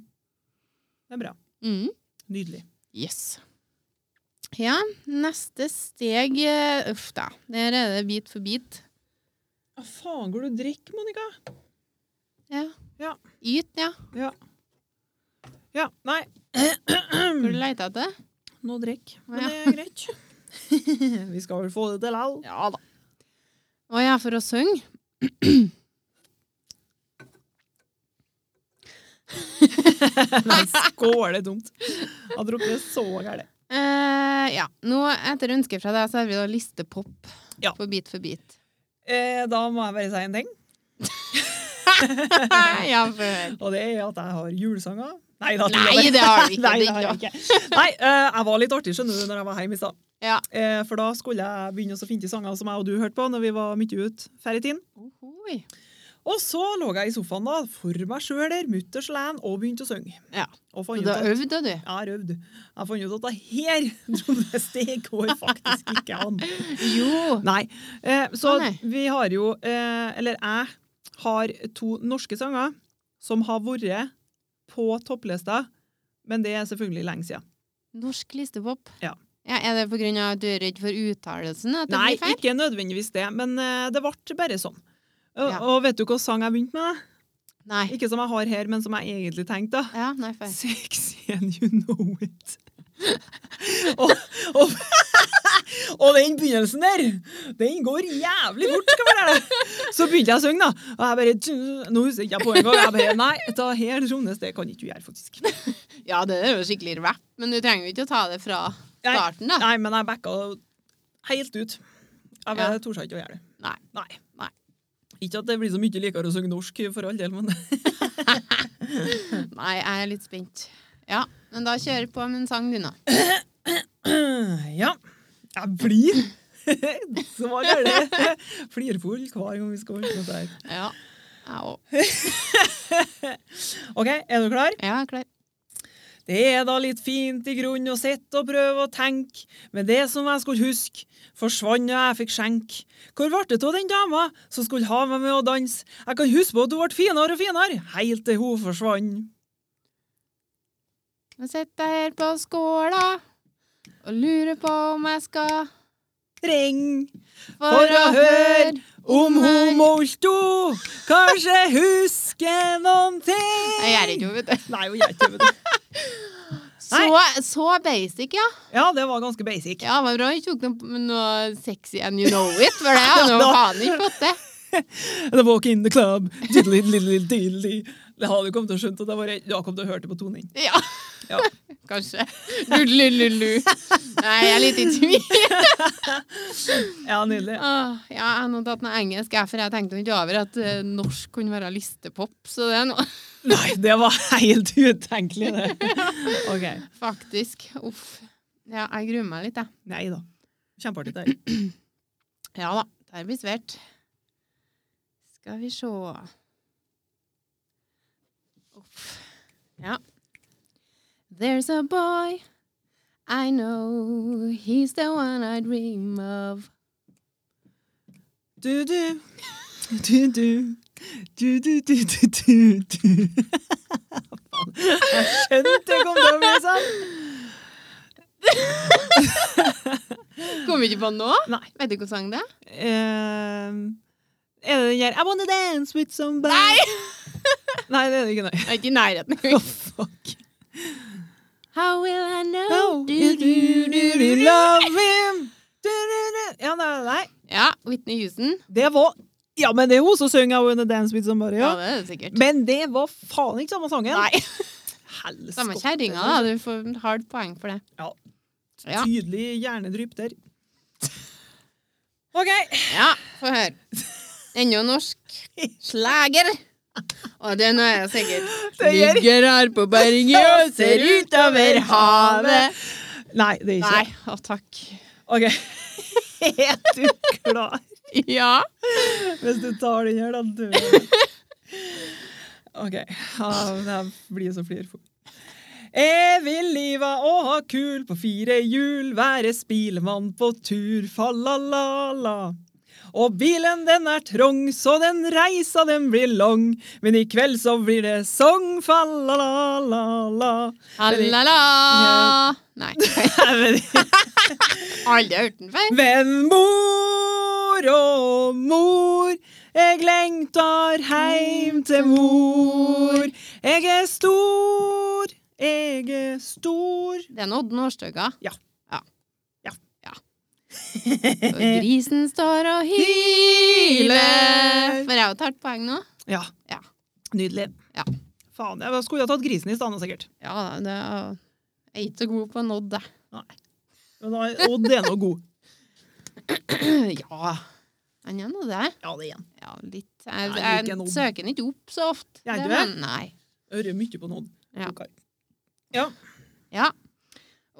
[SPEAKER 2] Det er bra.
[SPEAKER 1] Mm.
[SPEAKER 2] Nydelig.
[SPEAKER 1] Yes. Ja, neste steg eh, Uff da. Der er det bit for bit.
[SPEAKER 2] Hva faen går du og drikker, Monica?
[SPEAKER 1] Ja.
[SPEAKER 2] Ja.
[SPEAKER 1] Yt, ja.
[SPEAKER 2] Ja, nei,
[SPEAKER 1] Hvor du leter etter?
[SPEAKER 2] nå drikk. Men
[SPEAKER 1] Ja.
[SPEAKER 2] det er greit. Vi skal vel få det til likevel.
[SPEAKER 1] Ja da. Å ja, for å synge?
[SPEAKER 2] Nei, skål, det er dumt. Jeg drukket så gærent.
[SPEAKER 1] Eh, ja. Nå, etter ønske fra deg, så har vi da listepop
[SPEAKER 2] Ja.
[SPEAKER 1] på bit for bit.
[SPEAKER 2] Eh, da må jeg bare si en ting,
[SPEAKER 1] ja, for hør.
[SPEAKER 2] og det er at jeg har julesanger. Nei, da,
[SPEAKER 1] Nei, det har vi ikke.
[SPEAKER 2] Nei,
[SPEAKER 1] Det
[SPEAKER 2] det har
[SPEAKER 1] ikke.
[SPEAKER 2] jeg, ikke. Nei eh, jeg var litt artig, skjønner du, når jeg var hjemme i stad.
[SPEAKER 1] Ja.
[SPEAKER 2] Eh, for da skulle jeg begynne å finne de sangene som jeg og du hørte på når vi var mye ute før i tiden.
[SPEAKER 1] Ohoi.
[SPEAKER 2] Og så lå jeg i sofaen da, for meg sjøl der, mutters len, og begynte å synge.
[SPEAKER 1] Ja.
[SPEAKER 2] Og
[SPEAKER 1] Så du
[SPEAKER 2] fant ut at
[SPEAKER 1] har øvd, da, du?
[SPEAKER 2] jeg har øvd. Jeg fant ut at det her trommestikk går faktisk ikke an.
[SPEAKER 1] Jo.
[SPEAKER 2] Nei. Eh,
[SPEAKER 1] Å,
[SPEAKER 2] så
[SPEAKER 1] nei.
[SPEAKER 2] vi har jo, eh, eller jeg har to norske sanger som har vært på topplista, men det er selvfølgelig lenge siden.
[SPEAKER 1] Norsk listepop.
[SPEAKER 2] Ja.
[SPEAKER 1] Ja, er det pga. at du er redd for uttalelsen? At det
[SPEAKER 2] Nei,
[SPEAKER 1] blir feil?
[SPEAKER 2] ikke nødvendigvis det, men eh, det ble bare sånn. Og,
[SPEAKER 1] Ja.
[SPEAKER 2] og vet du hvilken sang jeg begynte med?
[SPEAKER 1] Nei.
[SPEAKER 2] Ikke som jeg har her, men som jeg egentlig tenkte. da.
[SPEAKER 1] Ja, nei, feil.
[SPEAKER 2] Sexy and you know it. og, og, og den begynnelsen der, den går jævlig fort, skal man lære. Så begynte jeg å synge, da. Og jeg bare Nå husker jeg ikke på en gang. Jeg bare, Nei, dette her, Trondheim, det kan ikke du gjøre, faktisk.
[SPEAKER 1] Ja, det er jo skikkelig rap, men du trenger jo ikke å ta det fra
[SPEAKER 2] Nei.
[SPEAKER 1] starten, da.
[SPEAKER 2] Nei, men jeg backa helt ut. Jeg bare,
[SPEAKER 1] Ja.
[SPEAKER 2] torde ikke å gjøre det.
[SPEAKER 1] Nei.
[SPEAKER 2] Nei.
[SPEAKER 1] Nei.
[SPEAKER 2] Ikke at det blir så mye likere å synge norsk, for all del, men
[SPEAKER 1] Nei, jeg er litt spent. Ja, men da kjører jeg på med en sang, du, nå.
[SPEAKER 2] Ja. Jeg blir så gæren. Flirfull hver gang vi skal holde på sånn.
[SPEAKER 1] Ja. Jeg òg.
[SPEAKER 2] OK, er du klar?
[SPEAKER 1] Ja, jeg er klar.
[SPEAKER 2] Det er da litt fint i grunn å sitte og prøve å tenke, men det som jeg skulle huske, forsvant da jeg fikk skjenk. Hvor ble det av den dama som skulle ha meg med å danse? Jeg kan huske på at hun ble finere og finere, helt til hun forsvant.
[SPEAKER 1] Jeg sitter her på skåla og lurer på om jeg skal
[SPEAKER 2] Ring
[SPEAKER 1] For å høre
[SPEAKER 2] om hun molto, kanskje husker noen ting.
[SPEAKER 1] Jeg gjør ikke noe, vet du.
[SPEAKER 2] Nei, hun gjør ikke det.
[SPEAKER 1] Så, så basic, ja.
[SPEAKER 2] Ja, det var ganske basic.
[SPEAKER 1] Ja, det var bra. Jeg tok noe, noe sexy and you know it, for det hadde jeg jo faen ikke fått til.
[SPEAKER 2] The walk in the club, diddly, diddly, diddly. Det hadde du kommet til å skjønt, og det var jeg kom til å høre det på toning.
[SPEAKER 1] Ja.
[SPEAKER 2] Ja.
[SPEAKER 1] Kanskje. Lulululu. Nei, jeg er litt i tvil.
[SPEAKER 2] Ja, nydelig.
[SPEAKER 1] Åh, ja, jeg har nå tatt noe engelsk, jeg, for jeg tenkte ikke over at eh, norsk kunne være listepop. Så det er noe
[SPEAKER 2] Nei, det var helt utenkelig, det. Ok.
[SPEAKER 1] Faktisk. Uff. Ja, jeg gruer meg litt, jeg.
[SPEAKER 2] Nei da. Kjempeartig det her.
[SPEAKER 1] Ja da, der blir svært. Skal vi sjå Uff. Ja. There's a boy I know He's the one I dream of
[SPEAKER 2] Du, du. Du, du. Du, du, du, du, du, du. Faen. Jeg skjønte det kom til å bli sånn.
[SPEAKER 1] Kom vi ikke på nå?
[SPEAKER 2] Nei.
[SPEAKER 1] Vet du hvilken sang det er?
[SPEAKER 2] Eh, er det den der I wanna dance with somebody? Nei! Nei, det er det ikke. Nei.
[SPEAKER 1] Jeg er ikke i nærheten engang.
[SPEAKER 2] Fuck.
[SPEAKER 1] How will I know?
[SPEAKER 2] Oh,
[SPEAKER 1] Du,
[SPEAKER 2] you do,
[SPEAKER 1] du,
[SPEAKER 2] do,
[SPEAKER 1] du,
[SPEAKER 2] do,
[SPEAKER 1] du.
[SPEAKER 2] love him. Du, du, du. Ja, nei, nei.
[SPEAKER 1] Ja, Whitney Houston.
[SPEAKER 2] Det var Ja, men det er hun som synger I Wanna Dance With Somebody.
[SPEAKER 1] Ja,
[SPEAKER 2] Ja.
[SPEAKER 1] det er det sikkert.
[SPEAKER 2] Men det var faen ikke samme sangen.
[SPEAKER 1] Nei.
[SPEAKER 2] Helskotte.
[SPEAKER 1] Samme kjerringa, da. Du får hardt poeng for det.
[SPEAKER 2] Ja.
[SPEAKER 1] Ja,
[SPEAKER 2] Tydelig hjernedrypp der. OK.
[SPEAKER 1] ja få høre. Ennå norsk slager. Og den er jeg sikkert.
[SPEAKER 2] Det gjør-
[SPEAKER 1] Ligger her på berget og ser utover havet.
[SPEAKER 2] Nei, det er ikke
[SPEAKER 1] Nei, å takk.
[SPEAKER 2] OK. Er du klar
[SPEAKER 1] Ja.
[SPEAKER 2] hvis du tar den her, da? Du. OK. Ja, det her blir så flirfull. Jeg vil liva og ha kul på fire hjul, være spillemann på tur, fa-la-la-la. Og bilen den er trong, så den reisa den blir lang, men i kveld så blir det song, fa-la-la-la-la.
[SPEAKER 1] Ha-la-la. Nei, aldri hørt den før.
[SPEAKER 2] Men mor og mor, jeg lengtar heim til mor. Jeg er stor, jeg er stor.
[SPEAKER 1] Det er en Odd Nordstoga.
[SPEAKER 2] Ja.
[SPEAKER 1] Ja.
[SPEAKER 2] Ja.
[SPEAKER 1] Ja. Og grisen står og hyler. Får jeg jo tatt poeng nå?
[SPEAKER 2] Ja.
[SPEAKER 1] Ja.
[SPEAKER 2] Nydelig.
[SPEAKER 1] Ja.
[SPEAKER 2] Faen, jeg skulle ha tatt grisen i stedet, sikkert.
[SPEAKER 1] Ja da, det er jeg er ikke så god på en Odd, jeg.
[SPEAKER 2] Men da- Og det er nå god.
[SPEAKER 1] Ja. Han er nå det.
[SPEAKER 2] Ja, det er en.
[SPEAKER 1] Ja, litt. Jeg,
[SPEAKER 2] Nei,
[SPEAKER 1] jeg,
[SPEAKER 2] ikke en Odd.
[SPEAKER 1] søker den ikke opp så ofte.
[SPEAKER 2] Gjør
[SPEAKER 1] Det
[SPEAKER 2] du
[SPEAKER 1] var-
[SPEAKER 2] det?
[SPEAKER 1] Nei.
[SPEAKER 2] Hører mye på noen.
[SPEAKER 1] Ja.
[SPEAKER 2] Ok.
[SPEAKER 1] Ja.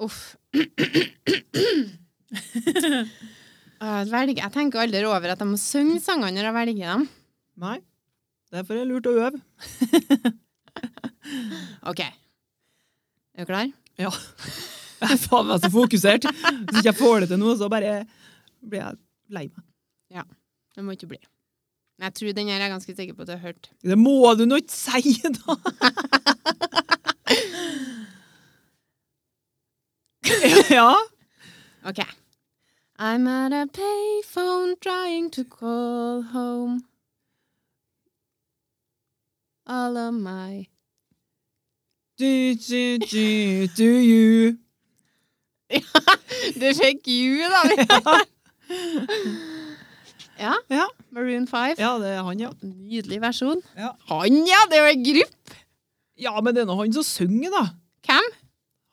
[SPEAKER 1] Uff. Jeg velger, jeg tenker aldri over at jeg må synge sangene når jeg velger dem.
[SPEAKER 2] Nei. Derfor er det lurt å øve.
[SPEAKER 1] OK. Er du klar?
[SPEAKER 2] Ja. Jeg er faen meg så fokusert. Hvis ikke jeg får det til nå, så bare blir jeg lei meg.
[SPEAKER 1] Det må ikke bli. Men Jeg tror den her er jeg ganske sikker på at jeg har hørt.
[SPEAKER 2] Det må du nå ikke si, da! Ja.
[SPEAKER 1] OK. I'm at a payphone trying to call home. All of my
[SPEAKER 2] Do, do, do, do you.
[SPEAKER 1] Det fikk you, da! ja.
[SPEAKER 2] Ja.
[SPEAKER 1] Maroon 5.
[SPEAKER 2] Ja, det er han, ja.
[SPEAKER 1] Nydelig versjon.
[SPEAKER 2] Ja.
[SPEAKER 1] Han, ja! Det er jo en gruppe!
[SPEAKER 2] Ja, men det er nå han som synger, da.
[SPEAKER 1] Hvem?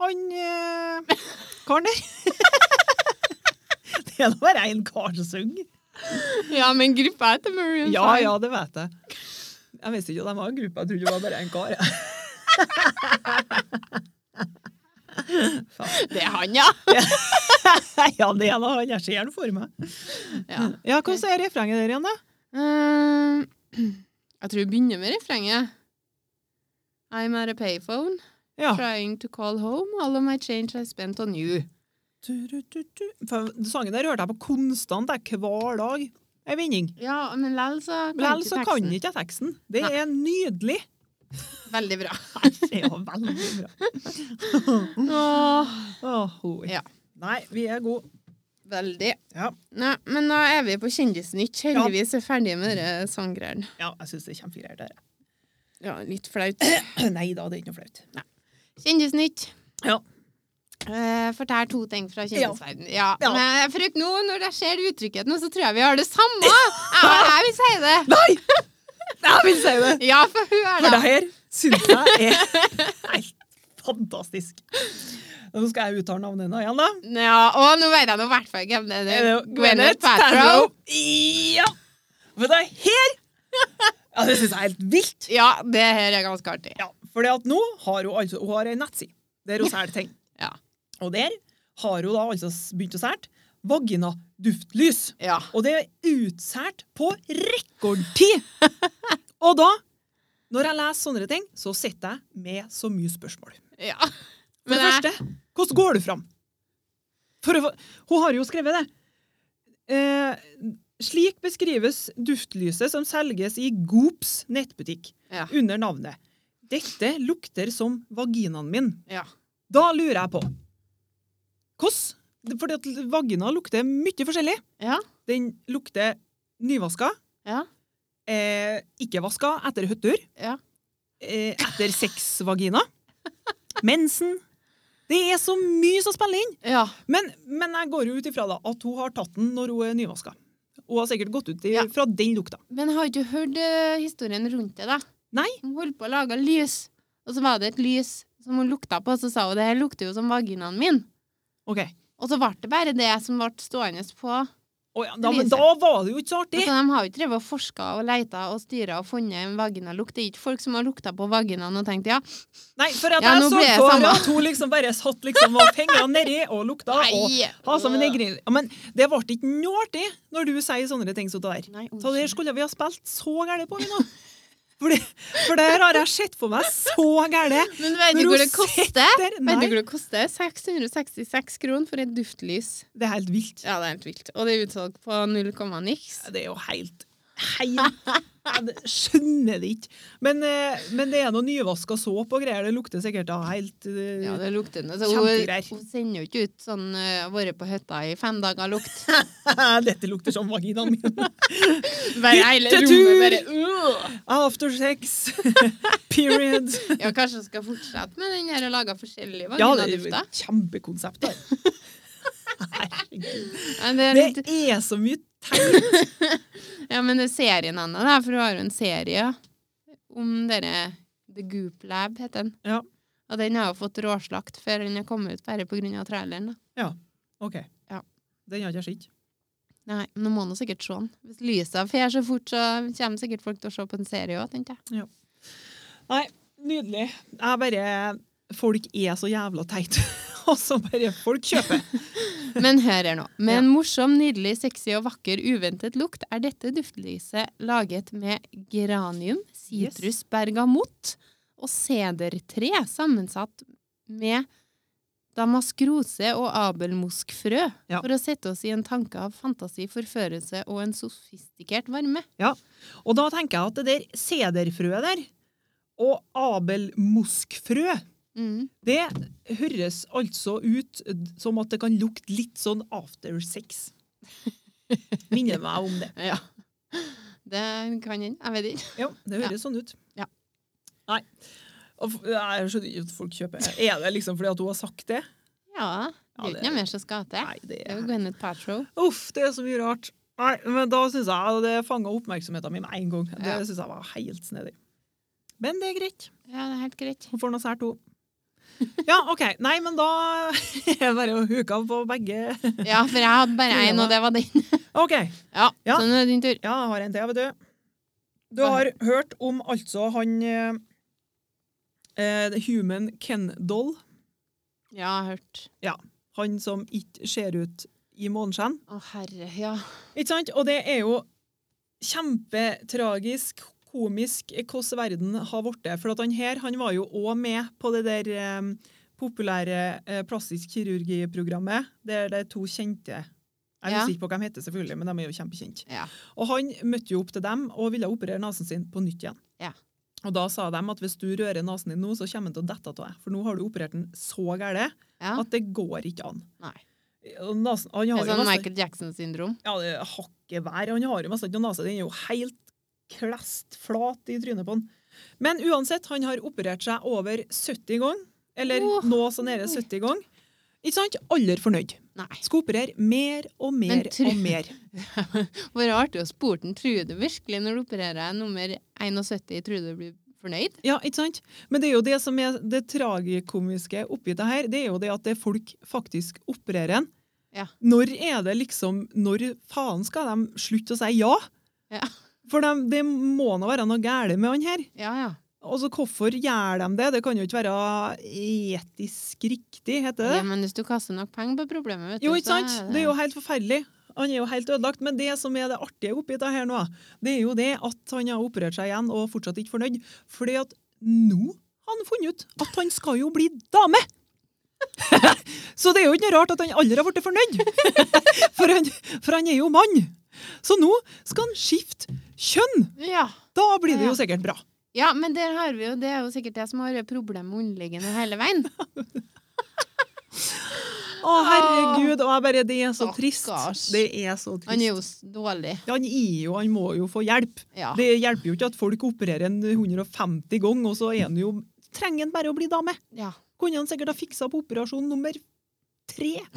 [SPEAKER 2] Han eh, karen der. det er nå bare én kar som synger.
[SPEAKER 1] Ja, men gruppa heter Maroon 5.
[SPEAKER 2] Ja, ja, det vet jeg. Jeg visste ikke at de var en gruppe. Jeg trodde det var bare én kar. jeg. Faen.
[SPEAKER 1] Det er han, ja!
[SPEAKER 2] ja, det er nå han. Jeg ser han for meg.
[SPEAKER 1] ja.
[SPEAKER 2] Ja, Hva sier refrenget der igjen, da?
[SPEAKER 1] Eh, jeg tror vi begynner med refrenget. I'm at a payphone,
[SPEAKER 2] Ja.
[SPEAKER 1] trying to call home. All of my change I spent on you.
[SPEAKER 2] Du-du-du-du. For Sangen der hørte jeg på konstant jeg, hver dag. Ei vending.
[SPEAKER 1] Ja, men lell så kan
[SPEAKER 2] Likevel
[SPEAKER 1] ikke
[SPEAKER 2] så kan
[SPEAKER 1] teksten.
[SPEAKER 2] ikke jeg teksten. Det
[SPEAKER 1] Nei.
[SPEAKER 2] er nydelig.
[SPEAKER 1] Veldig bra.
[SPEAKER 2] Det var veldig bra. Mm.
[SPEAKER 1] Åh,
[SPEAKER 2] Åh, hoi.
[SPEAKER 1] Ja.
[SPEAKER 2] Nei, vi er gode.
[SPEAKER 1] veldig.
[SPEAKER 2] Ja.
[SPEAKER 1] Nei, men da er vi på Kjendisnytt. Heldigvis er vi ferdige med dere sanggreiene.
[SPEAKER 2] Ja, jeg syns det er kjempegreier der.
[SPEAKER 1] Ja, litt flaut.
[SPEAKER 2] Nei da, det er ikke noe flaut.
[SPEAKER 1] Kjendisnytt.
[SPEAKER 2] Ja.
[SPEAKER 1] Eh, fortell to ting fra kjendisverdenen. Ja.
[SPEAKER 2] Ja.
[SPEAKER 1] Men for ikke nå, når jeg ser det uttrykket nå, så tror jeg vi har det samme. Jeg, jeg vil si det.
[SPEAKER 2] Nei! Jeg vil si det!
[SPEAKER 1] Ja, for hun er
[SPEAKER 2] For det
[SPEAKER 1] da.
[SPEAKER 2] her syns jeg er helt fantastisk. Nå skal jeg uttale navnet hennes igjen, da.
[SPEAKER 1] Ja, og nå vet jeg nå i hvert fall hvem det er.
[SPEAKER 2] Er det jo
[SPEAKER 1] Gwyneth Paltrow.
[SPEAKER 2] Ja! For det her Ja, det syns jeg er helt vilt.
[SPEAKER 1] Ja, det her er ganske artig.
[SPEAKER 2] Ja, fordi at nå har hun altså Hun har ei nettside der hun selger ting.
[SPEAKER 1] Ja.
[SPEAKER 2] Og der har hun da altså s- begynt å selge vaginaduftlys.
[SPEAKER 1] Ja.
[SPEAKER 2] Og det er utsolgt på rekordtid! Og da, når jeg leser sånne ting, så sitter jeg med så mye spørsmål.
[SPEAKER 1] ja.
[SPEAKER 2] For
[SPEAKER 1] Men
[SPEAKER 2] det
[SPEAKER 1] jeg,
[SPEAKER 2] første, hvordan går du fram? For å, få- hun har jo skrevet det. Eh, slik beskrives duftlyset som selges i Goops nettbutikk
[SPEAKER 1] Ja.
[SPEAKER 2] under navnet 'Dette lukter som vaginaen min'.
[SPEAKER 1] ja.
[SPEAKER 2] Da lurer jeg på Hvordan? Fordi at vagina lukter mye forskjellig.
[SPEAKER 1] Ja.
[SPEAKER 2] Den lukter nyvaska,
[SPEAKER 1] Ja.
[SPEAKER 2] eh, ikke vaska etter høttur,
[SPEAKER 1] Ja.
[SPEAKER 2] eh, etter sexvagina, mensen Det er så mye som spiller inn!
[SPEAKER 1] Ja.
[SPEAKER 2] Men, men jeg går jo ut ifra da, at hun har tatt den når hun er nyvaska. Hun har sikkert gått ut i,
[SPEAKER 1] Ja.
[SPEAKER 2] fra den lukta.
[SPEAKER 1] Men har ikke du hørt eh, historien rundt det, da?
[SPEAKER 2] Nei.
[SPEAKER 1] Hun holdt på å lage lys, og så var det et lys som hun lukta på, og så sa hun det her lukter jo som vaginaen min.
[SPEAKER 2] Ok.
[SPEAKER 1] Og så ble det bare det som ble stående på.
[SPEAKER 2] Å ja, da,
[SPEAKER 1] Det
[SPEAKER 2] men
[SPEAKER 1] viser.
[SPEAKER 2] da var det jo ikke så
[SPEAKER 1] Altså,
[SPEAKER 2] artig!
[SPEAKER 1] de har jo ikke drevet og forska og leita og styra og funnet en vaginalukt. Det er ikke folk som har lukta på vaginaen og tenkt ja,
[SPEAKER 2] Nei, for at
[SPEAKER 1] Ja,
[SPEAKER 2] jeg
[SPEAKER 1] nå
[SPEAKER 2] så
[SPEAKER 1] ble jeg
[SPEAKER 2] for
[SPEAKER 1] samme.
[SPEAKER 2] at hun liksom bare satt liksom og fenga nedi og lukta. Og,
[SPEAKER 1] nei.
[SPEAKER 2] ha, som en egrin. ja, men det ble ikke noe artig når du sier sånne ting som det der.
[SPEAKER 1] Nei,
[SPEAKER 2] Så det her skulle vi ha spilt så gærent på, vi nå. For det, for det her har jeg sett for meg så gærent.
[SPEAKER 1] Men vet
[SPEAKER 2] Når
[SPEAKER 1] du
[SPEAKER 2] hun
[SPEAKER 1] hvor det koster?
[SPEAKER 2] sitter-
[SPEAKER 1] Vet du
[SPEAKER 2] Nei,
[SPEAKER 1] hvor det koster? 666 kroner for et duftlys.
[SPEAKER 2] det er helt vilt.
[SPEAKER 1] Ja, det er helt vilt. Og det er utsalg på null komma niks.
[SPEAKER 2] Det er jo helt Helt Jeg det- skjønner det ikke. Men, eh, men det er noe nyvaska såpe og greier. Det lukter sikkert da helt eh,
[SPEAKER 1] Ja, det lukter noe. Så hun,
[SPEAKER 2] Kjempegreier.
[SPEAKER 1] hun sender jo ikke ut sånn uh, 'vært på hytta i fem dager'-lukt.
[SPEAKER 2] Dette lukter som vaginaen min.
[SPEAKER 1] Bare hele rommet bare
[SPEAKER 2] Hyttetur!
[SPEAKER 1] «Åh!»
[SPEAKER 2] After sex. Period.
[SPEAKER 1] Ja, kanskje hun skal fortsette med den her og lage forskjellige
[SPEAKER 2] Ja, det er jo
[SPEAKER 1] vaginadufter?
[SPEAKER 2] et kjempekonsept. da. Herregud.
[SPEAKER 1] Ja, det er litt,
[SPEAKER 2] Det er så mye tegn.
[SPEAKER 1] ja, men det er serien hennes, da, for hun har jo en serie om dere The Goop Lab, heter den.
[SPEAKER 2] Ja.
[SPEAKER 1] Og den har jo fått råslakt før den har kommet ut, bare pga. traileren. da.
[SPEAKER 2] OK.
[SPEAKER 1] Ja.
[SPEAKER 2] Den har ikke jeg sett.
[SPEAKER 1] Nei, men nå må han jo sikkert se den. Hvis lysa fer så fort, så kommer sikkert folk til å se på en serie òg, tenkte jeg.
[SPEAKER 2] Nei, nydelig. Jeg bare Folk er så jævla teite. Og så bare Folk kjøper.
[SPEAKER 1] Men hør her nå. Med
[SPEAKER 2] Ja.
[SPEAKER 1] en morsom, nydelig, sexy og vakker uventet lukt er dette duftlyset laget med geranium, sitrus, bergamott og sedertre sammensatt med damaskrose og abelmoskfrø
[SPEAKER 2] Ja.
[SPEAKER 1] for å sette oss i en tanke av fantasi, forførelse og en sofistikert varme.
[SPEAKER 2] Og da tenker jeg at det der sederfrøet der, og abelmoskfrø,
[SPEAKER 1] Mm.
[SPEAKER 2] Det høres altså ut som at det kan lukte litt sånn after sex. Minner meg om det.
[SPEAKER 1] Ja. Det kan hende. Jeg vet ikke.
[SPEAKER 2] Jo, det høres sånn ut.
[SPEAKER 1] Ja.
[SPEAKER 2] Nei. Og f- nei, Jeg skjønner ikke at folk kjøper. Er det liksom fordi at hun har sagt det?
[SPEAKER 1] Ja, det
[SPEAKER 2] Ja,
[SPEAKER 1] er jo
[SPEAKER 2] det-
[SPEAKER 1] ikke noe mer som skal til.
[SPEAKER 2] Nei, det
[SPEAKER 1] Det er
[SPEAKER 2] er
[SPEAKER 1] jo Gwyneth Paltrow.
[SPEAKER 2] Uff, det er så mye rart. Nei, men da syns jeg det fanga oppmerksomheten min med en gang. Det
[SPEAKER 1] Ja.
[SPEAKER 2] synes jeg var helt snedig. Men det er greit.
[SPEAKER 1] Ja, det er helt greit.
[SPEAKER 2] Hun får noe sært, hun. Ja, OK. Nei, men da er det bare å huke av på begge.
[SPEAKER 1] Ja, for jeg hadde bare én, og det var den.
[SPEAKER 2] OK.
[SPEAKER 1] Ja,
[SPEAKER 2] Ja.
[SPEAKER 1] så nå er det din tur.
[SPEAKER 2] Ja, jeg har en til, vet du. Du har hørt om altså han eh, eh, The Human Ken Doll.
[SPEAKER 1] Ja, jeg har hørt.
[SPEAKER 2] Han som ikke ser ut i måneskinn.
[SPEAKER 1] Å, herre, ja.
[SPEAKER 2] Ikke sant? Og det er jo kjempetragisk, komisk, eh, hvordan verden har blitt. For at han her han var jo òg med på det der eh, populære eh, plastisk kirurgiprogrammet, der det er to kjente Jeg
[SPEAKER 1] Ja.
[SPEAKER 2] husker ikke på hva de heter, selvfølgelig, men de er jo kjempekjente.
[SPEAKER 1] Ja.
[SPEAKER 2] Og han møtte jo opp til dem og ville operere nesen sin på nytt igjen.
[SPEAKER 1] Ja.
[SPEAKER 2] Og da sa de at hvis du rører nesen din nå, så kommer den til å dette av deg. For nå har du operert den så gæle
[SPEAKER 1] ja.
[SPEAKER 2] at det går ikke an.
[SPEAKER 1] Nei.
[SPEAKER 2] Og Nasen, han
[SPEAKER 1] Det
[SPEAKER 2] har
[SPEAKER 1] er
[SPEAKER 2] jo
[SPEAKER 1] sånn
[SPEAKER 2] masse,
[SPEAKER 1] Michael Jackson-syndrom.
[SPEAKER 2] ja, det er hakket vær. Han har jo nesten ikke noe nese. Den er jo helt klest flat i trynet på han. Men uansett, han har operert seg over 70 ganger. Eller
[SPEAKER 1] Åh,
[SPEAKER 2] nå så nede 70 ganger. Ikke sant? Aller fornøyd.
[SPEAKER 1] Nei.
[SPEAKER 2] Skal operere mer og
[SPEAKER 1] Men
[SPEAKER 2] mer
[SPEAKER 1] tror-
[SPEAKER 2] og mer.
[SPEAKER 1] Hvor artig å spore den. Tror du virkelig når du opererer nummer 71, tror du du blir fornøyd?
[SPEAKER 2] Ja, ikke sant? Men det er jo det som er det tragikomiske oppi det her, det er jo det at det folk faktisk opererer en.
[SPEAKER 1] Ja.
[SPEAKER 2] Når er det liksom Når faen skal de slutte å si ja?
[SPEAKER 1] Ja.
[SPEAKER 2] For dem- det må nå være noe galt med han her.
[SPEAKER 1] Ja, ja.
[SPEAKER 2] Altså, hvorfor gjør de det? Det kan jo ikke være etisk riktig, heter det?
[SPEAKER 1] ja men hvis du kaster nok penger på problemet, vet du,
[SPEAKER 2] Jo, ikke
[SPEAKER 1] så er
[SPEAKER 2] sant? Det er jo helt forferdelig. Han er jo helt ødelagt. Men det som er det artige oppi det her nå, det er jo det at han har operert seg igjen og fortsatt ikke fornøyd. Fordi at nå har han funnet ut at han skal jo bli dame! Så det er jo ikke noe rart at han aldri har blitt fornøyd. For han, for han er jo mann. Så nå skal han skifte kjønn!
[SPEAKER 1] Ja.
[SPEAKER 2] Da blir det jo sikkert bra.
[SPEAKER 1] ja, men der har vi jo, det er jo sikkert det som har vært problemet underliggende hele veien.
[SPEAKER 2] Å, herregud. Og jeg bare Det er så trist.
[SPEAKER 1] Stakkars.
[SPEAKER 2] Det er så
[SPEAKER 1] Han er
[SPEAKER 2] trist.
[SPEAKER 1] jo s- dårlig.
[SPEAKER 2] Han er jo Han må jo få hjelp.
[SPEAKER 1] Ja.
[SPEAKER 2] Det hjelper jo ikke at folk opererer en 150 ganger, og så er han jo, trenger han bare å bli dame.
[SPEAKER 1] ja.
[SPEAKER 2] Kunne han sikkert ha fiksa på operasjon nummer tre?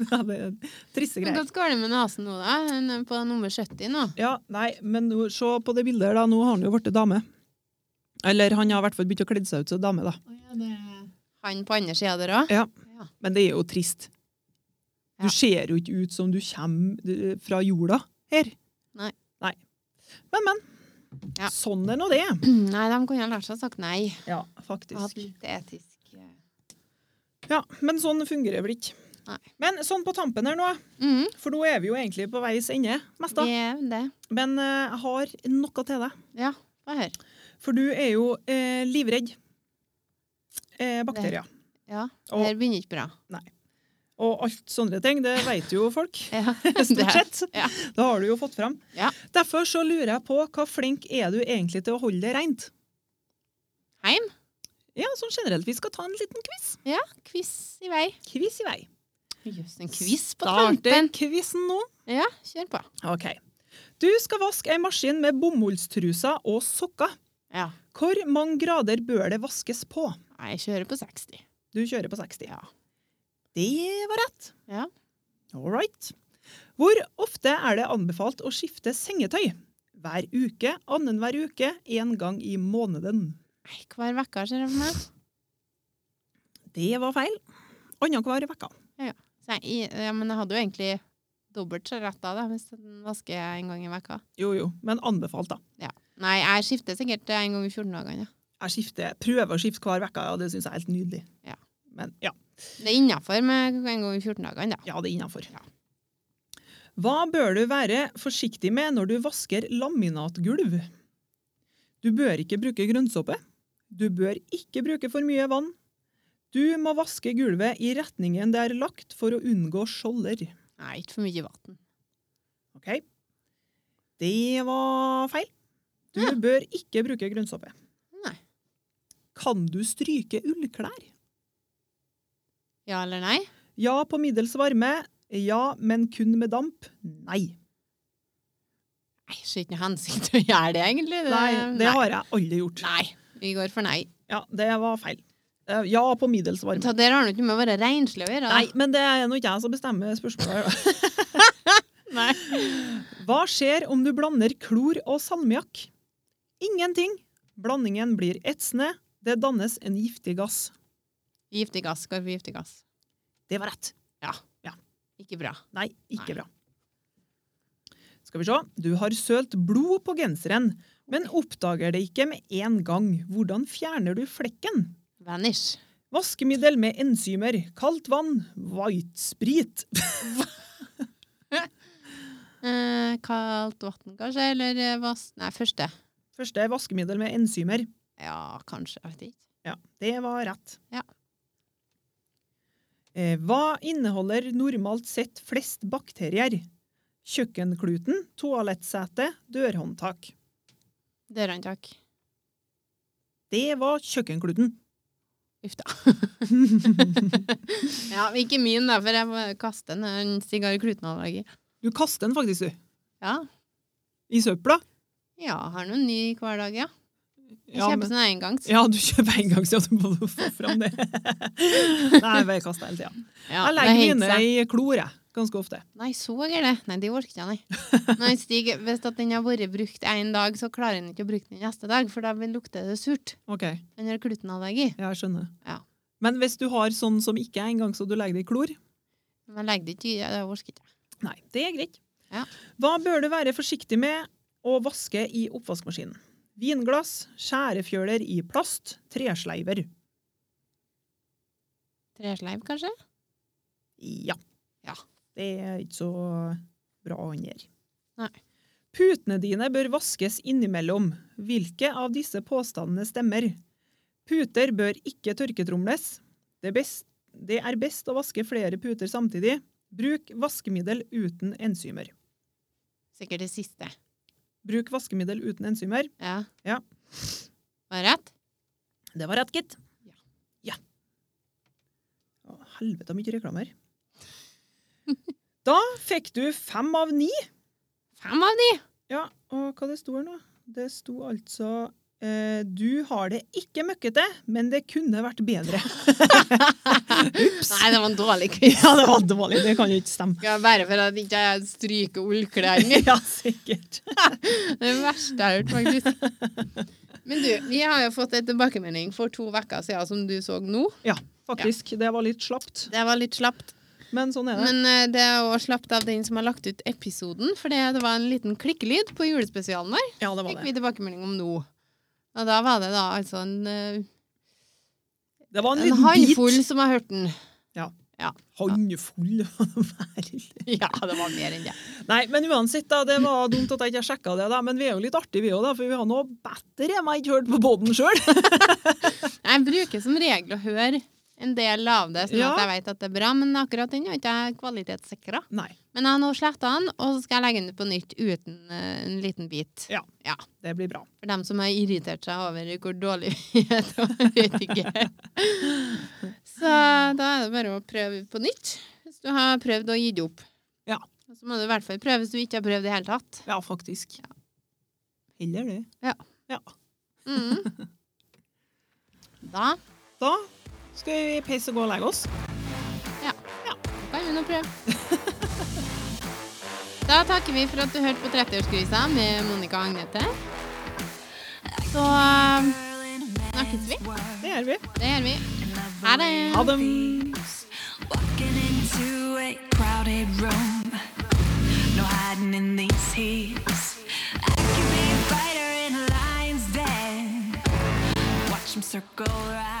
[SPEAKER 2] Ja, det er triste
[SPEAKER 1] Men
[SPEAKER 2] greier.
[SPEAKER 1] Hvordan går det med nesen nå, da? Den er på nummer 70 nå.
[SPEAKER 2] Ja, nei, men nå, se på det bildet her, da. Nå har han jo blitt dame. Eller han har i hvert fall begynt å kle seg ut som dame, da.
[SPEAKER 1] Han på andre sida der òg?
[SPEAKER 2] Ja.
[SPEAKER 1] Ja.
[SPEAKER 2] Men det er jo trist.
[SPEAKER 1] Ja.
[SPEAKER 2] Du ser jo ikke ut som du kommer fra jorda her.
[SPEAKER 1] Nei.
[SPEAKER 2] Nei. Men, men.
[SPEAKER 1] Ja.
[SPEAKER 2] Sånn er nå det.
[SPEAKER 1] Nei, de kunne ha lært seg å sagt nei.
[SPEAKER 2] Ja,
[SPEAKER 1] Og hatt
[SPEAKER 2] faktisk.
[SPEAKER 1] litt etisk eh.
[SPEAKER 2] Ja, men sånn fungerer vel ikke.
[SPEAKER 1] Nei.
[SPEAKER 2] Men sånn på tampen her nå,
[SPEAKER 1] Mhm,
[SPEAKER 2] for nå er vi jo egentlig på veis ende mest da.
[SPEAKER 1] Det er det.
[SPEAKER 2] Men eh, jeg har noe til deg.
[SPEAKER 1] Ja, få høre.
[SPEAKER 2] For du er jo eh, livredd eh, bakterier.
[SPEAKER 1] Ja,
[SPEAKER 2] Og-
[SPEAKER 1] det her begynner ikke bra.
[SPEAKER 2] Og alt sånne ting, det vet jo folk.
[SPEAKER 1] Ja.
[SPEAKER 2] Stort
[SPEAKER 1] Det-
[SPEAKER 2] sett.
[SPEAKER 1] ja.
[SPEAKER 2] Det har du jo fått fram.
[SPEAKER 1] Ja.
[SPEAKER 2] Derfor så lurer jeg på hva flink er du egentlig til å holde det rent?
[SPEAKER 1] Heim?
[SPEAKER 2] Ja, sånn generelt. Vi skal ta en liten quiz.
[SPEAKER 1] Ja, quiz i vei.
[SPEAKER 2] Quiz i vei.
[SPEAKER 1] Jøss, en quiz på
[SPEAKER 2] Starter
[SPEAKER 1] tampen!
[SPEAKER 2] quizen nå.
[SPEAKER 1] Ja, kjør på.
[SPEAKER 2] Ok. Du skal vaske ei maskin med bomullstruser og sokker.
[SPEAKER 1] Ja.
[SPEAKER 2] Hvor mange grader bør det vaskes på?
[SPEAKER 1] Nei, jeg kjører på 60.
[SPEAKER 2] Du kjører på 60.
[SPEAKER 1] Ja.
[SPEAKER 2] Det var rett.
[SPEAKER 1] Ja.
[SPEAKER 2] All right. Hvor ofte er det anbefalt å skifte sengetøy? Hver uke, annenhver uke, én gang i måneden.
[SPEAKER 1] Nei, hver uke ser jeg for meg.
[SPEAKER 2] Det var feil. Annenhver uke.
[SPEAKER 1] Så jeg, ja, men jeg hadde jo egentlig dobbelt så rett da, da hvis den vasker jeg en gang i veka.
[SPEAKER 2] Jo, jo, men anbefalt, da.
[SPEAKER 1] Nei, jeg skifter sikkert en gang i 14 dagene. Ja.
[SPEAKER 2] Jeg skifter, prøver å skifte hver uke, og det syns jeg er helt nydelig.
[SPEAKER 1] Ja.
[SPEAKER 2] Men ja,
[SPEAKER 1] Det er innafor med en gang i 14 dagene, da.
[SPEAKER 2] ja det er innafor. Hva bør du være forsiktig med når du vasker laminatgulv? Du bør ikke bruke grønnsåpe. Du bør ikke bruke for mye vann. Du må vaske gulvet i retningen det er lagt for å unngå skjolder.
[SPEAKER 1] Nei, ikke for mye vann.
[SPEAKER 2] Ok? Det var feil. Du
[SPEAKER 1] Ja.
[SPEAKER 2] bør ikke bruke grønnsåpe.
[SPEAKER 1] Nei.
[SPEAKER 2] Kan du stryke ullklær?
[SPEAKER 1] Ja eller nei?
[SPEAKER 2] Ja på middels varme. Ja, men kun med damp. Nei.
[SPEAKER 1] Nei, ser ikke noe hensikt til å gjøre det, egentlig. Det,
[SPEAKER 2] Eh, Nei, det har jeg aldri gjort.
[SPEAKER 1] Nei. Vi går for nei.
[SPEAKER 2] Ja, det var feil. Eh, Ja på middels varme.
[SPEAKER 1] Så der har det ikke noe med å være renslig å gjøre. da.
[SPEAKER 2] Nei, men det er nå ikke jeg som bestemmer spørsmålet. her,
[SPEAKER 1] Nei.
[SPEAKER 2] da. Hva skjer om du blander klor og salmiakk? Ingenting. Blandingen blir etsende. Det dannes en giftig gass.
[SPEAKER 1] Giftig gass går for giftig gass.
[SPEAKER 2] Det var rett.
[SPEAKER 1] Ikke bra.
[SPEAKER 2] Nei, ikke
[SPEAKER 1] Nei.
[SPEAKER 2] bra. Skal vi se. Du har sølt blod på genseren, men oppdager det ikke med en gang. Hvordan fjerner du flekken?
[SPEAKER 1] Vanish.
[SPEAKER 2] Vaskemiddel med enzymer, kaldt vann, white sprit.
[SPEAKER 1] Eh, kaldt vann, kanskje? Eller eh, vas... Nei, første.
[SPEAKER 2] Første er vaskemiddel med enzymer.
[SPEAKER 1] Ja, kanskje. Jeg vet ikke.
[SPEAKER 2] Ja, det var rett.
[SPEAKER 1] Ja.
[SPEAKER 2] Eh, Hva inneholder normalt sett flest bakterier? Kjøkkenkluten, toalettsete, dørhåndtak.
[SPEAKER 1] Dørhåndtak.
[SPEAKER 2] Det var kjøkkenkluten.
[SPEAKER 1] Uff da. ja, men ikke min, da, for jeg må kaste en, en sigarklutenallergi.
[SPEAKER 2] Du kaster den faktisk, du.
[SPEAKER 1] Ja.
[SPEAKER 2] I søpla.
[SPEAKER 1] ja, har noen ny hver dag, ja. Jeg
[SPEAKER 2] Ja,
[SPEAKER 1] kjøper
[SPEAKER 2] men-
[SPEAKER 1] sånn engangs.
[SPEAKER 2] ja, du kjøper en gang, så du må få fram det. Nei, bare kaster hele tida.
[SPEAKER 1] Ja,
[SPEAKER 2] Jeg
[SPEAKER 1] det
[SPEAKER 2] legger
[SPEAKER 1] henger
[SPEAKER 2] mine
[SPEAKER 1] seg.
[SPEAKER 2] i klor, jeg. Ganske ofte.
[SPEAKER 1] Nei, så gærent. Nei, det orker jeg ikke. nei. Nei, Stig, hvis at den har vært brukt én dag, så klarer den ikke å bruke den neste dag, for da vil- lukter det surt.
[SPEAKER 2] Ok, ja,
[SPEAKER 1] Den har glutenallergi.
[SPEAKER 2] jeg skjønner.
[SPEAKER 1] Ja.
[SPEAKER 2] Men hvis du har sånn som ikke er engang, så du legger det i klor,
[SPEAKER 1] Men jeg legger det ikke i, det orker ikke jeg.
[SPEAKER 2] Nei, det er greit.
[SPEAKER 1] Ja.
[SPEAKER 2] Hva bør du være forsiktig med å vaske i oppvaskmaskinen? Vinglass, skjærefjøler i plast, tresleiver.
[SPEAKER 1] Tresleiv, kanskje?
[SPEAKER 2] Ja.
[SPEAKER 1] Ja.
[SPEAKER 2] Det er ikke så bra å håndtere.
[SPEAKER 1] Nei.
[SPEAKER 2] Putene dine bør vaskes innimellom. Hvilke av disse påstandene stemmer? Puter bør ikke tørketromles. Det, best, det er best å vaske flere puter samtidig. Bruk vaskemiddel uten enzymer.
[SPEAKER 1] Sikkert det siste.
[SPEAKER 2] Bruk vaskemiddel uten enzymer.
[SPEAKER 1] Ja.
[SPEAKER 2] Ja.
[SPEAKER 1] Var det rett?
[SPEAKER 2] Det var rett, gitt.
[SPEAKER 1] Ja.
[SPEAKER 2] Ja. Å, helvete, mye reklamer. da fikk du fem av ni.
[SPEAKER 1] Fem av de!
[SPEAKER 2] Ja, og hva det sto her nå? Det sto altså eh, Du har det ikke møkkete, men det kunne vært bedre. Ups.
[SPEAKER 1] Nei, det var en dårlig quiz.
[SPEAKER 2] Ja, det var dårlig. Det kan jo ikke stemme.
[SPEAKER 1] Ja, bare for at ikke jeg stryker ullklærne mine.
[SPEAKER 2] ja, sikkert.
[SPEAKER 1] Det er det verste jeg har hørt, faktisk. Men du, vi har jo fått en tilbakemelding for to uker siden som du så nå.
[SPEAKER 2] Faktisk. Det var litt slapt,
[SPEAKER 1] Det var litt slapt.
[SPEAKER 2] men sånn er det.
[SPEAKER 1] Men eh, det er også slapt av den som har lagt ut episoden, for det det var en liten klikkelyd på julespesialen vår.
[SPEAKER 2] Ja, det var
[SPEAKER 1] Fikk
[SPEAKER 2] det.
[SPEAKER 1] vi tilbakemelding om nå. Og da var det da altså en, eh,
[SPEAKER 2] Det var en
[SPEAKER 1] en
[SPEAKER 2] liten
[SPEAKER 1] handfull
[SPEAKER 2] bit.
[SPEAKER 1] som har hørt den.
[SPEAKER 2] Håndfull. Vær
[SPEAKER 1] Ja, det var mer enn det.
[SPEAKER 2] Nei, men uansett, da, det var dumt at jeg ikke sjekka det, da, men vi er jo litt artige, vi òg, da, for vi har nå bedre enn jeg ikke hørt på båten sjøl.
[SPEAKER 1] Jeg bruker som regel å høre en del av det, sånn
[SPEAKER 2] Ja.
[SPEAKER 1] at jeg vet at det er bra, men akkurat den har ikke jeg kvalitetssikra.
[SPEAKER 2] Nei,
[SPEAKER 1] Men jeg har nå sletta den, og så skal jeg legge den ut på nytt uten eh, en liten bit.
[SPEAKER 2] Ja. det blir bra.
[SPEAKER 1] For dem som har irritert seg over hvor dårlig vi er til å redigere. Så da er det bare å prøve på nytt hvis du har prøvd å gi det opp.
[SPEAKER 2] Ja.
[SPEAKER 1] Og Så må du i hvert fall prøve hvis du ikke har prøvd i det hele tatt.
[SPEAKER 2] Ja, faktisk. Heller det.
[SPEAKER 1] Mhm. Da
[SPEAKER 2] Da skal vi peise og gå og legge oss.
[SPEAKER 1] kan vi nå prøve. Da takker vi for at du hørte på 30-årskrisa med Monica og Agnete. Så eh, snakkes vi.
[SPEAKER 2] Det gjør vi.
[SPEAKER 1] Det gjør vi. Ha det.
[SPEAKER 2] Ha det.
[SPEAKER 3] Walking into a crowded room, no hiding in these heels. I could be a fighter in a lion's den. Watch 'em circle around.